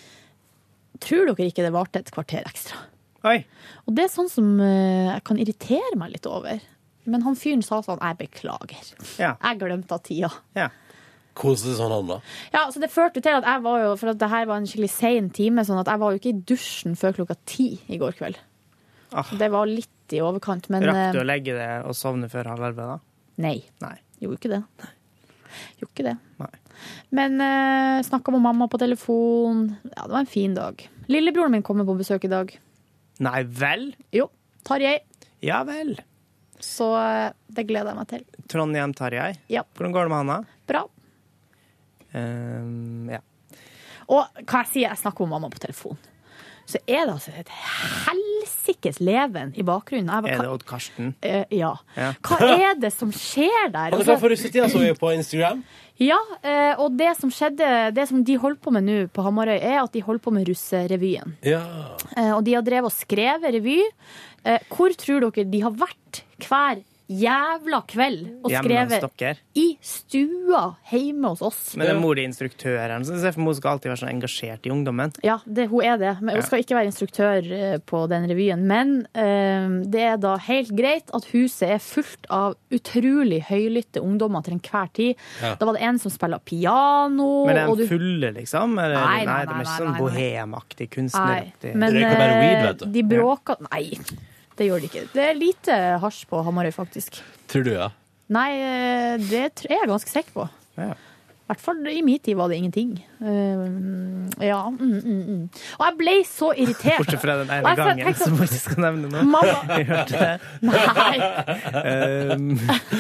Tror dere ikke det varte et kvarter ekstra? Oi. Og det er sånn som eh, jeg kan irritere meg litt over. Men han fyren sa sånn, jeg beklager. Ja. Jeg glemte av tida. Ja. Koselig sånn han, da. Ja, så det førte jo til at jeg var jo, for at det her var en skikkelig sein time, sånn at jeg var jo ikke i dusjen før klokka ti i går kveld. Så det var litt i overkant, men Ah, Rakk du eh, å legge det og sovne før halv elleve, da? Nei. Gjorde ikke det. Gjorde ikke det. Nei. Men eh, snakka med mamma på telefon. Ja, det var en fin dag. Lillebroren min kommer på besøk i dag. Nei vel? Jo. Tarjei. Ja vel. Så eh, det gleder jeg meg til. Trondheim Tarjei. Ja. Hvordan går det med Hanna? Bra. Ehm, ja. Og hva jeg sier, jeg snakker med mamma på telefon. Så er det altså et helsikes leven i bakgrunnen. Jeg bare, Er det hva- Odd Karsten? Eh, ja. Ja. Hva er det som skjer der? Han er klar for russetida, så vi på Instagram. Ja, eh, og det som skjedde, det som de holder på med nå på Hamarøy, er at de holder på med russerevyen. Ja. Eh, og de har drevet og skrevet revy. Eh, hvor tror dere de har vært hver jævla kveld og Hjemme hos skrevet? dere? I stua hjemme hos oss. Men det er mor di instruktøren, så jeg ser for meg hun skal alltid være sånn engasjert i ungdommen. Ja, det, hun er det. Men Ja. Hun skal ikke være instruktør eh, på den revyen. Men eh, det er da helt greit at huset er fullt av utrolig høylytte ungdommer til enhver tid. Ja. Da var det en som spilla piano. Men er og de du- fulle, liksom? Eller, Nei, nei, nei, det er nei, mer nei, sånn nei. bohemaktig, Nei, kunstneraktig. men eh, de bråka Nei, det gjør de ikke. Det er lite hasj på Hamarøy, faktisk. Tror du, ja. Nei, eh, det tr- er jeg ganske sikker på. Ja. I hvert fall i min tid var det ingenting. Eh, ja, mm, mm, mm. Og jeg ble så irritert. Bortsett fra den Og ene jeg sånn- sa- gangen tenkte- som jeg ikke skal nevne nå. Mamma- Jeg hørte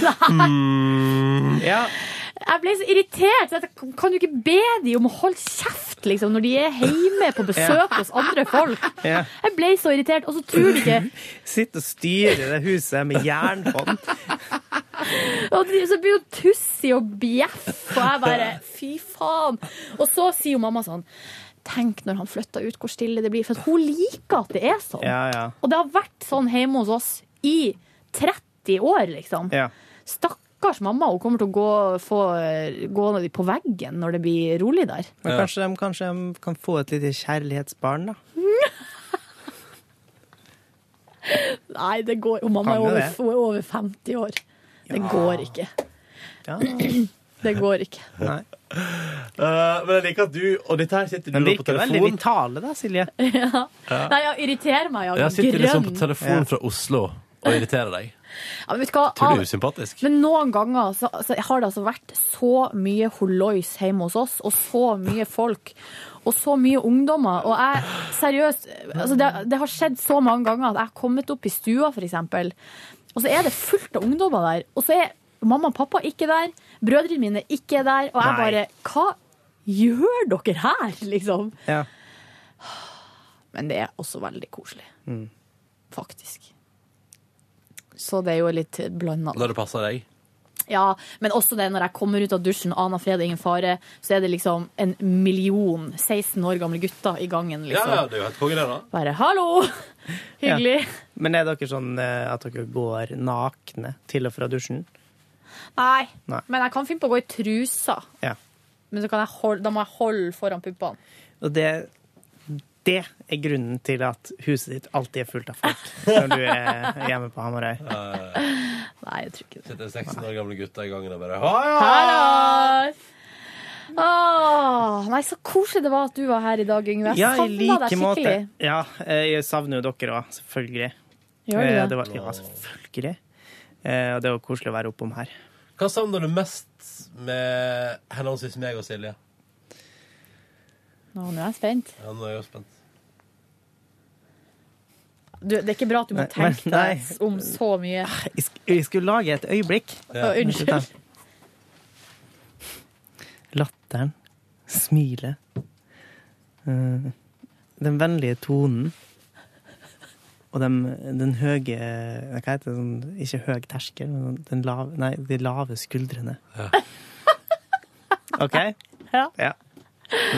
det. Ehm, ja. Jeg ble så irritert. så jeg tenkte, Kan du ikke be de om å holde kjeft liksom, når de er hjemme på besøk hos andre folk? ja. Jeg ble så irritert. Og så tror du ikke Sitte og styre det huset med jernhånd. Og de- så blir hun tussig og bjeff, og jeg bare fy faen. Og så sier jo mamma sånn Tenk når han flytter ut, hvor stille det blir. For at hun liker at det er sånn. Ja, ja. Og det har vært sånn hjemme hos oss i 30 år, liksom. ja. Stakkars mamma, hun kommer til å gå, få, gå på veggen når det blir rolig der. Men kanskje de, kanskje de kan få et lite kjærlighetsbarn, da. Nei, det går jo. Mamma Kan er jo over, det. hun er over 50 år. Det går ikke. Det går ikke. Nei. Eh, men jeg liker at du Og dette her sitter du De nå på virker veldig telefon. vitale, da, Silje. Ja. Ja. Nei, jeg irriterer meg. Jeg, Jeg sitter grønn. liksom på telefon fra Oslo og irriterer deg. Ja, men vet du hva? Tror du er Av- usympatisk? Men noen ganger så, så har det altså vært så mye hollois hjemme hos oss, og så mye folk, og så mye ungdommer. Og jeg, seriøst, altså det, det har skjedd så mange ganger at jeg har kommet opp i stua, for eksempel, og så er det fullt av ungdommer der, og så er mamma og pappa ikke der, brødrene mine ikke er der, og jeg Nei. bare, hva gjør dere her, liksom? Ja. Men det er også veldig koselig, Mm. faktisk. Så det er jo litt blandet. Når det passer deg. Ja, men også det når jeg kommer ut av dusjen, aner fred og ingen fare, så er det liksom en million 16 år gamle gutter i gangen, liksom. Ja, ja, det er jo helt konge, det, da. Bare hallo! Hyggelig. Men er dere sånn eh, at dere går nakne til og fra dusjen? Nei. Nei. men jeg kan finne på å gå i trusa. Ja. Men så kan jeg holde, da må jeg holde foran puppene. Og det, det er grunnen til at huset ditt alltid er fullt av folk når du er hjemme på Hamarøy. Nei, jeg tror ikke Sitter 16 år gamle gutter i gangen og bare Hallo! Hallo! Åh, nei, så koselig det var at du var her i dag, Yngve. Ja, i Jeg savna deg like skikkelig. måte. Ja, eh, jeg savner jo dere òg, selvfølgelig. Gjør du Eh, det? det var, ja, selvfølgelig. Eh, Og det var koselig å være oppom her. Hva savner du mest med henholdsvis meg og Silje? Nå, nå er jeg spent. Ja, nå er jeg jo spent. Du, det er ikke bra at du må Nei, men- tenke nei. deg om så mye. Jeg sk- Jeg skulle lage et øyeblikk. Ja. Å, unnskyld. Latteren, smilet, eh, den vennlige tonen og den, den høye Hva heter det? Sånn, ikke høy terskel, men sånn, den lave, nei, de lave skuldrene. OK? Ja. Det er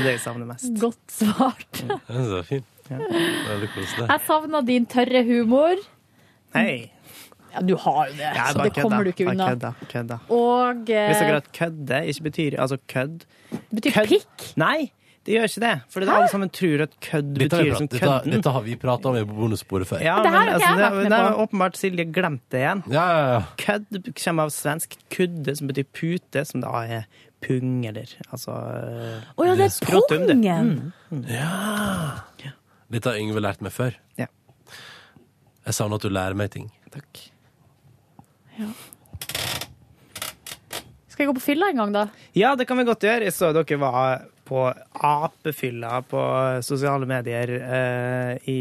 det jeg savner mest. Godt svart. Det er så fint. Veldig koselig. Jeg savna din tørre humor. Hei! Ja, du har jo det, Jeg så bare det kommer kødda, du ikke bare unna. Kødda, kødda. Og eh, Hvis dere at kødde ikke betyr Altså kødd betyr pikk? Nei! Det gjør ikke det. For alle sammen tror at kødd Dette har, vi betyr prat, som dette, kødden. dette har vi prata om i på bonussporet før. Ja, men, altså, det, det er åpenbart Silje glemt det igjen. Kødd kommer av svensk kudde, som betyr pute, som da er pung, eller altså Å ja, det er skrotum, det. pungen. Mm. Dette har Yngve lært meg før. Ja. Jeg savner at du lærer meg ting. Skal jeg gå på fylla en gang, da? Ja, det kan vi godt gjøre. Jeg så dere var på apefylla på sosiale medier eh, i,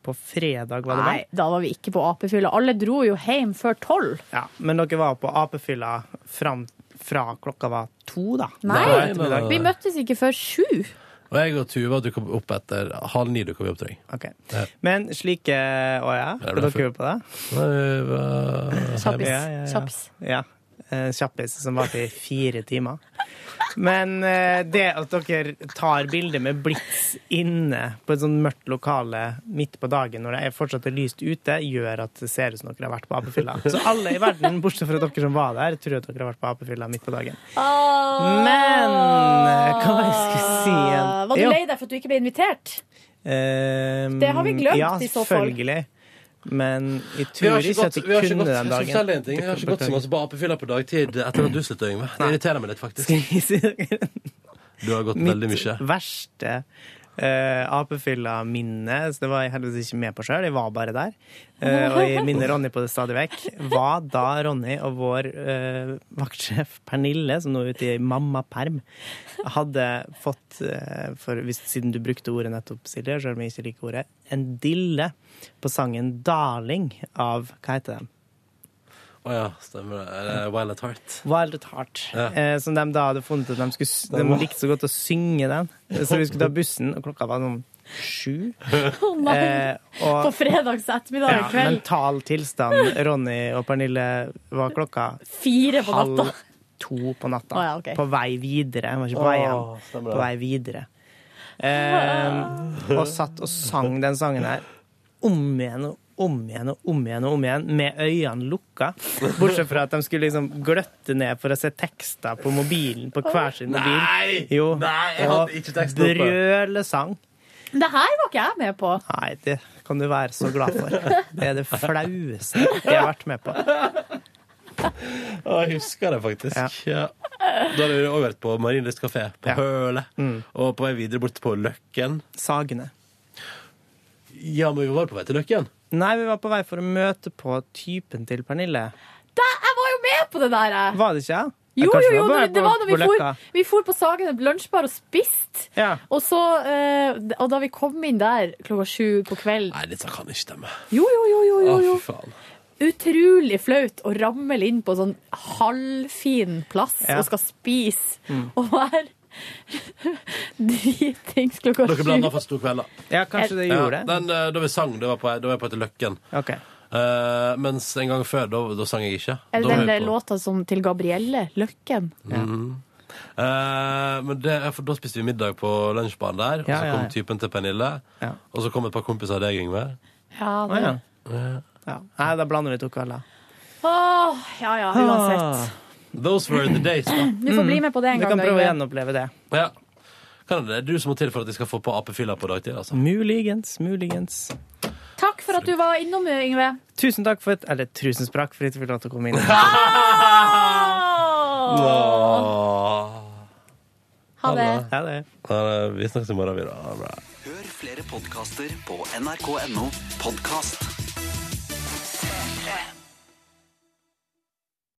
på fredag, var det Nei, vel? da var vi ikke på apefylla. Alle dro jo hjem før tolv. Ja, men dere var på apefylla fram, fra klokka var to, da? Nei, Nei, nei, nei. vi Øh. møttes ikke før sju. Og jeg og Tuva dukka opp etter halv ni. dukka vi opp, tror jeg. Ok. Men slike Å ja, Det er var derfor. dere på det? Kjappis. Ja, ja, ja. Kjappis. Ja. Eh, Kjappis som varte i fire timer. Men eh, det at dere tar bilder med blits inne på et sånn mørkt lokale midt på dagen når det er fortsatt er lyst ute, gjør at det ser ut som dere har vært på apefylla. Så alle i verden, bortsett fra dere som var der, tror at dere har vært på apefylla midt på dagen. Men eh, hva var det jeg skulle si igjen? Var du Jo. lei deg for at du ikke ble invitert? Ehm, Det har vi glemt, ja, i så fall. selvfølgelig. Men jeg Vi tror har ikke, ikke gått, at vi, vi har ikke kunne gått, den jeg skal dagen. fortelle en ting. Jeg har ikke gått så masse på apefylla på dagtid etter at du slutta, Yngve. Det irriterer meg litt, faktisk. Du har gått Mitt veldig mye. verste uh, apefylla-minne, så det var jeg heldigvis ikke med på sjøl, jeg var bare der. Eh, og jeg minner Ronny på det stadig vekk. Var da Ronny og vår eh, vaktsjef Pernille, som nå er ute i mammaperm, hadde fått, eh, for, hvis, siden du brukte ordet nettopp, Silje, sjøl om jeg ikke liker ordet, en dille på sangen 'Darling' av Hva heter den? Å ja, stemmer det. Eh, Wild at Heart. Wild at Heart. Ja. Eh, som de da hadde funnet ut de, skulle, s- de likte så godt å synge den. Så vi skulle ta bussen, og klokka var sånn sju. Å nei. På fredags ettermiddag Eh, ja, i kveld. Mental tilstand. Ronny og Pernille var klokka Fire på natta. halv to på natta. Å ja, ok. På vei videre. Han var ikke på vei hjem. Å, stemmer det. På vei videre. Eh, og satt og sang den sangen her om igjen og om igjen og om igjen og om igjen med øynene lukka. Bortsett fra at de skulle liksom gløtte ned for å se tekster på mobilen, på hver sin mobil. Nei! Jo, Nei, jeg hadde ikke teksten og oppe. brølesang. Det her var ikke jeg med på. Nei, det kan du være så glad for. Det er det flaueste jeg har vært med på. Å, jeg husker det faktisk. Ja. Da hadde vi også vært på Marienlyst kafé, på Høle, og på vei videre bort på Løkken. Sagene. Ja, men vi var på vei til Løkken. Nei, vi var på vei for å møte på typen til Pernille. Da, jeg var jo med på det der, jeg. Var det ikke? Jo, Kanskje jo, jo, bare det, det på- var da vi på for, Løkka. vi for på Sagene lunsjbar og spiste. Ja. Og, så, eh, og da vi kom inn der klokka sju på kvelden Nei, dette kan ikke stemme. Jo, jo, jo, jo, jo, jo. Å, fy faen. Utrolig flaut å ramle inn på sånn halvfin plass Ja. og skal spise Mm. og være dritings klokka Dere blanda sju. for stor kveld, da. Ja, kanskje det gjorde det. den, eh, da vi sang, det var på, da var jeg på vei til Løkken. Eh, mens en gang før, da, da sang jeg ikke. Da Er det var den vi der på- låta som til Gabrielle Løkken? Mhm. Eh, men det, for da spiste vi middag på lunsjbanen der, og Ja, så ja, kom ja. typen til Pernille. Og så kom et par kompiser av deg, Yngve. Ja, Å, ja. det. Ja. Nei, da blander vi to kvelder. Åh, ja ja, uansett. Those were the days, da. Du får bli med på det en Ah. Vi kan gang. prøve å Yngve. gjenoppleve det. Ja. Kan det, det er du som må til for at jeg skal få på apefylla på dagtid, altså. Muligens, muligens. Takk for at du var innom, Yngve. Tusen takk for et Eller tusen sprakk for at jeg fikk lov til å komme inn. Ha det. Ha det. Ha det. Vi snakkes i morgen, vi, da. Ha det bra. Hør flere podkaster på nrk.no podkast.